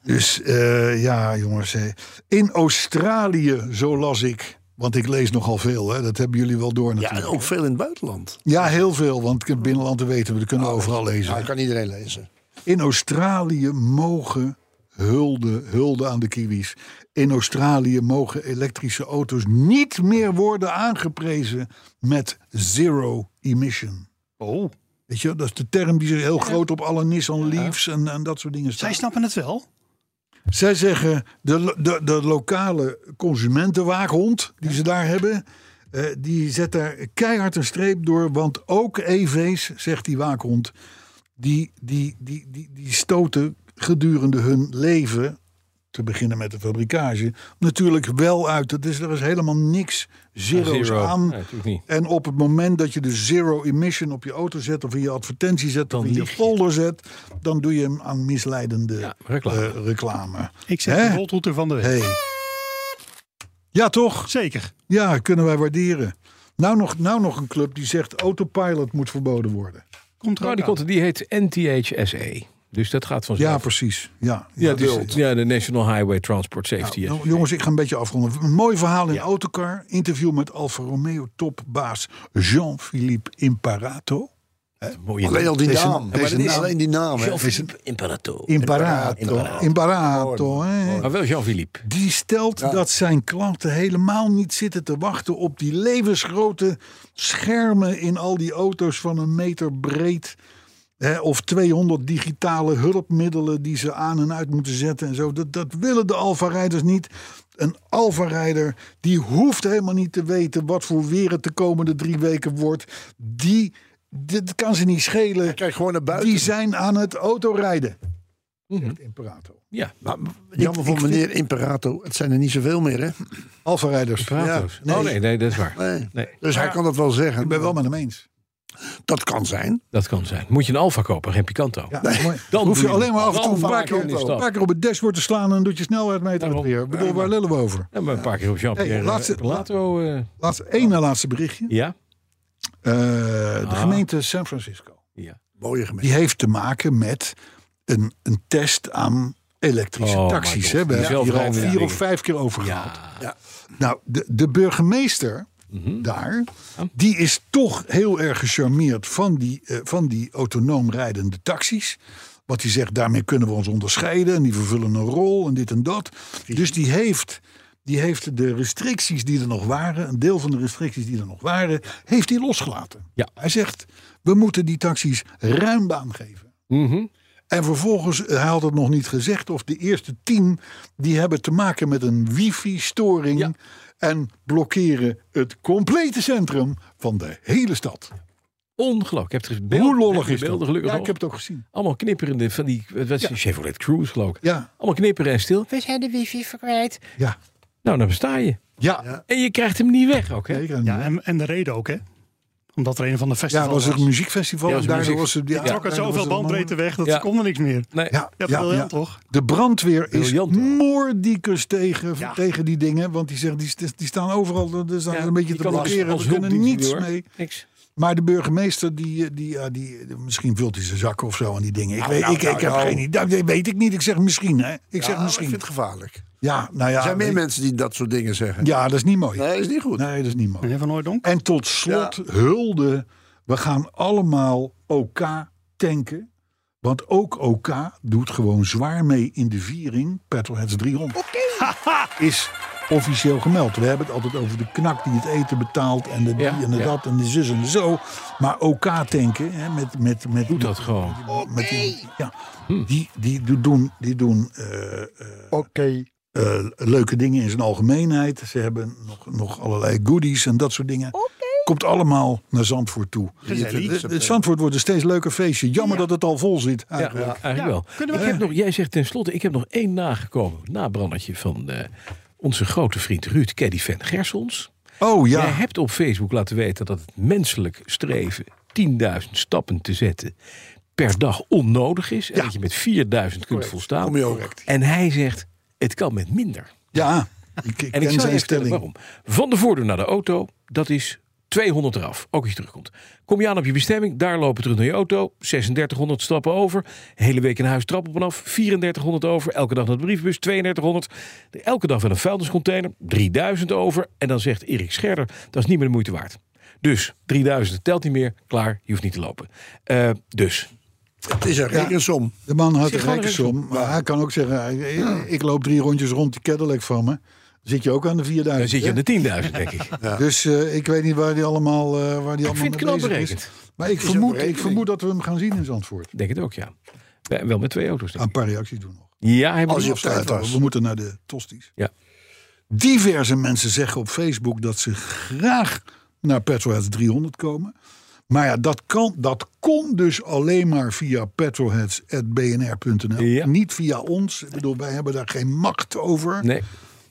Speaker 2: Dus eh, ja, jongens. eh, In Australië, zo las ik. Want ik lees nogal veel, hè, dat hebben jullie wel door
Speaker 5: Ja, en
Speaker 2: natuurlijk. Ja,
Speaker 5: ook veel in het buitenland.
Speaker 2: heel Oh, veel, want in binnenlanden weten we, dat kunnen we overal lezen.
Speaker 5: Ja, Nou, dat kan iedereen lezen.
Speaker 2: In Australië mogen hulde, hulde aan de kiwis. In Australië mogen elektrische auto's niet meer worden aangeprezen met zero emission.
Speaker 4: Oh.
Speaker 2: Weet je, dat is de term die ze heel groot op alle Nissan Leafs en, en dat soort dingen staat.
Speaker 4: Zij snappen het wel.
Speaker 2: Zij zeggen, de, lo- de, de lokale consumentenwaakhond die ze daar hebben... eh, die zet daar keihard een streep door. Want ook EV's, zegt die waakhond... die, die, die, die, die stoten gedurende hun leven... te beginnen met de fabrikage... natuurlijk wel uit. Dus er is helemaal niks zero's
Speaker 3: zero.
Speaker 2: aan...
Speaker 3: Nee, natuurlijk niet.
Speaker 2: En op het moment dat je de zero emission op je auto zet, of in je advertentie zet,
Speaker 3: Dan
Speaker 2: of in je
Speaker 3: lieg je.
Speaker 2: folder zet, dan doe je hem aan misleidende
Speaker 3: Ja, reclame.
Speaker 2: eh, reclame.
Speaker 4: Ik zeg
Speaker 2: Hè?
Speaker 4: de roltoeter van de week.
Speaker 2: Hey. Ja, toch?
Speaker 4: Zeker.
Speaker 2: Ja, kunnen wij waarderen. Nou nog, nou nog een club die zegt autopilot moet verboden worden.
Speaker 4: Komt er
Speaker 3: Nou,
Speaker 4: ook
Speaker 3: die,
Speaker 4: aan.
Speaker 3: komt, die heet NTHSE. Dus dat gaat vanzelf.
Speaker 2: Ja, precies. Ja,
Speaker 3: Ja, dus- het is-
Speaker 2: wild.
Speaker 3: ja, de National Highway Transport Safety.
Speaker 2: Nou,
Speaker 3: Act.
Speaker 2: jongens, ik ga een beetje afronden. Een mooi verhaal in
Speaker 3: Ja.
Speaker 2: Autocar. Interview met Alfa Romeo topbaas Jean-Philippe Imparato.
Speaker 3: Mooie
Speaker 5: Alleen al die
Speaker 2: Deze-
Speaker 5: naam.
Speaker 2: deze
Speaker 5: Maar dat is
Speaker 2: naam-
Speaker 5: alleen die naam. hè.
Speaker 3: Jean-Philippe Imperato.
Speaker 2: Imparato. Imparato. hè.
Speaker 3: Maar Ah, wel Jean-Philippe.
Speaker 2: Die stelt dat zijn klanten helemaal niet zitten te wachten op die levensgrote schermen in al die auto's van een meter breed. Hè, of 200 digitale hulpmiddelen die ze aan en uit moeten zetten en zo. Dat, dat willen de Alfa-rijders niet. Een Alfa-rijder die hoeft helemaal niet te weten wat voor weer het de komende drie weken wordt. Die, dit kan ze niet schelen.
Speaker 5: Kijk gewoon naar buiten.
Speaker 2: Die zijn aan het autorijden. Zegt Imperato.
Speaker 3: Ja,
Speaker 5: Maar jammer voor meneer Imperato. Het zijn er niet zoveel meer, hè?
Speaker 2: Alfa-rijders.
Speaker 3: Prato's.
Speaker 2: Ja, nee.
Speaker 3: Oh nee, nee, dat is waar.
Speaker 5: Nee.
Speaker 3: Nee.
Speaker 5: Dus hij kan dat wel zeggen.
Speaker 2: Ik ben wel met hem eens.
Speaker 5: Dat kan zijn.
Speaker 3: Dat kan zijn. Moet je een Alfa kopen, geen Picanto.
Speaker 2: Ja,
Speaker 5: Nee.
Speaker 2: mooi.
Speaker 3: Dan
Speaker 2: Dan hoef je
Speaker 3: doe je
Speaker 2: alleen maar af en
Speaker 3: wel
Speaker 2: toe een
Speaker 3: vaak
Speaker 2: paar keer,
Speaker 3: in de stad.
Speaker 2: een paar keer op het dashboard te slaan en dan doet je snelheid het
Speaker 3: Daarom.
Speaker 2: weer. Ik bedoel, waar lullen we over?
Speaker 3: En maar een paar keer op
Speaker 2: Hey,
Speaker 3: Jean-Pierre
Speaker 2: laatste-
Speaker 3: hey, Lato. eh,
Speaker 2: Laatste, één na laatste berichtje.
Speaker 3: ja? Ah.
Speaker 2: Eh, de gemeente San Francisco.
Speaker 3: Ja.
Speaker 5: Mooie gemeente.
Speaker 2: Die heeft te maken met een, een test aan elektrische
Speaker 3: Oh, my
Speaker 2: taxis.
Speaker 3: God.
Speaker 2: Hè? We
Speaker 3: Die
Speaker 2: hebben hier al
Speaker 3: zelfrijdende
Speaker 2: vier of
Speaker 3: dingen.
Speaker 2: vijf keer over gehad.
Speaker 3: Ja.
Speaker 2: Nou, de, de burgemeester
Speaker 3: Mhm.
Speaker 2: daar, die is toch heel erg gecharmeerd van die, eh, van die autonoom rijdende taxis. Wat hij zegt, daarmee kunnen we ons onderscheiden en die vervullen een rol en dit en dat. Dus die heeft, die heeft de restricties die er nog waren, een deel van de restricties die er nog waren, heeft hij losgelaten.
Speaker 3: Ja.
Speaker 2: Hij zegt, we moeten die taxis ruim baan geven.
Speaker 3: Mhm.
Speaker 2: En vervolgens, eh, hij had het nog niet gezegd, of de eerste tien die hebben te maken met een wifi-storing.
Speaker 3: Ja.
Speaker 2: En blokkeren het complete centrum van de hele stad.
Speaker 3: Ongelooflijk. Ik heb het beeld,
Speaker 2: Hoe lollig
Speaker 3: heb
Speaker 2: is
Speaker 3: de beelden
Speaker 2: dat?
Speaker 3: gelukkig
Speaker 2: ja,
Speaker 3: nog.
Speaker 2: ik heb het ook gezien.
Speaker 3: Allemaal knipperende van die wat was het? Chevrolet Cruze geloof ik.
Speaker 2: Ja,
Speaker 3: Allemaal knipperen en stil. We zijn de wifi verkwijt.
Speaker 2: ja,
Speaker 3: Nou, dan besta je.
Speaker 2: ja.
Speaker 3: En je krijgt hem niet weg ook, hè?
Speaker 2: Zeker.
Speaker 4: Ja,
Speaker 2: Ja,
Speaker 4: en, en de reden ook, hè? Omdat er een van de
Speaker 2: ja,
Speaker 4: festivals
Speaker 2: het was het
Speaker 4: was.
Speaker 2: muziekfestival.
Speaker 3: Ja,
Speaker 2: Ja,
Speaker 3: het was
Speaker 2: daar
Speaker 3: muziek-
Speaker 2: was het, ja,
Speaker 3: Ja.
Speaker 2: daar
Speaker 4: Trok uit
Speaker 2: was
Speaker 4: zoveel
Speaker 2: het
Speaker 4: bandbreedte weg, dat
Speaker 3: Ja.
Speaker 4: kon er niks meer.
Speaker 3: Nee.
Speaker 2: Ja,
Speaker 4: Ja,
Speaker 2: ja,
Speaker 4: briljant
Speaker 2: ja.
Speaker 4: toch?
Speaker 2: De brandweer is
Speaker 3: Briljant, hoor.
Speaker 2: moordicus tegen,
Speaker 4: Ja.
Speaker 2: tegen die dingen. Want die, zeggen, die, die staan overal dus die staan
Speaker 3: Ja,
Speaker 2: een beetje
Speaker 3: die
Speaker 2: te
Speaker 3: kan als-
Speaker 2: blokkeren.
Speaker 3: als
Speaker 2: We kunnen
Speaker 3: hulpdienst
Speaker 2: niets
Speaker 3: niet, hoor.
Speaker 2: mee.
Speaker 3: Niks.
Speaker 2: Maar de burgemeester, die, eh, die, ja, die, misschien vult hij zijn zakken of zo aan die dingen.
Speaker 5: Nou,
Speaker 2: Ik, weet, ik, ik heb geen idee. Dat weet ik niet. Ik zeg misschien. Hè. Ik
Speaker 5: Ja,
Speaker 2: zeg
Speaker 5: maar Ik
Speaker 2: misschien.
Speaker 5: vind het gevaarlijk. Er
Speaker 2: Ja, nou ja.
Speaker 5: zijn meer
Speaker 2: weet-
Speaker 5: mensen die dat soort dingen zeggen.
Speaker 2: Ja, dat is niet mooi.
Speaker 5: Nee, is niet goed.
Speaker 2: Nee, dat is niet mooi.
Speaker 4: Meneer Van Hooijdonk?
Speaker 2: En tot slot, hulde. We gaan allemaal OK tanken. Want ook OK doet gewoon zwaar mee in de viering. Petrolheads 300. Haha, is officieel gemeld. We hebben het altijd over de knak die het eten betaalt. En de die
Speaker 3: Ja,
Speaker 2: en de
Speaker 3: ja.
Speaker 2: dat en de zus en de zo. Maar OK tanken hè, met, met, met,
Speaker 3: Doe dat gewoon. Hm.
Speaker 2: met die, ja, die, die do- doen, die doen eh, eh,
Speaker 5: Oké.
Speaker 2: eh, leuke dingen in zijn algemeenheid. Ze hebben nog, nog allerlei goodies en dat soort dingen. Komt allemaal naar Zandvoort toe. Het- het Zandvoort wordt een steeds leuker feestje. Jammer dat het al vol zit.
Speaker 3: Ja,
Speaker 2: eigenlijk.
Speaker 3: eigenlijk wel. Ik heb nog, jij zegt tenslotte, ik heb nog één nagekomen. Nabrandertje van eh, onze grote vriend Ruud Caddy van Gersons.
Speaker 2: Oh ja.
Speaker 3: Jij hebt op Facebook laten weten dat het menselijk streven 10.000 stappen te zetten per dag onnodig is. En dat je met 4.000 kunt volstaan.
Speaker 5: Kom je ook.
Speaker 3: En hij zegt, het kan met minder.
Speaker 2: ja. Ik, ik
Speaker 3: En ik
Speaker 2: ken
Speaker 3: zal
Speaker 2: zijn
Speaker 3: je vertellen
Speaker 2: stelling.
Speaker 3: waarom. Van de voordeur naar de auto, dat is 200 eraf, ook als je terugkomt. Kom je aan op je bestemming, daar lopen terug naar je auto, 3600 stappen over, hele week in huis trap op en af, 3400 over, elke dag naar de brievenbus, 3200, elke dag wel een vuilniscontainer, 3000 over, en dan zegt Erik Scherder, dat is niet meer de moeite waard. Dus 3000 telt niet meer, klaar, je hoeft niet te lopen. Eh, dus,
Speaker 5: Het is een rekensom.
Speaker 2: De man had een
Speaker 3: gewoon
Speaker 2: rijke
Speaker 3: een
Speaker 2: som. Maar hij kan ook zeggen, hij- ik- ik loop drie rondjes rond die Cadillac van me. Zit je ook aan de 4000.
Speaker 3: dan zit je
Speaker 2: hè?
Speaker 3: aan de 10.000, denk ik.
Speaker 2: Dus eh, ik weet niet waar die allemaal, eh, waar die allemaal
Speaker 3: vind het
Speaker 2: mee bezig
Speaker 3: knap
Speaker 2: is.
Speaker 3: berekend.
Speaker 2: Maar ik
Speaker 5: een
Speaker 2: vermoed, ik
Speaker 5: berekening.
Speaker 2: vermoed dat we hem gaan zien in Zandvoort.
Speaker 3: Denk het ook, ja. Bij- Wel met twee auto's, denk
Speaker 2: Een
Speaker 3: ik.
Speaker 2: paar reacties doen nog.
Speaker 3: Ja, hij moet-
Speaker 5: Ah. Als je op tijd
Speaker 2: Sluiten we.
Speaker 5: was.
Speaker 2: We moeten naar de tosties.
Speaker 3: Ja.
Speaker 2: Diverse mensen zeggen op Facebook dat ze graag naar Petrolheads 300 komen. Maar ja, dat, kan, dat kon dus alleen maar via petrolheads.bnr.nl.
Speaker 3: Ja.
Speaker 2: Niet via ons. Ik bedoel, wij hebben daar geen macht over.
Speaker 3: Nee,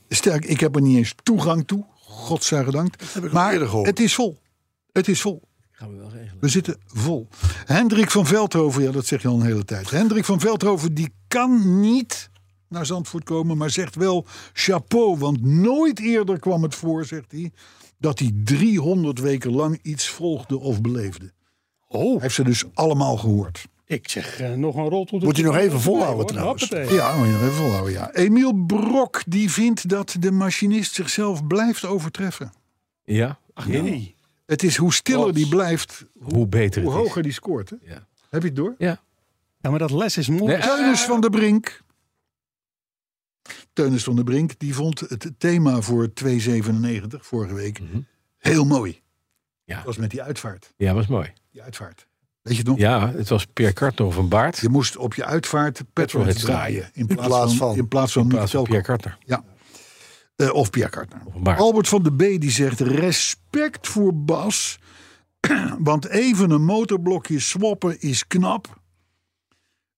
Speaker 2: Sterk, ik heb er niet eens toegang toe. Godzijdank.
Speaker 5: heb ik al
Speaker 2: Maar
Speaker 5: eerder gehoord.
Speaker 2: het is vol. Het is vol.
Speaker 3: gaan we wel regelen.
Speaker 2: We zitten vol. Hendrik van Veldhoven, ja, dat zeg je al een hele tijd. Hendrik van Veldhoven, die kan niet naar Zandvoort komen, maar zegt wel chapeau. Want nooit eerder kwam het voor, zegt hij, dat hij 300 weken lang iets volgde of beleefde. Oh. Hij heeft ze dus allemaal gehoord.
Speaker 4: Ik zeg eh, nog een rol tot
Speaker 5: Moet je nog even volhouden trouwens.
Speaker 2: Ja, moet je nog even volhouden, ja. Emiel Brok, die vindt dat de machinist zichzelf blijft overtreffen.
Speaker 3: Ja.
Speaker 4: Nee.
Speaker 2: Het is hoe stiller die blijft,
Speaker 3: Hoe beter
Speaker 2: hoe
Speaker 3: het is.
Speaker 2: hoger die scoort. Hè?
Speaker 3: Ja.
Speaker 2: Heb je het door?
Speaker 3: Ja.
Speaker 4: Ja, maar dat les is mooi.
Speaker 3: Nee, eh,
Speaker 2: Teunus van der Brink. Teunus van der Brink die vond het thema voor 297 vorige week
Speaker 3: Mhm.
Speaker 2: heel mooi.
Speaker 3: Ja.
Speaker 2: Dat was met die uitvaart.
Speaker 3: ja, was mooi.
Speaker 2: Die uitvaart. Weet je het nog?
Speaker 3: Ja, het was Pierre Kartner van Baart.
Speaker 2: Je moest op je uitvaart petrolheads
Speaker 3: Petrolheads
Speaker 2: draaien. In plaats,
Speaker 5: plaats
Speaker 2: van,
Speaker 5: van-
Speaker 2: In plaats van,
Speaker 3: in plaats van
Speaker 2: Nick
Speaker 3: Pierre
Speaker 2: Velkamp.
Speaker 3: Kartner.
Speaker 2: Eh, of Pierre Kartner.
Speaker 3: Of Baart.
Speaker 2: Albert van de B die zegt respect voor Bas. Want even een motorblokje swappen is knap.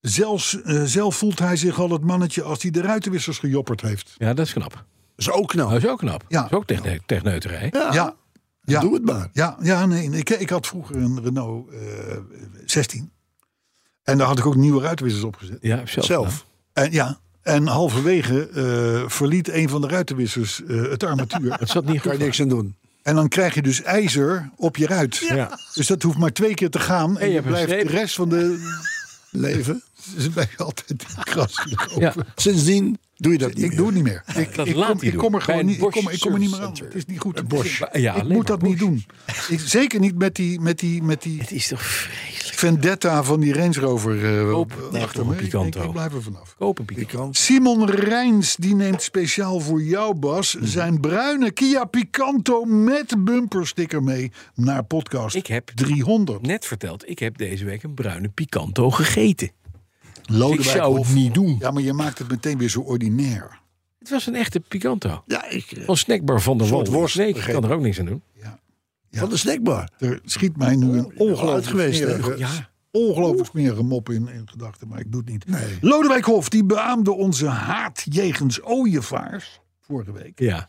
Speaker 2: Zelfs, eh, zelf voelt hij zich al het mannetje als hij de ruitenwissers gejopperd heeft.
Speaker 3: Ja, dat is knap.
Speaker 5: is ook knap.
Speaker 3: Dat is ook knap.
Speaker 2: Ja.
Speaker 3: Dat is ook techne techneuterij.
Speaker 5: Ja,
Speaker 2: Ja, ja.
Speaker 5: Ah, doe het maar.
Speaker 2: ja, ja nee. nee. Ik, ik had vroeger een Renault eh, 16. En daar had ik ook nieuwe ruitenwissers op gezet.
Speaker 3: Ja, zelf.
Speaker 5: Zelf.
Speaker 2: En, ja, en halverwege eh, verliet een van de ruitenwissers eh, het armatuur.
Speaker 3: Dat zat niet
Speaker 5: Kan
Speaker 3: goed.
Speaker 5: je niks aan doen.
Speaker 2: en dan krijg je dus ijzer op je ruit.
Speaker 3: Ja.
Speaker 2: Dus dat hoeft maar twee keer te gaan. En,
Speaker 3: je
Speaker 2: je
Speaker 3: hebt een
Speaker 2: blijft de
Speaker 3: streep.
Speaker 2: rest van de leven. Ze blijven altijd in het gras lopen.
Speaker 3: Ja.
Speaker 5: Sindsdien doe je dat niet
Speaker 2: Ik doe het niet meer. Ik,
Speaker 3: Dat
Speaker 2: ik,
Speaker 3: laat
Speaker 2: kom,
Speaker 3: hij
Speaker 2: ik
Speaker 3: doen.
Speaker 2: kom er
Speaker 3: Bij
Speaker 2: gewoon
Speaker 3: een
Speaker 2: niet, ik
Speaker 3: Bosch
Speaker 2: kom, ik kom er niet meer aan.
Speaker 3: Service
Speaker 2: Het
Speaker 3: Center.
Speaker 2: is niet goed.
Speaker 3: Bosch.
Speaker 2: Ik,
Speaker 3: Ja, alleen
Speaker 2: moet
Speaker 3: maar
Speaker 2: dat niet doen. Ik, zeker niet met die, met die, met die
Speaker 3: Het is toch vreselijk.
Speaker 2: vendetta van die Range Rover eh
Speaker 3: Koop het echt
Speaker 2: achter
Speaker 3: nog
Speaker 2: me.
Speaker 3: een
Speaker 2: Ik, denk,
Speaker 3: Picanto.
Speaker 2: ik blijf er vanaf.
Speaker 3: Kopen, Pieter.
Speaker 2: Simon Rijns die neemt speciaal voor jou Bas
Speaker 3: Mhm.
Speaker 2: zijn bruine Kia Picanto met bumpersticker mee naar podcast
Speaker 3: Ik heb
Speaker 2: 300.
Speaker 3: net verteld, ik heb deze week een bruine Picanto gegeten.
Speaker 2: Lodewijk
Speaker 3: Ik zou het
Speaker 2: Hof.
Speaker 3: niet doen.
Speaker 2: Ja, maar je maakt het meteen weer zo ordinair.
Speaker 3: Het was een echte Picanto.
Speaker 5: Ja, ik, eh,
Speaker 3: Van snackbar van de
Speaker 5: soort
Speaker 3: Wal.
Speaker 5: worst,
Speaker 3: Nee, ik
Speaker 5: begrepen.
Speaker 3: kan er ook niks aan doen.
Speaker 5: van de snackbar.
Speaker 2: Er schiet mij nu een ongelooflijk
Speaker 5: uit geweest, hè?
Speaker 2: smerige,
Speaker 3: Ja.
Speaker 2: ongelooflijk smerige mop in, in gedachten, maar ik doe het niet. Lodewijk Hof die beaamde onze haat jegens ooievaars vorige week.
Speaker 3: Ja.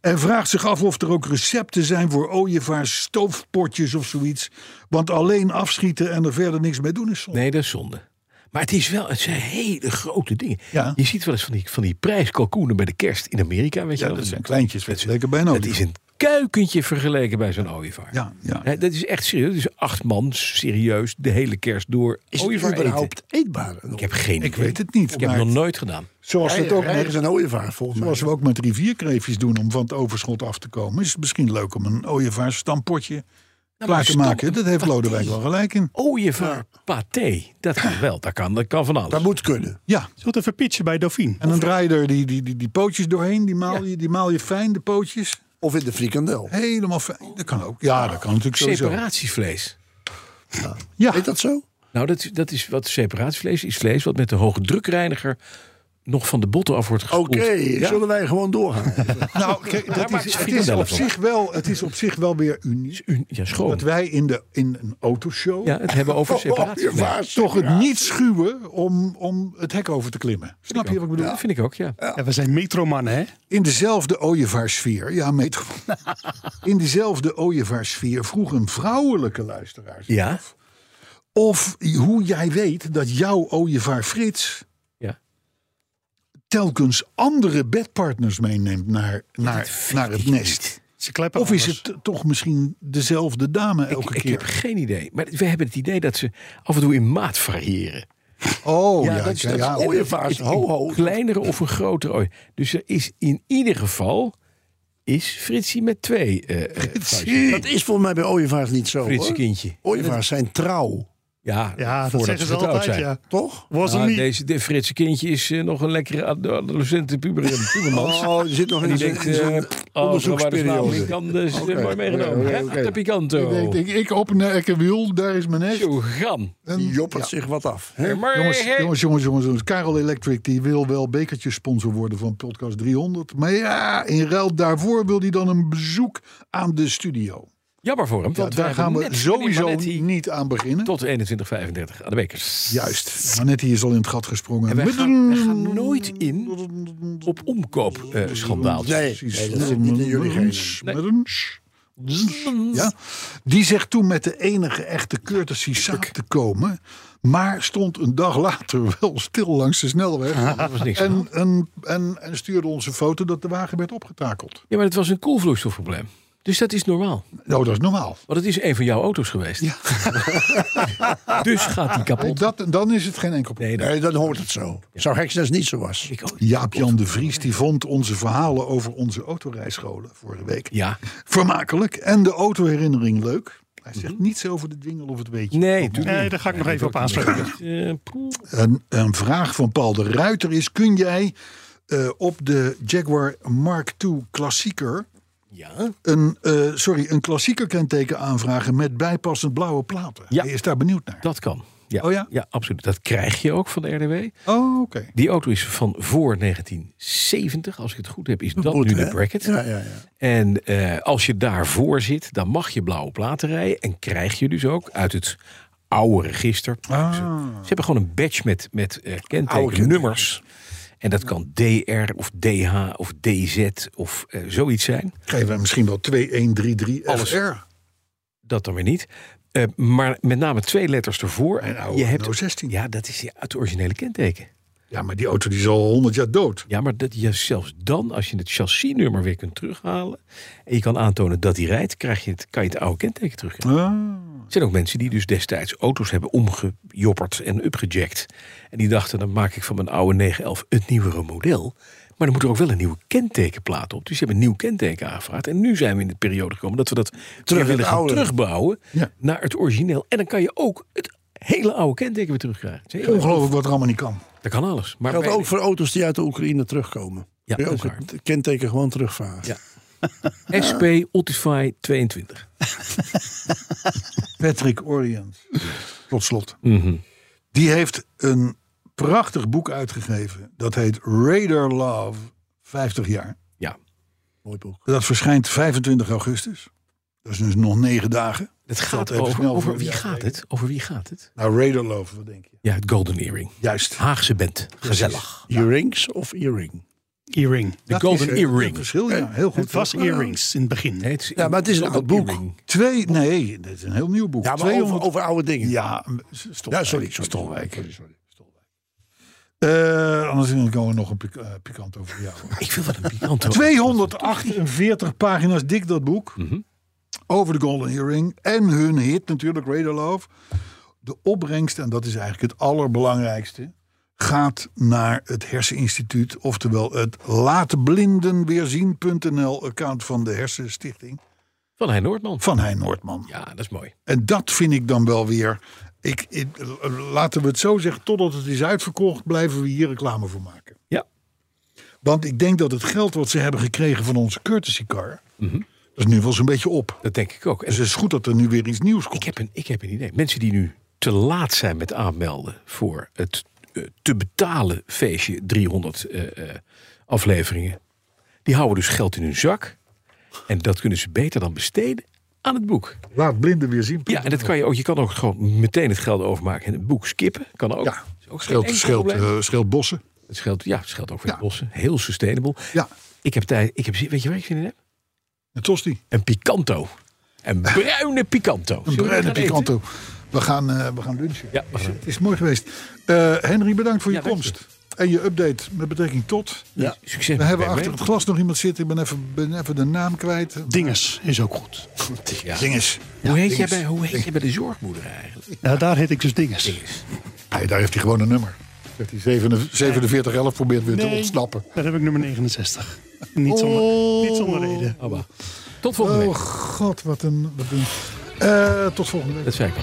Speaker 2: En vraagt zich af of er ook recepten zijn voor ooievaars, stoofpotjes of zoiets. Want alleen afschieten en er verder niks mee doen is zonde.
Speaker 3: Nee, dat is zonde. Maar het, is wel, het zijn hele grote dingen.
Speaker 2: Ja.
Speaker 3: Je ziet wel eens van die, van die prijskalkoenen bij de kerst in Amerika. Weet je
Speaker 2: ja,
Speaker 3: wel?
Speaker 2: dat zijn
Speaker 3: Het-
Speaker 2: kleintjes. weet je, Lekker bijna.
Speaker 3: Het is een kuikentje vergeleken bij zo'n ooievaar.
Speaker 2: Ja, ja.
Speaker 3: Hè, dat is echt serieus. Dat is acht man serieus de hele kerst door
Speaker 5: Is het
Speaker 3: ooievaar eten.
Speaker 5: überhaupt eetbaar?
Speaker 3: Ik heb geen
Speaker 2: Ik
Speaker 3: idee.
Speaker 2: weet het niet.
Speaker 3: Ik heb het
Speaker 2: maar
Speaker 3: nog nooit gedaan.
Speaker 2: zoals, het ook met,
Speaker 5: nergens een ooievaar volgens mij.
Speaker 2: zoals we ook met rivierkreefjes doen om van het overschot af te komen. Is het misschien leuk om een ooievaarsstampotje klaar te
Speaker 3: stamp-
Speaker 2: maken. Dat heeft Lodewijk wel gelijk in.
Speaker 3: Ooievaar paté. Dat kan wel. Dat kan, dat kan van alles.
Speaker 5: Dat moet kunnen.
Speaker 2: Ja.
Speaker 4: Zult even pitchen bij Dauphine.
Speaker 2: En dan draai je er die, die, die, die pootjes doorheen. Die maal, je, die maal je fijn, de pootjes.
Speaker 5: Of in de frikandel.
Speaker 2: Helemaal fijn. Dat kan ook. Ja, dat kan natuurlijk sowieso.
Speaker 3: Separatievlees.
Speaker 2: Ja.
Speaker 5: Heet dat zo?
Speaker 3: Nou, dat, dat is wat separatievlees is. Vlees wat met de hoge drukreiniger nog van de botten af wordt gespoeld.
Speaker 5: Oké,
Speaker 3: Ja.
Speaker 5: zullen wij gewoon doorgaan?
Speaker 2: Nou, kijk, dat
Speaker 3: maak
Speaker 2: is,
Speaker 3: je
Speaker 2: het, is
Speaker 3: frikandellen
Speaker 2: op
Speaker 3: van.
Speaker 2: zich wel, het is op zich wel weer uniek.
Speaker 3: U- Ja, schoon.
Speaker 2: Dat wij in, de, in een autoshow
Speaker 3: Ja, het hebben over separatie.
Speaker 2: toch het niet schuwen om, om het hek over te klimmen. Snap je wat ik bedoel?
Speaker 3: Dat vind ik ook, ja.
Speaker 4: Ja, we zijn metromannen, hè?
Speaker 2: In dezelfde ooievaarssfeer, ja, metro. in dezelfde ooievaarssfeer vroeg een vrouwelijke luisteraar. zich
Speaker 3: Ja.
Speaker 2: af Of hoe jij weet dat jouw ooievaar Frits
Speaker 3: Ja.
Speaker 2: telkens andere bedpartners meeneemt naar, naar, naar het nest.
Speaker 4: Ze kleppen
Speaker 2: Of is
Speaker 4: anders.
Speaker 2: het toch misschien dezelfde dame elke
Speaker 3: Ik
Speaker 2: keer?
Speaker 3: heb geen idee. Maar we hebben het idee dat ze af en toe in maat variëren.
Speaker 2: Oh, ja, ja,
Speaker 3: dat is- dat is-
Speaker 2: ja,
Speaker 3: en-
Speaker 5: ooievaars,
Speaker 3: een
Speaker 5: ho, ho.
Speaker 3: Kleinere of een grotere ooi. Dus er is in ieder geval is Fritsie met twee eh, eh vuistjes.
Speaker 5: Dat is volgens mij bij ooievaars niet zo.
Speaker 3: Fritsie
Speaker 5: Hoor.
Speaker 3: kindje.
Speaker 5: Ooievaars zijn trouw,
Speaker 3: Ja,
Speaker 4: Ja, dat
Speaker 3: voordat
Speaker 4: zeggen ze
Speaker 3: getrouwd
Speaker 4: altijd,
Speaker 3: zijn.
Speaker 4: ja.
Speaker 5: toch?
Speaker 4: Was
Speaker 3: Nou,
Speaker 4: een niet.
Speaker 3: deze de Fritse kindje is eh, nog een lekkere ad- adolescente puber in pubermans.
Speaker 5: Oh, er zit nog
Speaker 3: en die
Speaker 5: in
Speaker 3: denkt,
Speaker 5: zo'n
Speaker 3: eh,
Speaker 5: in zo'n
Speaker 3: oh, zo waar de vrouw
Speaker 5: onderzoeksperiode.
Speaker 3: niet kan, dus eh, mooi meegenomen.
Speaker 2: oké,
Speaker 3: Hè,
Speaker 2: oké.
Speaker 3: De Picanto.
Speaker 2: Ik denk, ik, ik open naar Ekkerwiel, daar is mijn nest.
Speaker 3: Zo, gan.
Speaker 2: En-
Speaker 5: Die joppert
Speaker 2: Ja.
Speaker 5: zich wat af. hè?
Speaker 3: Maar,
Speaker 2: Jongens,
Speaker 3: eh,
Speaker 2: jongens, jongens, jongens, jongens. Karel Electric die wil wel bekertjes sponsor worden van podcast 300. Maar ja, in ruil daarvoor wil hij dan een bezoek aan de studio.
Speaker 3: Jammer voor hem,
Speaker 2: Ja,
Speaker 3: want
Speaker 2: daar
Speaker 3: hebben
Speaker 2: gaan we
Speaker 3: net
Speaker 2: sowieso
Speaker 3: meneer Manetti
Speaker 2: niet aan beginnen.
Speaker 3: Tot 21.35 aan de bekers.
Speaker 2: Juist. Manetti is al in het gat gesprongen.
Speaker 3: En wij
Speaker 2: Met
Speaker 3: gaan,
Speaker 2: een-
Speaker 3: wij gaan nooit in op omkoopschandaal.
Speaker 5: Nee, nee, dat zit niet in jullie
Speaker 2: Merens,
Speaker 5: geest.
Speaker 2: Merens. Ja, die zegt toen met de enige echte courtesy samen te komen. Maar stond een dag later wel stil langs de snelweg.
Speaker 3: dat was niks. aan de hand.
Speaker 2: En, en, en, en stuurde onze foto dat de wagen werd opgetakeld.
Speaker 3: Ja, maar het was een koelvloeistofprobleem. Dus dat is normaal.
Speaker 2: Nou, dat is normaal.
Speaker 3: Want het is een van jouw auto's geweest. dus gaat die kapot.
Speaker 2: Dat, dan is het geen enkel probleem.
Speaker 5: Nee, dan hoort het zo. Zou Heksnes niet zo was.
Speaker 3: Ik ook.
Speaker 2: Jaap-Jan de Vries die vond onze verhalen over onze autorijscholen vorige week
Speaker 3: Ja.
Speaker 2: vermakelijk. En de autoherinnering leuk. Hij zegt niets over de dwingel of het weetje.
Speaker 3: Nee, tuurlijk
Speaker 4: Nee, daar ga ik nog even op aanspreken.
Speaker 3: Eh, poeh.
Speaker 2: Een, een vraag van Paul de Ruiter is: kun jij eh, op de Jaguar Mark II klassieker
Speaker 3: ja.
Speaker 2: een, eh, sorry, een klassieker kenteken aanvragen met bijpassend blauwe platen?
Speaker 3: Ja.
Speaker 2: Hij is daar benieuwd naar.
Speaker 3: Dat kan. Ja.
Speaker 2: Oh ja?
Speaker 3: Ja, absoluut. Dat krijg je ook van de RDW.
Speaker 2: Oh, oké.
Speaker 3: Die auto is van voor 1970. Als ik het goed heb, is dat
Speaker 5: Moet,
Speaker 3: nu de
Speaker 5: hè?
Speaker 3: bracket.
Speaker 5: Ja, ja, ja.
Speaker 3: En eh, als je daarvoor zit, dan mag je blauwe platen rijden. En krijg je dus ook uit het oude register.
Speaker 5: Ah.
Speaker 3: Ze, ze hebben gewoon een badge met, met eh kentekennummers. En dat kan DR of DH of DZ of eh, zoiets zijn.
Speaker 2: Geven we misschien wel 2133 FR.
Speaker 3: Dat dan weer niet. Eh, maar met name twee letters ervoor.
Speaker 2: Mijn oude
Speaker 3: je
Speaker 2: Renault 16.
Speaker 3: Ja, dat is die- het originele kenteken.
Speaker 2: Ja, maar die auto die is al 100 jaar dood.
Speaker 3: Ja, maar dat je zelfs dan, als je het chassisnummer weer kunt terughalen. en je kan aantonen dat die rijdt, krijg je het, kan je het oude kenteken terugkrijgen.
Speaker 5: Ah.
Speaker 3: Er zijn ook mensen die dus destijds auto's hebben omgejopperd en upgejackt. En die dachten, dan maak ik van mijn oude 911 het nieuwere model. Maar dan moet er ook wel een nieuwe kentekenplaat op. Dus ze hebben een nieuw kenteken aangevraagd. En nu zijn we in de periode gekomen dat we dat weer
Speaker 5: het
Speaker 3: willen gaan
Speaker 5: oude.
Speaker 3: terugbouwen
Speaker 2: Ja.
Speaker 3: naar het origineel. En dan kan je ook het hele oude kenteken weer terugkrijgen. Dat is heel erg.
Speaker 2: Ongelooflijk wat er allemaal niet kan.
Speaker 3: Dat kan alles. Maar
Speaker 5: Geldt
Speaker 3: bij-
Speaker 5: ook voor auto's die uit de Oekraïne terugkomen.
Speaker 3: Ja,
Speaker 5: Kun je
Speaker 3: dat is
Speaker 5: ook het kenteken gewoon terugvragen.
Speaker 3: Ja. SP Otify 22.
Speaker 2: Patrick Orient. Tot slot. Die heeft een prachtig boek uitgegeven. Dat heet Radar Love 50 jaar.
Speaker 3: Ja,
Speaker 5: Mooi boek.
Speaker 2: Dat verschijnt 25 augustus. Dat is dus nog negen dagen.
Speaker 3: het
Speaker 2: Dat
Speaker 3: gaat
Speaker 2: even
Speaker 3: over,
Speaker 2: snel
Speaker 3: over
Speaker 2: voor-
Speaker 3: wie
Speaker 2: ja,
Speaker 3: gaat
Speaker 2: zeker.
Speaker 3: het? Over wie gaat het?
Speaker 2: Nou, Radar Love, wat denk je?
Speaker 3: Ja, het Golden Earring.
Speaker 2: Juist.
Speaker 3: Haagse band. Gezellig.
Speaker 5: Earrings of earring?
Speaker 4: Earring.
Speaker 3: De Golden
Speaker 2: is, eh, een
Speaker 3: Earring.
Speaker 2: verschil, ja. Heel goed.
Speaker 4: Het was earrings in het begin.
Speaker 3: Nee, het is-
Speaker 5: Ja, maar het is ook een boek.
Speaker 3: Earring.
Speaker 2: Twee, nee, dit is een heel nieuw boek.
Speaker 5: Ja, maar
Speaker 2: 200
Speaker 5: over, over oude dingen.
Speaker 2: Ja,
Speaker 5: Ja, sorry, sorry.
Speaker 2: Stolwijk. Sorry, sorry. Stolwijk. Eh, anders is er nog een pik- eh, pikant over jou.
Speaker 3: Ik vind wat een pikant.
Speaker 2: 248 pagina's dik dat boek. Over de Golden Earring. En hun hit natuurlijk, Radar Love. De opbrengst, en dat is eigenlijk het allerbelangrijkste... gaat naar het herseninstituut. Oftewel het laatblindenweerzien.nl account van de hersenstichting.
Speaker 3: Van Hein Noordman.
Speaker 2: Van Hein Noordman.
Speaker 3: Ja, dat is mooi.
Speaker 2: En dat vind ik dan wel weer... Ik, ik- laten we het zo zeggen, totdat het is uitverkocht... blijven we hier reclame voor maken.
Speaker 3: Ja.
Speaker 2: Want ik denk dat het geld wat ze hebben gekregen van onze courtesy car...
Speaker 3: Mhm.
Speaker 2: dat is nu wel zo'n beetje op.
Speaker 3: Dat denk ik ook. En
Speaker 2: Dus het is goed dat er nu weer iets nieuws komt.
Speaker 3: ik, heb een, ik heb een idee. Mensen die nu te laat zijn met aanmelden voor het eh, te betalen feestje 300 eh, eh, afleveringen. Die houden dus geld in hun zak. En dat kunnen ze beter dan besteden aan het boek.
Speaker 2: Laat blinden weer zien.
Speaker 3: Ja, en dat kan je ook. Je kan ook gewoon meteen het geld overmaken en het boek skippen. Kan ook.
Speaker 2: Ja,
Speaker 3: Is ook
Speaker 2: scheelt,
Speaker 3: geen enkel
Speaker 2: scheelt,
Speaker 3: probleem.
Speaker 2: eh, scheelt bossen.
Speaker 3: Het scheelt, ja, het scheelt ook voor
Speaker 2: Ja.
Speaker 3: de bossen. Heel sustainable.
Speaker 2: Ja,
Speaker 3: Ik heb tijd. Ik heb, zin- weet je waar ik zin in heb?
Speaker 2: een tosti.
Speaker 3: Een picanto. Een bruine picanto.
Speaker 2: Een
Speaker 3: Zullen we
Speaker 2: bruine
Speaker 3: gaan eten?
Speaker 2: picanto. We gaan, eh, we gaan lunchen.
Speaker 3: Ja, we gaan.
Speaker 2: Het is mooi geweest. Eh, Henry, bedankt voor je
Speaker 3: Ja, dank je.
Speaker 2: komst. En je update met betrekking tot...
Speaker 5: Ja.
Speaker 3: Succes.
Speaker 2: We
Speaker 3: met
Speaker 2: hebben
Speaker 3: BB.
Speaker 2: achter het glas nog iemand zitten. Ik ben even, ben even de naam kwijt.
Speaker 4: Dinges is ook goed.
Speaker 3: Ja.
Speaker 2: Dinges.
Speaker 3: Hoe heet, jij
Speaker 2: Dinges.
Speaker 3: bij, hoe heet jij bij de zorgmoeder eigenlijk?
Speaker 4: Ja, daar heet ik dus Dinges.
Speaker 2: Hey, daar heeft hij gewoon een nummer. Dat hij 4711 probeert weer te
Speaker 4: Nee.
Speaker 2: ontsnappen.
Speaker 4: Daar heb ik nummer 69. Niet zonder, niet zonder reden.
Speaker 3: Abba. Oh, Tot volgende
Speaker 2: Oh
Speaker 3: week.
Speaker 2: god, wat een... Wat een Eh, tot volgende week.
Speaker 3: Dat zei ik al.